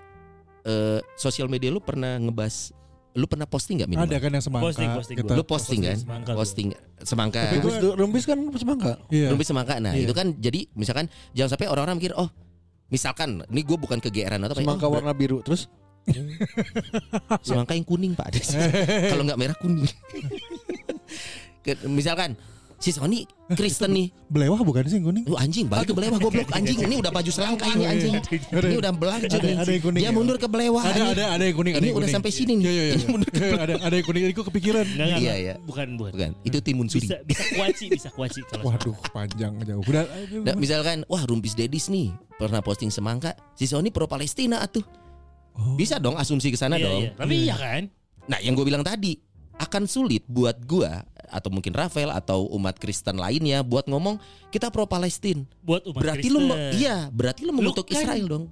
Speaker 2: eh sosial media lu pernah ngebahas lu pernah posting nggak minimal?
Speaker 4: ada kan yang semangka.
Speaker 1: Posting, posting
Speaker 4: gitu.
Speaker 1: gua.
Speaker 2: Lu posting kan?
Speaker 1: semangka gua.
Speaker 2: Posting semangka.
Speaker 4: Tapi gua-
Speaker 5: Rumpis, rumpis kan semangka.
Speaker 4: Iya.
Speaker 2: Rumpis semangka. Nah,
Speaker 4: Iya.
Speaker 2: itu kan jadi misalkan jangan sampai orang-orang mikir oh misalkan ini gue bukan kegeeran atau apa ya,
Speaker 5: Semangka
Speaker 2: oh,
Speaker 5: warna biru terus
Speaker 2: semangka yang kuning Pak.
Speaker 4: [laughs]
Speaker 2: Kalau nggak merah kuning. [laughs] Ke- misalkan si Sony Kristen nih.
Speaker 4: Belewah bukan sih yang kuning?
Speaker 2: Lu anjing balik ke belewah goblok anjing. Ini udah baju selangkah ini anjing. Ini udah belanja
Speaker 4: Iya, Ada-
Speaker 2: nih.
Speaker 4: ada yang kuning ya?
Speaker 2: Dia mundur ke belewah.
Speaker 4: Ada
Speaker 2: anjing.
Speaker 4: ada ada yang kuning. ada
Speaker 2: Ini
Speaker 4: yang
Speaker 2: udah
Speaker 4: kuning.
Speaker 2: sampai sini nih.
Speaker 4: Iya iya.
Speaker 2: Ini
Speaker 4: iya. ada ada yang kuning. Ini kok kepikiran.
Speaker 1: Enggak, enggak,
Speaker 2: Iya,
Speaker 1: enggak.
Speaker 2: iya.
Speaker 1: Bukan, bukan.
Speaker 2: Bukan, itu timun suri.
Speaker 1: Bisa, bisa kuaci, bisa kuaci. Kalau
Speaker 4: Waduh panjang jauh. Udah. aduh.
Speaker 2: Nah, misalkan wah rumpis dedis nih pernah posting semangka, si Sony pro Palestina atuh.
Speaker 4: Oh.
Speaker 2: Bisa dong asumsi ke sana
Speaker 1: Iya,
Speaker 2: dong.
Speaker 1: iya. Tapi iya kan?
Speaker 2: Nah, yang gue bilang tadi akan sulit buat gua atau mungkin Rafael atau umat Kristen lainnya buat ngomong kita pro Palestina.
Speaker 1: Buat umat
Speaker 2: Berarti
Speaker 1: Kristen.
Speaker 2: lu me- iya, berarti lu mengutuk
Speaker 1: kan-
Speaker 2: Israel dong.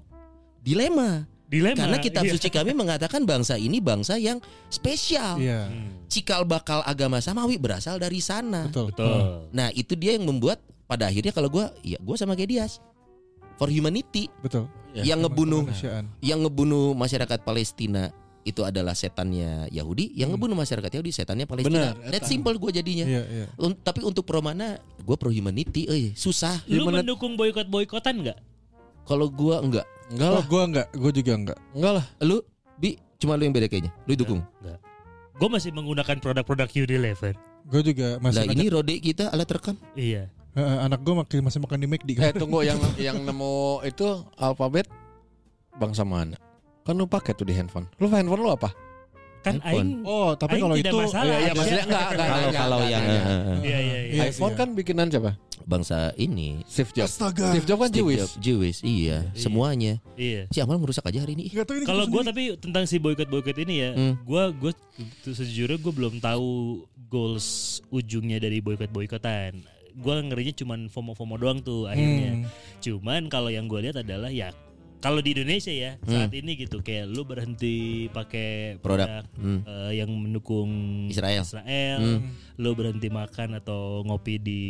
Speaker 2: Dilema.
Speaker 1: Dilema.
Speaker 2: Karena kitab
Speaker 1: iya.
Speaker 2: suci kami mengatakan bangsa ini bangsa yang spesial.
Speaker 1: Hmm,
Speaker 4: Iya.
Speaker 2: Cikal bakal agama samawi berasal dari sana.
Speaker 4: Betul. Oh,
Speaker 1: Betul.
Speaker 2: Nah, itu dia yang membuat pada akhirnya kalau gua ya gua sama kayak Dias. For humanity
Speaker 4: Betul.
Speaker 1: Iya,
Speaker 2: yang ngebunuh
Speaker 4: Kemanusiaan.
Speaker 2: yang ngebunuh masyarakat Palestina itu adalah setannya Yahudi, yang ngebunuh masyarakat Yahudi setannya Palestina.
Speaker 5: Benar,
Speaker 2: That's
Speaker 5: etan.
Speaker 2: simple gue jadinya.
Speaker 4: Iya iya.
Speaker 2: Un- tapi untuk pro mana gue gue pro humanity, eh susah.
Speaker 1: Lu
Speaker 5: Human-
Speaker 1: mendukung boykot-boykotan nggak?
Speaker 2: Kalau gue enggak,
Speaker 5: Enggak
Speaker 4: Oh,
Speaker 5: lah,
Speaker 4: gue enggak, gue juga enggak.
Speaker 5: enggak lah.
Speaker 2: lu bi cuma lu yang beda kayaknya, lu dukung.
Speaker 1: Gue masih menggunakan produk-produk Unilever.
Speaker 4: Gue juga masih
Speaker 2: Nah ini rode kita alat rekam.
Speaker 1: Iya.
Speaker 4: Eh, anak gue masih, masih makan di McD kan.
Speaker 5: Eh tunggu yang yang nemu itu alfabet bangsa mana? Kan lu pakai tuh di handphone. Lu handphone lu apa?
Speaker 1: Kan aing
Speaker 2: iPhone.
Speaker 4: Oh, tapi
Speaker 1: Aing
Speaker 4: kalau
Speaker 1: tidak
Speaker 4: itu
Speaker 1: masalah.
Speaker 5: Iya, iya
Speaker 1: ada.
Speaker 5: maksudnya enggak enggak.
Speaker 2: Kalau
Speaker 5: enggak,
Speaker 2: kalau
Speaker 5: enggak,
Speaker 2: yang
Speaker 5: enggak.
Speaker 2: eh, eh,
Speaker 1: Iya iya iya.
Speaker 4: Iya.
Speaker 5: iPhone kan bikinan siapa?
Speaker 2: bangsa ini
Speaker 5: Steve Jobs.
Speaker 4: Astaga.
Speaker 2: Iya.
Speaker 5: Steve Jobs kan
Speaker 2: Steve
Speaker 5: Jewish.
Speaker 2: Jobs, Jewish, iya,
Speaker 1: Iya.
Speaker 2: semuanya.
Speaker 1: Iya.
Speaker 2: Si Amal merusak aja hari ini. ih.
Speaker 4: Nggak tahu ini
Speaker 1: Kalau
Speaker 4: gua
Speaker 1: gue
Speaker 4: sendiri.
Speaker 1: tapi tentang si boykot-boykot ini ya,
Speaker 2: Hmm.
Speaker 1: gue gue sejujurnya gue belum tahu goals ujungnya dari boykot-boykotan. Gue ngerinya cuman FOMO-FOMO doang tuh akhirnya.
Speaker 4: Hmm.
Speaker 1: Cuman kalau yang gue lihat adalah ya kalau di Indonesia ya saat ini gitu kayak lu berhenti pakai
Speaker 2: Hmm. Produk.
Speaker 1: produk,
Speaker 2: Hmm.
Speaker 1: eh, yang mendukung
Speaker 2: Israel. Hmm.
Speaker 1: Israel, lu berhenti makan atau ngopi di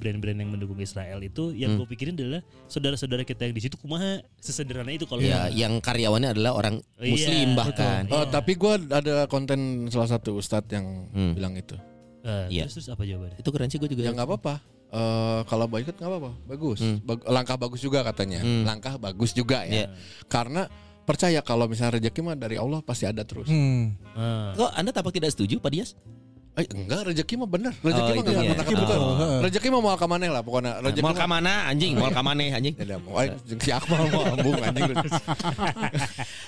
Speaker 1: brand-brand yang mendukung Israel itu
Speaker 2: Hmm.
Speaker 1: yang gue pikirin adalah saudara-saudara kita yang di situ kumaha sesederhana itu kalau
Speaker 2: Ya, yang karyawannya adalah orang
Speaker 1: Iya,
Speaker 2: Muslim
Speaker 1: betul.
Speaker 2: bahkan.
Speaker 5: Oh, tapi gua ada konten salah satu ustadz yang
Speaker 2: Hmm.
Speaker 5: bilang itu.
Speaker 1: Eh,
Speaker 2: Iya.
Speaker 1: terus, terus apa jawabannya?
Speaker 2: Itu keren sih gue juga.
Speaker 5: Ya nggak apa-apa. Eh, kalau boykot nggak apa-apa, bagus.
Speaker 2: Hmm.
Speaker 5: Bag- langkah bagus juga katanya.
Speaker 2: Hmm.
Speaker 5: Langkah bagus juga ya.
Speaker 2: Iya.
Speaker 5: Karena percaya kalau misalnya rezeki mah dari Allah pasti ada terus.
Speaker 4: Hmm.
Speaker 1: Ah.
Speaker 2: Kok Anda tampak tidak setuju, Pak Dias?
Speaker 5: Eh, enggak rezeki mah bener.
Speaker 2: Oh,
Speaker 5: Rezeki mah
Speaker 2: itu
Speaker 5: nggak
Speaker 2: dia.
Speaker 5: pernah ketutup.
Speaker 4: betul. Heeh.
Speaker 5: Rezeki mah mau ke mana lah pokoknya. Rezeki
Speaker 2: Mau
Speaker 5: mah-
Speaker 2: ke mana Nah, anjing? Mau ke mana
Speaker 5: [laughs]
Speaker 2: anjing?
Speaker 5: Ya, udah, mau eh, si Akmal mau ambung [laughs] anjing.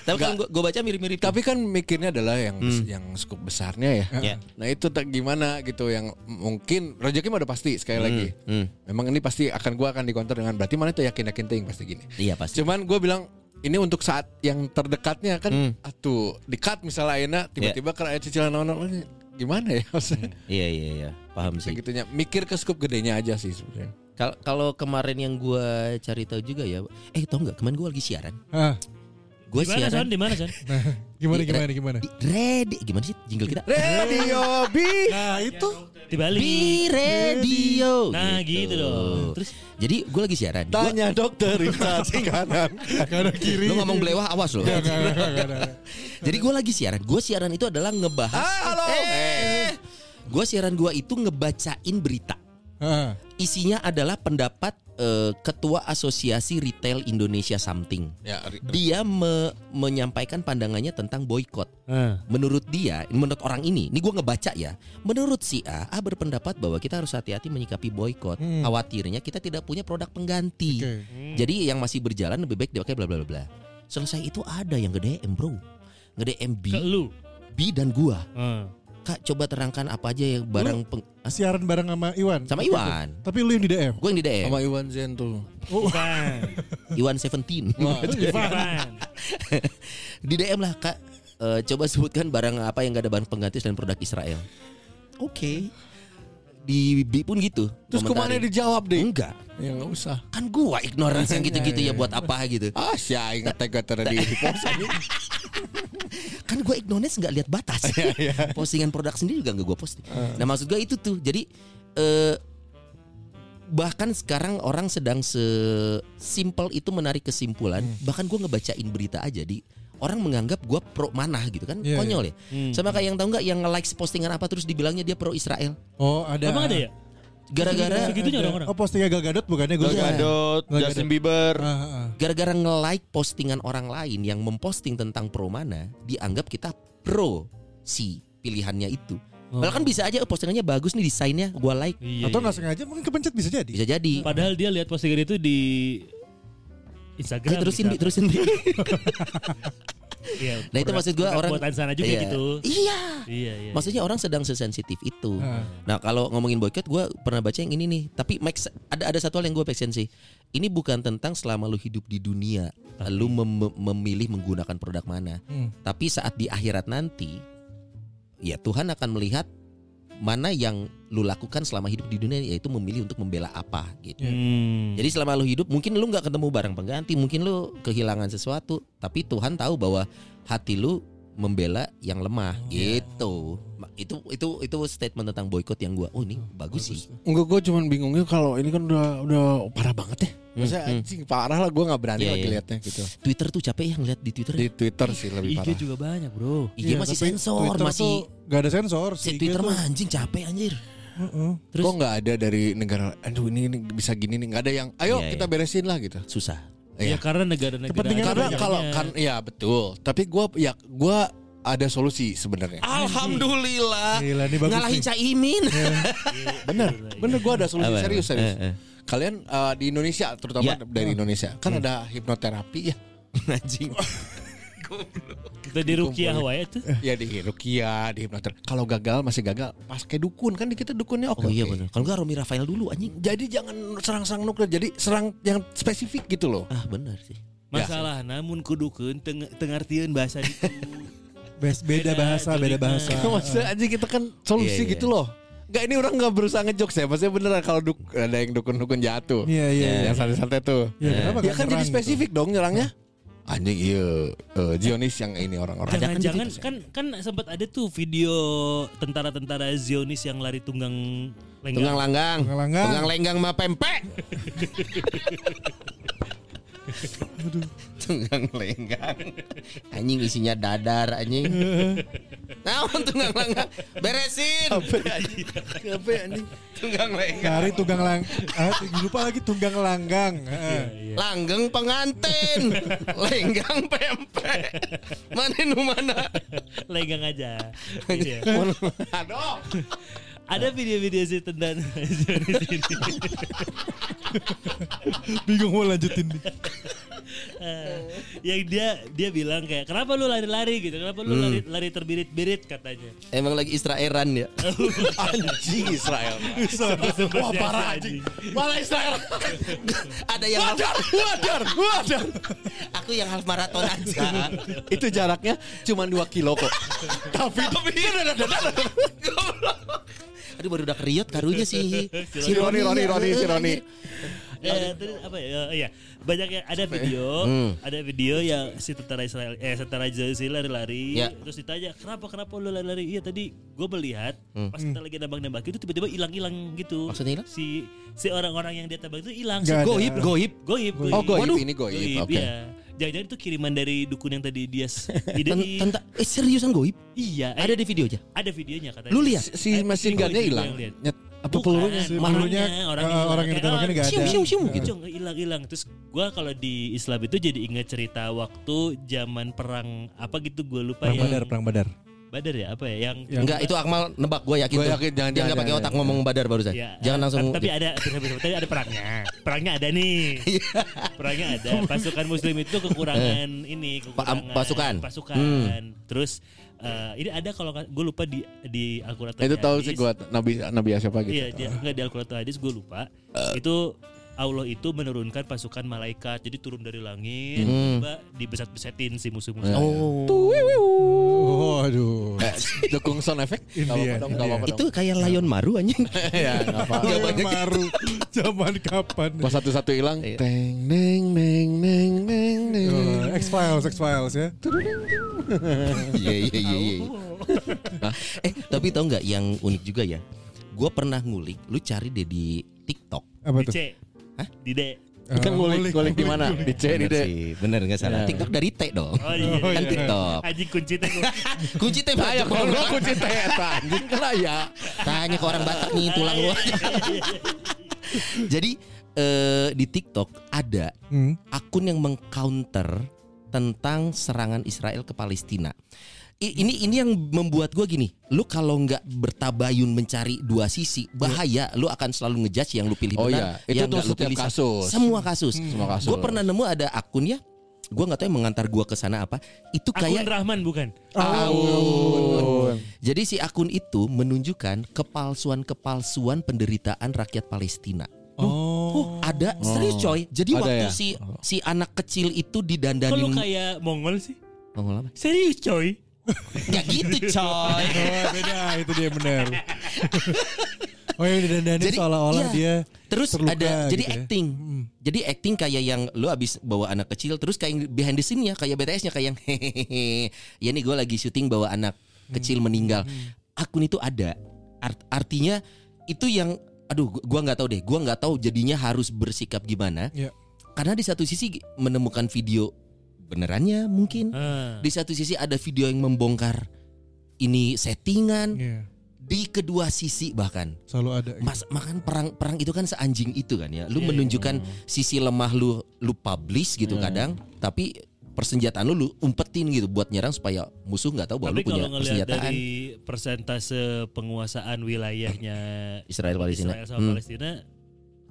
Speaker 2: Tapi kan gue baca mirip-mirip.
Speaker 5: Tapi kan mikirnya adalah yang
Speaker 2: Hmm.
Speaker 5: yang skup besarnya
Speaker 2: ya.
Speaker 5: ya. Nah itu tak gimana gitu yang mungkin rezeki mah udah pasti sekali
Speaker 2: Hmm,
Speaker 5: lagi.
Speaker 2: hmm.
Speaker 5: Memang ini pasti akan gua akan dikonter dengan berarti mana tuh yakin yakin ting pasti gini.
Speaker 2: Iya pasti.
Speaker 5: Cuman gue bilang ini untuk saat yang terdekatnya kan
Speaker 2: Hmm.
Speaker 5: atuh di cut misalnya enak tiba-tiba karena cicilan nonton gimana ya [laughs] maksudnya
Speaker 2: Iya iya iya. Paham sih.
Speaker 5: segitunya mikir ke scoop gedenya aja sih sebenarnya.
Speaker 2: Kal- Kalau kemarin yang gue cari tahu juga ya. Eh tau nggak? Kemarin gue lagi siaran.
Speaker 4: Ah, nah.
Speaker 2: Gue
Speaker 1: Eh, Gimana Son?
Speaker 2: siaran
Speaker 1: Di mana Son?
Speaker 2: [laughs]
Speaker 4: [laughs] gimana
Speaker 2: Di-
Speaker 4: gimana gimana?
Speaker 2: di ready. Gimana sih jingle kita?
Speaker 5: Radio B. [laughs]
Speaker 4: Nah, itu
Speaker 1: Di Bali.
Speaker 2: Di radio.
Speaker 1: Nah gitu dong. Terus
Speaker 2: Jadi gue lagi siaran. Gua-
Speaker 5: Tanya dokter Richard kanan.
Speaker 4: ada kiri.
Speaker 2: Lu ngomong belewah awas loh.
Speaker 4: Nggak, nggak, nggak, nggak, nggak.
Speaker 2: Jadi gue lagi siaran. Gue siaran itu adalah ngebahas.
Speaker 5: Ah, halo.
Speaker 2: Eh. Gue siaran gue itu ngebacain berita.
Speaker 4: Ah,
Speaker 2: Isinya adalah pendapat eh, ketua asosiasi retail Indonesia something.
Speaker 5: [laughs] Ya, ri-
Speaker 2: Dia me- menyampaikan pandangannya tentang boykot.
Speaker 1: eh,
Speaker 2: Menurut dia, menurut orang ini, ini gue ngebaca ya. Menurut si A, A berpendapat bahwa kita harus hati-hati menyikapi boykot.
Speaker 4: Hmm.
Speaker 2: Khawatirnya kita tidak punya produk pengganti.
Speaker 4: oke.
Speaker 2: Jadi yang masih berjalan lebih baik dipakai bla bla bla bla. Selesai itu ada yang nge-DM bro. Nge-DM B,
Speaker 1: ke lu.
Speaker 2: B dan gua.
Speaker 1: Eh,
Speaker 2: Kak coba terangkan apa aja yang barang peng- Hah?
Speaker 4: Siaran bareng sama Iwan.
Speaker 2: sama Iwan.
Speaker 4: Tapi lu yang di DM.
Speaker 2: Gue yang di DM.
Speaker 5: sama Iwan Zen tuh.
Speaker 1: Oh, Bukan.
Speaker 2: [laughs] Iwan Seventeen.
Speaker 1: Oh, Bukan.
Speaker 2: di DM lah kak. Eh, coba sebutkan barang apa yang gak ada barang pengganti selain produk Israel. Oke. Di B pun gitu.
Speaker 5: Terus kemana
Speaker 2: komentarin.
Speaker 5: dijawab deh?
Speaker 2: Enggak.
Speaker 5: Ya nggak usah.
Speaker 2: Kan gua ignorance yang gitu-gitu
Speaker 5: [laughs]
Speaker 2: ya buat apa gitu.
Speaker 5: Ah, si aing ngetek gak tadi di pos anjing.
Speaker 2: kan gue ignorance nggak lihat batas
Speaker 4: Iya,
Speaker 2: postingan produk sendiri juga nggak gue posting
Speaker 4: Ah.
Speaker 2: nah maksud gue itu tuh jadi eh, bahkan sekarang orang sedang sesimpel itu menarik kesimpulan
Speaker 4: Hmm.
Speaker 2: bahkan gue ngebacain berita aja di orang menganggap gue pro mana gitu kan
Speaker 4: Iya,
Speaker 2: konyol ya sama kayak yang tahu nggak yang nge-like postingan apa terus dibilangnya dia pro Israel
Speaker 4: Oh, ada.
Speaker 1: Emang ada ya?
Speaker 2: gara-gara
Speaker 1: Segitunya
Speaker 4: Ada.
Speaker 1: orang-orang.
Speaker 4: Oh, postingnya Gal Gadot bukannya gue.
Speaker 2: Gal Gadot.
Speaker 7: Gadot,
Speaker 4: Nggak
Speaker 7: Justin Bieber.
Speaker 4: Ah, ah, ah.
Speaker 2: gara-gara nge-like postingan orang lain yang memposting tentang pro mana dianggap kita pro si pilihannya itu. Padahal kan bisa aja "Eh, postingannya bagus nih desainnya gua like.
Speaker 1: Iya, iya.
Speaker 4: Atau nggak sengaja mungkin kepencet bisa jadi.
Speaker 2: Bisa jadi.
Speaker 1: Padahal dia lihat postingan itu di
Speaker 2: Ayo,
Speaker 1: Instagram.
Speaker 2: terusin
Speaker 1: misalkan.
Speaker 2: Bi, terusin Bi.
Speaker 1: Iya,
Speaker 2: Nah, itu
Speaker 1: produk-
Speaker 2: maksud gua
Speaker 1: produk
Speaker 2: orang-
Speaker 1: buatan sana juga
Speaker 2: Iya.
Speaker 1: gitu.
Speaker 2: Iya.
Speaker 1: Iya, iya.
Speaker 2: Maksudnya orang sedang sesensitif itu.
Speaker 4: Ah.
Speaker 2: Nah, kalau ngomongin boykot gua pernah baca yang ini nih, tapi make se- ada ada satu hal yang gua passion sih. Ini bukan tentang selama lu hidup di dunia lu mem- memilih menggunakan produk mana.
Speaker 4: Hmm.
Speaker 2: Tapi saat di akhirat nanti, ya Tuhan akan melihat mana yang lu lakukan selama hidup di dunia, yaitu memilih untuk membela apa gitu.
Speaker 4: Ya.
Speaker 1: Hmm.
Speaker 2: Jadi selama lu hidup, mungkin lu nggak ketemu barang pengganti, mungkin lu kehilangan sesuatu, tapi Tuhan tahu bahwa hati lu membela yang lemah
Speaker 4: Oh, iya.
Speaker 2: gitu. Ma- Itu itu itu statement tentang boykot yang gua, oh ini bagus, sih.
Speaker 5: Enggak, gue cuman bingungnya kalau ini kan udah udah parah banget ya. Maksudnya
Speaker 2: Hmm, hmm.
Speaker 5: anjing parah lah gue nggak berani
Speaker 2: Iya,
Speaker 5: lagi
Speaker 2: iya.
Speaker 5: liatnya gitu.
Speaker 2: Twitter tuh capek yang lihat di Twitter.
Speaker 5: Di Twitter sih lebih
Speaker 1: IG
Speaker 5: parah.
Speaker 1: juga banyak, Bro.
Speaker 4: Iya,
Speaker 2: IG masih
Speaker 4: tapi
Speaker 2: sensor,
Speaker 4: Twitter
Speaker 2: masih
Speaker 4: tuh nggak ada sensor.
Speaker 2: si
Speaker 4: IG
Speaker 2: Twitter
Speaker 4: tuh-
Speaker 2: mah anjing capek anjir.
Speaker 4: Heeh.
Speaker 1: Terus-
Speaker 5: Kok nggak ada dari negara aduh ini, ini bisa gini nih nggak ada yang ayo
Speaker 2: Iya,
Speaker 5: kita beresin lah gitu.
Speaker 2: susah.
Speaker 1: Ya
Speaker 5: Iya.
Speaker 1: karena negara-negara
Speaker 4: Kepentingan
Speaker 5: Karena
Speaker 1: banyak.
Speaker 5: kalau kan ya betul, tapi gua ya gua ada solusi sebenarnya.
Speaker 2: Ah, Alhamdulillah.
Speaker 4: Gila ini bagus
Speaker 2: Ngalahin
Speaker 4: nih.
Speaker 2: Caimin.
Speaker 5: Bener, bener gua ada solusi
Speaker 2: iya, Apa?
Speaker 5: serius serius.
Speaker 2: Eh, eh.
Speaker 5: Kalian eh, di Indonesia terutama
Speaker 2: Ya.
Speaker 5: dari Indonesia kan ada hipnoterapi ya.
Speaker 2: Anjing.
Speaker 1: kita di Rukiah wae tuh.
Speaker 2: Eh.
Speaker 5: Ya di rukia, di hipnoterapi. Kalau gagal masih gagal, pas kayak dukun kan di kita dukunnya
Speaker 2: Oh
Speaker 5: oke.
Speaker 2: iya
Speaker 5: oke.
Speaker 2: benar. Kalau nggak Romi Rafael dulu anjing.
Speaker 5: Jadi jangan serang-serang nuklir, jadi serang yang spesifik gitu loh.
Speaker 2: Ah benar sih.
Speaker 1: Masalah namun kudukeun teng tengartieun bahasa ditu.
Speaker 2: [laughs]
Speaker 4: Bes- beda bahasa, beda bahasa.
Speaker 5: Itu [laughs] maksudnya aja kita kan solusi
Speaker 2: Iya, iya.
Speaker 5: gitu loh. Enggak ini orang nggak berusaha ngejokes ya. Maksudnya beneran kalau duk- ada yang dukun-dukun jatuh.
Speaker 4: Iya iya. iya.
Speaker 5: Yang santai-santai tuh.
Speaker 4: Ya, kenapa
Speaker 5: Ya
Speaker 4: nggak
Speaker 5: kan jadi
Speaker 4: nyerang gitu?
Speaker 5: spesifik dong nyerangnya. Anjing iya eh, Zionis yang ini orang-orang.
Speaker 1: Jangan-jangan kan kan sempat ada tuh video tentara-tentara Zionis yang lari tunggang
Speaker 2: Tunggang
Speaker 1: lenggang.
Speaker 2: langgang.
Speaker 4: Tunggang langgang.
Speaker 2: Tunggang lenggang mah pempek. tunggang lenggang. Anjing isinya dadar anjing. Nah, tunggang langgang. Beresin.
Speaker 5: Kenapa ya anjing?
Speaker 2: Tunggang lenggang.
Speaker 4: Cari tunggang lang, ah, lupa lagi tunggang langgang.
Speaker 1: Iya,
Speaker 4: Eh, Heeh.
Speaker 2: Langgeng pengantin. lenggang pempek. Mana nu mana?
Speaker 1: Lenggang aja. Iya.
Speaker 5: Aduh.
Speaker 1: Ada video-video sih tentang Zionis ini.
Speaker 4: [laughs] Bingung mau lanjutin nih.
Speaker 1: [laughs] Eh, yang dia dia bilang kayak kenapa lu lari-lari gitu kenapa lu
Speaker 4: Hmm.
Speaker 1: lari, lari terbirit-birit
Speaker 4: [laughs]
Speaker 1: katanya
Speaker 2: Emang lagi Israelan
Speaker 5: [laughs]
Speaker 2: ya?
Speaker 5: Anjing Israel. Wah parah anjing. Parah Israel.
Speaker 2: [laughs] Ada yang
Speaker 5: Wajar, wajar, wajar.
Speaker 2: aku yang half maraton aja.
Speaker 5: [laughs] Itu jaraknya cuma 2 kilo
Speaker 2: [laughs]
Speaker 5: kok. Tapi [laughs] tapi
Speaker 2: Aduh baru udah keriut karunya
Speaker 5: [laughs]
Speaker 2: sih.
Speaker 5: Si Roni, Roni, Roni, si Roni.
Speaker 1: Eh, terus apa ya? Eh, Iya, banyak yang ada
Speaker 2: ya?
Speaker 1: video,
Speaker 2: Hmm.
Speaker 1: ada video yang si tentara Israel, eh tentara Israel lari-lari,
Speaker 2: Ya.
Speaker 1: terus ditanya kenapa kenapa lu lari-lari? Iya tadi gue melihat pas kita lagi nembak-nembak itu tiba-tiba hilang-hilang gitu.
Speaker 2: Hmm. Maksudnya hilang?
Speaker 1: Si si orang-orang yang dia tembak itu hilang.
Speaker 2: Eh,
Speaker 4: Nggak ada.
Speaker 1: goib, goib, goib, goib.
Speaker 5: Oh goib
Speaker 2: Waduh.
Speaker 5: ini goib.
Speaker 1: Goib,
Speaker 5: Oke.
Speaker 1: iya. Jangan-jangan itu kiriman dari dukun yang tadi dia
Speaker 2: [laughs]
Speaker 1: s-
Speaker 2: Ten-
Speaker 1: idein.
Speaker 2: tenta- eh seriusan goib?
Speaker 1: Iya, eh,
Speaker 2: Ada di videonya.
Speaker 1: ada videonya katanya.
Speaker 2: Lu lihat?
Speaker 1: Eh,
Speaker 5: Si mesin
Speaker 1: si
Speaker 5: gunnya
Speaker 1: goib
Speaker 5: hilang.
Speaker 1: yang lihat.
Speaker 5: Nyet. Apa
Speaker 1: Bukan.
Speaker 5: pelurunya?
Speaker 1: Orangnya,
Speaker 4: Malunya
Speaker 1: orang
Speaker 4: eh,
Speaker 1: yang
Speaker 4: orang yang
Speaker 1: hilang.
Speaker 4: ditembaknya nggak ada.
Speaker 2: Sium, sium, sium
Speaker 4: Hmm,
Speaker 2: gitu.
Speaker 1: gitu hilang hilang terus gua kalau di Islam itu jadi ingat cerita waktu zaman perang apa gitu gua lupa
Speaker 4: Perang
Speaker 1: yang
Speaker 4: Badar, perang Badar.
Speaker 1: Badar ya apa ya yang
Speaker 4: Yang-
Speaker 2: Enggak, itu Akmal nebak gue yakin.
Speaker 5: Gua
Speaker 2: tuh.
Speaker 5: yakin, jangan-
Speaker 2: Dia
Speaker 5: jangan,
Speaker 2: nggak pakai otak
Speaker 5: jangan, jangan. Iya.
Speaker 2: ngomong badar barusan.
Speaker 1: ya,
Speaker 2: Jangan
Speaker 1: eh,
Speaker 2: langsung.
Speaker 1: tapi ada tapi ada perangnya perangnya ada nih perangnya ada pasukan muslim itu kekurangan ini kekurangan
Speaker 2: pasukan.
Speaker 1: pasukan terus eh, ini ada kalau nggak- gua lupa di di Al-Qur'an
Speaker 5: Itu
Speaker 1: atau
Speaker 5: tahu
Speaker 1: di
Speaker 5: sih
Speaker 1: hadis.
Speaker 5: gua Nabi Nabi siapa gitu.
Speaker 1: Iya, dia, enggak di Al-Qur'an atau hadis gue lupa. Itu Allah itu menurunkan pasukan malaikat. Jadi turun dari langit, tiba dibesat-besetin si musuh-musuh.
Speaker 2: Hmm. Oh.
Speaker 4: Oh, aduh.
Speaker 5: Eh, Dukung sound effect. Gak
Speaker 4: Indian,
Speaker 5: apa-apa dong, [laughs] gak apa-apa
Speaker 2: Itu kayak layon maru anjing.
Speaker 5: dong. Ya, gak apa-apa.
Speaker 2: Iya,
Speaker 4: Yang baru. Iya, Zaman kapan?
Speaker 5: Pas satu-satu hilang, teng neng neng neng neng neng.
Speaker 4: Oh, X-Files, X-Files ya.
Speaker 2: Iya iya iya. iya. Nah, eh tapi tau nggak yang unik juga ya? Gue pernah ngulik. Lu cari deh di TikTok.
Speaker 4: Apa
Speaker 1: Di
Speaker 4: tuh?
Speaker 1: C. Di D.
Speaker 5: Kan ngulik ngulik di mana? Di C di
Speaker 2: Bener
Speaker 5: D.
Speaker 2: sih, bener nggak salah. TikTok dari T dong.
Speaker 1: Oh iya.
Speaker 4: Oh,
Speaker 2: Kan
Speaker 4: iya.
Speaker 2: TikTok.
Speaker 1: Aji kunci teh gua.
Speaker 2: Kunci T
Speaker 5: Ayo
Speaker 2: banyak
Speaker 5: kalau gua kunci T [laughs] eta anjing kan aya.
Speaker 2: ya. Tanya ke orang Batak nih tulang lu. Jadi eh, di TikTok ada
Speaker 4: Hmm.
Speaker 2: akun yang mengcounter tentang serangan Israel ke Palestina. I- ini ini yang membuat gue gini, lu kalau nggak bertabayun mencari dua sisi bahaya, lu akan selalu ngejudge yang lu pilih
Speaker 5: Oh
Speaker 2: benar,
Speaker 5: iya, itu
Speaker 2: yang
Speaker 5: tuh
Speaker 2: nggak lu
Speaker 5: setiap
Speaker 2: pilih salah.
Speaker 5: kasus. Hmm.
Speaker 2: Semua kasus.
Speaker 5: Semua kasus.
Speaker 2: Gue pernah nemu ada akun ya, gue nggak tahu yang mengantar gue ke sana apa. Itu
Speaker 1: Akun
Speaker 2: [laughs] kayak
Speaker 1: Rahman bukan?
Speaker 2: Aun. Jadi si akun itu menunjukkan kepalsuan-kepalsuan penderitaan rakyat Palestina.
Speaker 4: Oh.
Speaker 2: Ada serius coy. Jadi
Speaker 5: Ada
Speaker 2: waktu
Speaker 5: ya?
Speaker 2: si si anak kecil itu
Speaker 1: Kok lu
Speaker 2: didandanin
Speaker 1: kayak Mongol sih?
Speaker 2: Mongol apa?
Speaker 1: Serius coy.
Speaker 2: Gak gitu coy.
Speaker 4: Oh, beda itu dia benar. Oh yang didandani
Speaker 2: Jadi,
Speaker 4: seolah-olah
Speaker 2: iya.
Speaker 4: dia
Speaker 2: Terus
Speaker 4: terluka
Speaker 2: ada jadi
Speaker 4: gitu ya.
Speaker 2: acting. Jadi acting kayak yang lu abis bawa anak kecil terus kayak yang behind the scene-nya kayak BTS-nya kayak yang [laughs] hehehe. Ya nih gue lagi syuting bawa anak
Speaker 4: Hmm.
Speaker 2: kecil meninggal. Akun itu ada. Art- artinya itu yang aduh gua- gua nggak tahu deh. Gua nggak tahu jadinya harus bersikap gimana.
Speaker 4: Iya.
Speaker 2: Karena di satu sisi menemukan video benerannya mungkin.
Speaker 1: Ah.
Speaker 2: Di satu sisi ada video yang membongkar ini settingan.
Speaker 4: Iya.
Speaker 2: di kedua sisi bahkan.
Speaker 4: Selalu ada.
Speaker 1: Iya.
Speaker 2: Mas, makan perang perang itu kan seanjing itu kan ya. Lu menunjukkan
Speaker 1: iya,
Speaker 2: sisi lemah lu lu publish gitu kadang, tapi persenjataan lu lu umpetin gitu buat nyerang supaya musuh nggak tahu bahwa
Speaker 1: Tapi
Speaker 2: lu punya
Speaker 1: kalau ngelihat
Speaker 2: persenjataan
Speaker 1: dari persentase penguasaan wilayahnya
Speaker 2: Israel Palestina.
Speaker 1: Israel
Speaker 2: Hmm,
Speaker 1: sama Palestina,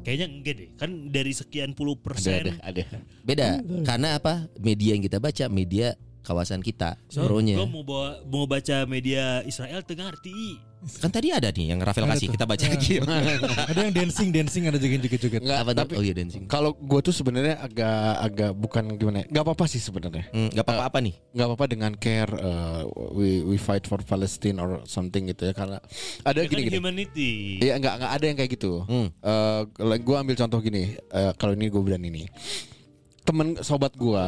Speaker 1: kayaknya enggak deh. Kan dari sekian puluh
Speaker 2: ada ada
Speaker 1: persen
Speaker 2: ada. Beda karena apa? Media yang kita baca media kawasan kita, bronya.
Speaker 1: Gue mau bawa, mau baca media Israel tengah arti.
Speaker 2: Kan tadi ada nih yang Rafael
Speaker 4: Ada
Speaker 2: kasih
Speaker 4: Gitu tuh. Iya.
Speaker 2: kita
Speaker 1: Iya.
Speaker 2: baca [laughs] lagi.
Speaker 4: ada yang dancing, dancing ada joget-joget.
Speaker 5: Nggak,
Speaker 2: Apa tuh?
Speaker 5: tapi
Speaker 2: Oh iya dancing.
Speaker 5: kalau gue tuh sebenarnya agak agak bukan gimana ya, nggak apa-apa sih sebenarnya
Speaker 2: Hmm, Gak apa-apa apa nih.
Speaker 5: nggak apa-apa dengan care uh, we we fight for Palestine or something gitu ya karena ada
Speaker 1: Ya kan
Speaker 5: gini gini
Speaker 1: humanity.
Speaker 5: Iya nggak nggak ada yang kayak gitu.
Speaker 2: Hmm.
Speaker 5: Eh, kalau gue ambil contoh gini, eh, kalau ini gue berani nih. Temen sobat gue,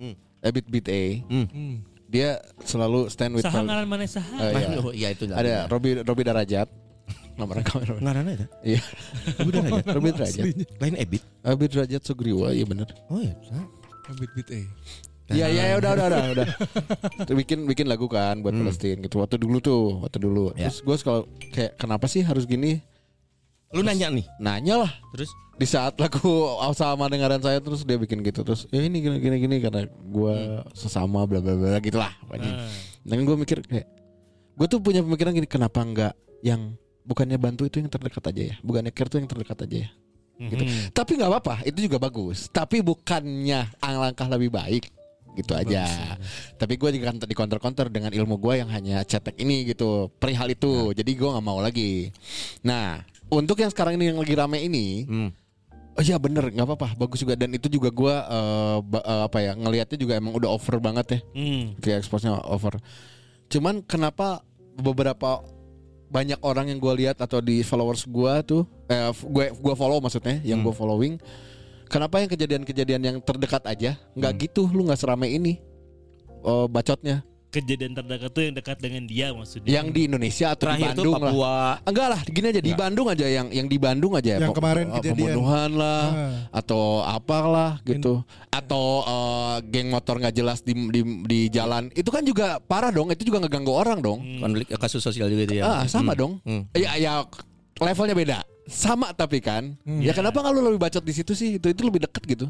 Speaker 2: Hmm.
Speaker 5: Ebit Bit A,
Speaker 4: Hmm.
Speaker 5: dia selalu stand with.
Speaker 1: Saha
Speaker 5: Pal-
Speaker 1: ngaran mana saha?
Speaker 5: Eh, iya.
Speaker 2: Oh, iya itu.
Speaker 5: Ada Robi Robi Darajat. Nomornya kamu Robi.
Speaker 2: Ngarana
Speaker 5: [laughs]
Speaker 2: itu.
Speaker 5: Iya.
Speaker 2: Robi Darajat?
Speaker 5: Robi Darajat.
Speaker 4: ya? Aslinya.
Speaker 2: Lain Ebit.
Speaker 5: Robi Darajat Sugriwa, iya benar.
Speaker 2: Oh iya.
Speaker 4: Beat beat eh. A.
Speaker 5: Iya iya ya, udah udah udah udah. Tuh, bikin bikin lagu kan buat Palestina gitu. Waktu dulu tuh, waktu dulu.
Speaker 2: Ya.
Speaker 5: Terus gue kalau kayak kenapa sih harus gini?
Speaker 2: Lu nanya nih.
Speaker 5: Nanya lah.
Speaker 2: Terus
Speaker 5: di saat lagu [laughs] sama dengaran saya terus dia bikin gitu terus ya ini gini gini gini karena gua sesama bla bla bla gitulah pokoknya. Dan gue mikir kayak gue tuh punya pemikiran gini kenapa nggak yang bukannya bantu itu yang terdekat aja ya bukannya care itu yang terdekat aja ya gitu. Tapi nggak apa-apa itu juga bagus tapi bukannya langkah lebih baik gitu aja. Tapi gue juga kan di counter-counter dengan ilmu gue yang hanya cetek ini gitu perihal itu. Jadi gue nggak mau lagi. Nah untuk yang sekarang ini yang lagi rame ini
Speaker 2: Hmm.
Speaker 5: Oh iya bener nggak apa-apa bagus juga dan itu juga gua eh, ba- eh, apa ya ngelihatnya juga emang udah over banget ya
Speaker 1: Hmm.
Speaker 5: kayak exposnya over. Cuman kenapa beberapa banyak orang yang gua lihat atau di followers gua tuh eh f- gue gua follow maksudnya
Speaker 2: Hmm.
Speaker 5: yang gua following kenapa yang kejadian-kejadian yang terdekat aja nggak
Speaker 2: Hmm.
Speaker 5: gitu lu nggak serame ini eh, bacotnya
Speaker 1: Kejadian terdekat tuh yang dekat dengan dia maksudnya.
Speaker 5: yang di Indonesia atau
Speaker 2: terakhir
Speaker 5: di
Speaker 2: tuh
Speaker 5: Bandung lah.
Speaker 2: Papua.
Speaker 5: Enggak lah, gini aja di Bandung aja yang yang di Bandung aja
Speaker 4: Yang
Speaker 5: Pem-
Speaker 4: kemarin
Speaker 5: eh,
Speaker 4: kejadian.
Speaker 5: pembunuhan lah
Speaker 4: Ah.
Speaker 5: atau apalah gitu atau eh, geng motor nggak jelas di, di di jalan itu kan juga parah dong itu juga ngeganggu orang dong
Speaker 4: Hmm.
Speaker 2: Konflik eh, kasus sosial juga itu ya.
Speaker 5: ah
Speaker 2: Hmm.
Speaker 5: sama dong
Speaker 2: Hmm.
Speaker 5: ya ya levelnya beda sama tapi kan ya kenapa kalau lebih bacot di situ sih itu itu lebih deket gitu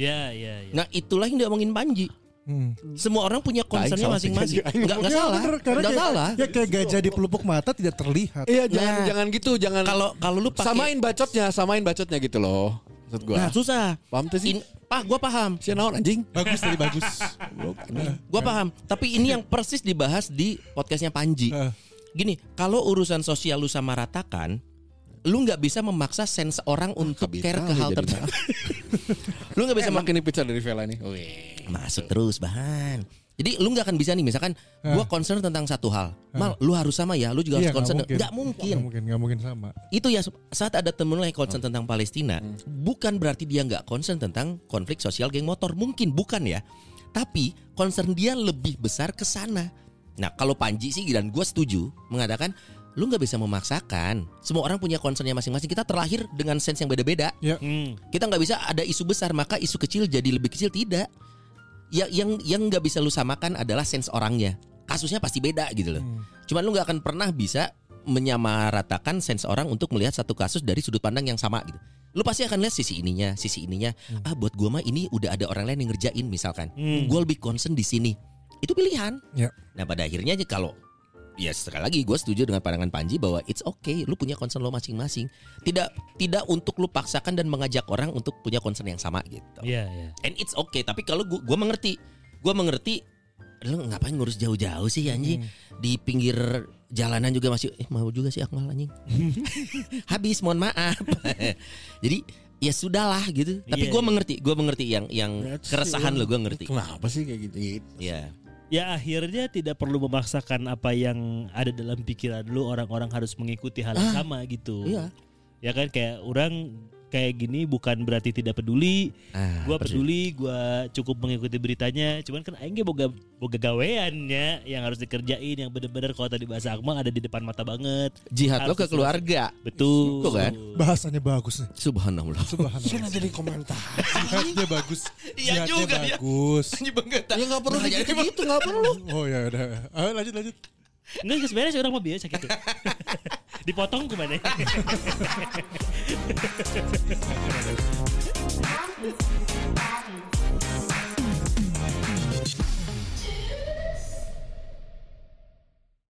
Speaker 1: Ya, ya, ya.
Speaker 2: Nah itulah yang diomongin Panji.
Speaker 4: Hmm.
Speaker 2: Semua orang punya concernnya
Speaker 5: Nah, salah sih, [laughs]
Speaker 2: masing-masing.
Speaker 5: Panji.
Speaker 2: Enggak enggak
Speaker 4: Ya,
Speaker 2: salah.
Speaker 4: bener, karena
Speaker 2: Enggak
Speaker 4: kayak-
Speaker 2: salah. Eh.
Speaker 4: Ya kayak gajah di pelupuk mata tidak terlihat.
Speaker 5: iya jangan
Speaker 2: jangan-
Speaker 5: jangan gitu jangan
Speaker 2: Kalau kalau lu pakai
Speaker 5: samain bacotnya samain bacotnya gitu loh maksud gua
Speaker 2: Nah, susah.
Speaker 5: paham tuh sih
Speaker 2: In, pah, gua paham.
Speaker 5: Sia naon anjing Nah.
Speaker 4: Bagus tadi bagus.
Speaker 2: Gua paham. Tapi ini yang persis dibahas [laughs] di podcastnya Panji.
Speaker 4: Eh.
Speaker 2: Gini, kalau urusan sosial lu sama ratakan, lu nggak bisa memaksa sense orang untuk
Speaker 5: Habis
Speaker 2: care ke
Speaker 5: kali
Speaker 2: hal
Speaker 5: jadi
Speaker 2: tertentu.
Speaker 5: [laughs]
Speaker 2: lu nggak bisa
Speaker 5: bisa
Speaker 2: mak-
Speaker 5: makin pizza dari Vela nih oke
Speaker 2: Masuk terus bahan. Jadi lu nggak akan bisa nih misalkan gua concern tentang satu hal. Mal, lu harus sama ya, lu juga
Speaker 4: Iya,
Speaker 2: harus concern. Nggak
Speaker 4: Nggak
Speaker 2: mungkin.
Speaker 4: mungkin, nggak mungkin sama.
Speaker 2: Itu ya saat ada temen lu yang concern tentang Palestina, bukan berarti dia nggak concern tentang konflik sosial geng motor. Mungkin bukan ya. Tapi concern dia lebih besar ke sana. Nah, kalau Panji sih dan gua setuju mengatakan lu nggak bisa memaksakan. Semua orang punya concernnya masing-masing. Kita terlahir dengan sense yang beda-beda
Speaker 4: Ya,
Speaker 1: Hmm.
Speaker 2: kita nggak bisa ada isu besar maka isu kecil jadi lebih kecil tidak ya yang yang nggak bisa lu samakan adalah sense orangnya kasusnya pasti beda gitu loh cuman lu nggak akan pernah bisa menyamaratakan sense orang untuk melihat satu kasus dari sudut pandang yang sama gitu lu pasti akan lihat sisi ininya sisi ininya ah buat gua mah ini udah ada orang lain yang ngerjain misalkan
Speaker 1: Hmm.
Speaker 2: gua lebih concern di sini itu pilihan
Speaker 4: Ya.
Speaker 2: nah pada akhirnya aja kalau ya sekali lagi gue setuju dengan pandangan Panji bahwa it's okay lu punya concern lo masing-masing tidak tidak untuk lu paksakan dan mengajak orang untuk punya concern yang sama gitu
Speaker 1: Ya, ya.
Speaker 2: and it's okay tapi kalau gue gua mengerti gue mengerti lu ngapain ngurus jauh-jauh sih anjing
Speaker 1: Hmm.
Speaker 2: di pinggir jalanan juga masih eh mau juga sih Akmal
Speaker 1: [laughs]
Speaker 2: anjing habis mohon maaf [laughs] jadi ya sudahlah gitu tapi
Speaker 1: Iya,
Speaker 2: gue
Speaker 1: iya.
Speaker 2: mengerti gue mengerti yang yang keresahan lo gue ngerti
Speaker 5: kenapa sih kayak gitu
Speaker 2: ya
Speaker 1: Ya akhirnya tidak perlu memaksakan apa yang ada dalam pikiran lu orang-orang harus mengikuti hal
Speaker 5: Ah.
Speaker 1: yang sama gitu.
Speaker 2: iya
Speaker 1: Ya kan kayak orang kayak gini bukan berarti tidak peduli.
Speaker 2: Ah,
Speaker 1: Gua
Speaker 2: persis.
Speaker 1: peduli, gua cukup mengikuti beritanya. Cuman kan aing ge boga boga gaweannya yang harus dikerjain yang bener-bener kalau tadi bahasa Akmal ada di depan mata banget.
Speaker 2: jihad lo
Speaker 1: Harus
Speaker 2: ke
Speaker 1: diselesaikan.
Speaker 2: keluarga
Speaker 1: Betul.
Speaker 2: Tuh kan?
Speaker 4: Bahasanya bagus nih.
Speaker 2: Subhanallah. [laughs]
Speaker 4: Subhanallah.
Speaker 5: jadi komentar
Speaker 4: Jihadnya bagus. Jihadnya
Speaker 2: Iya juga, iya.
Speaker 4: bagus.
Speaker 1: Iya,
Speaker 2: Anjing banget.
Speaker 5: ya nggak perlu
Speaker 2: Bahaya
Speaker 5: gitu nggak perlu
Speaker 4: Oh ya udah. Ayo lanjut lanjut.
Speaker 1: Enggak geus beres orang mah biasa gitu. Dipotong ku mana?
Speaker 9: Bobby, Bobby.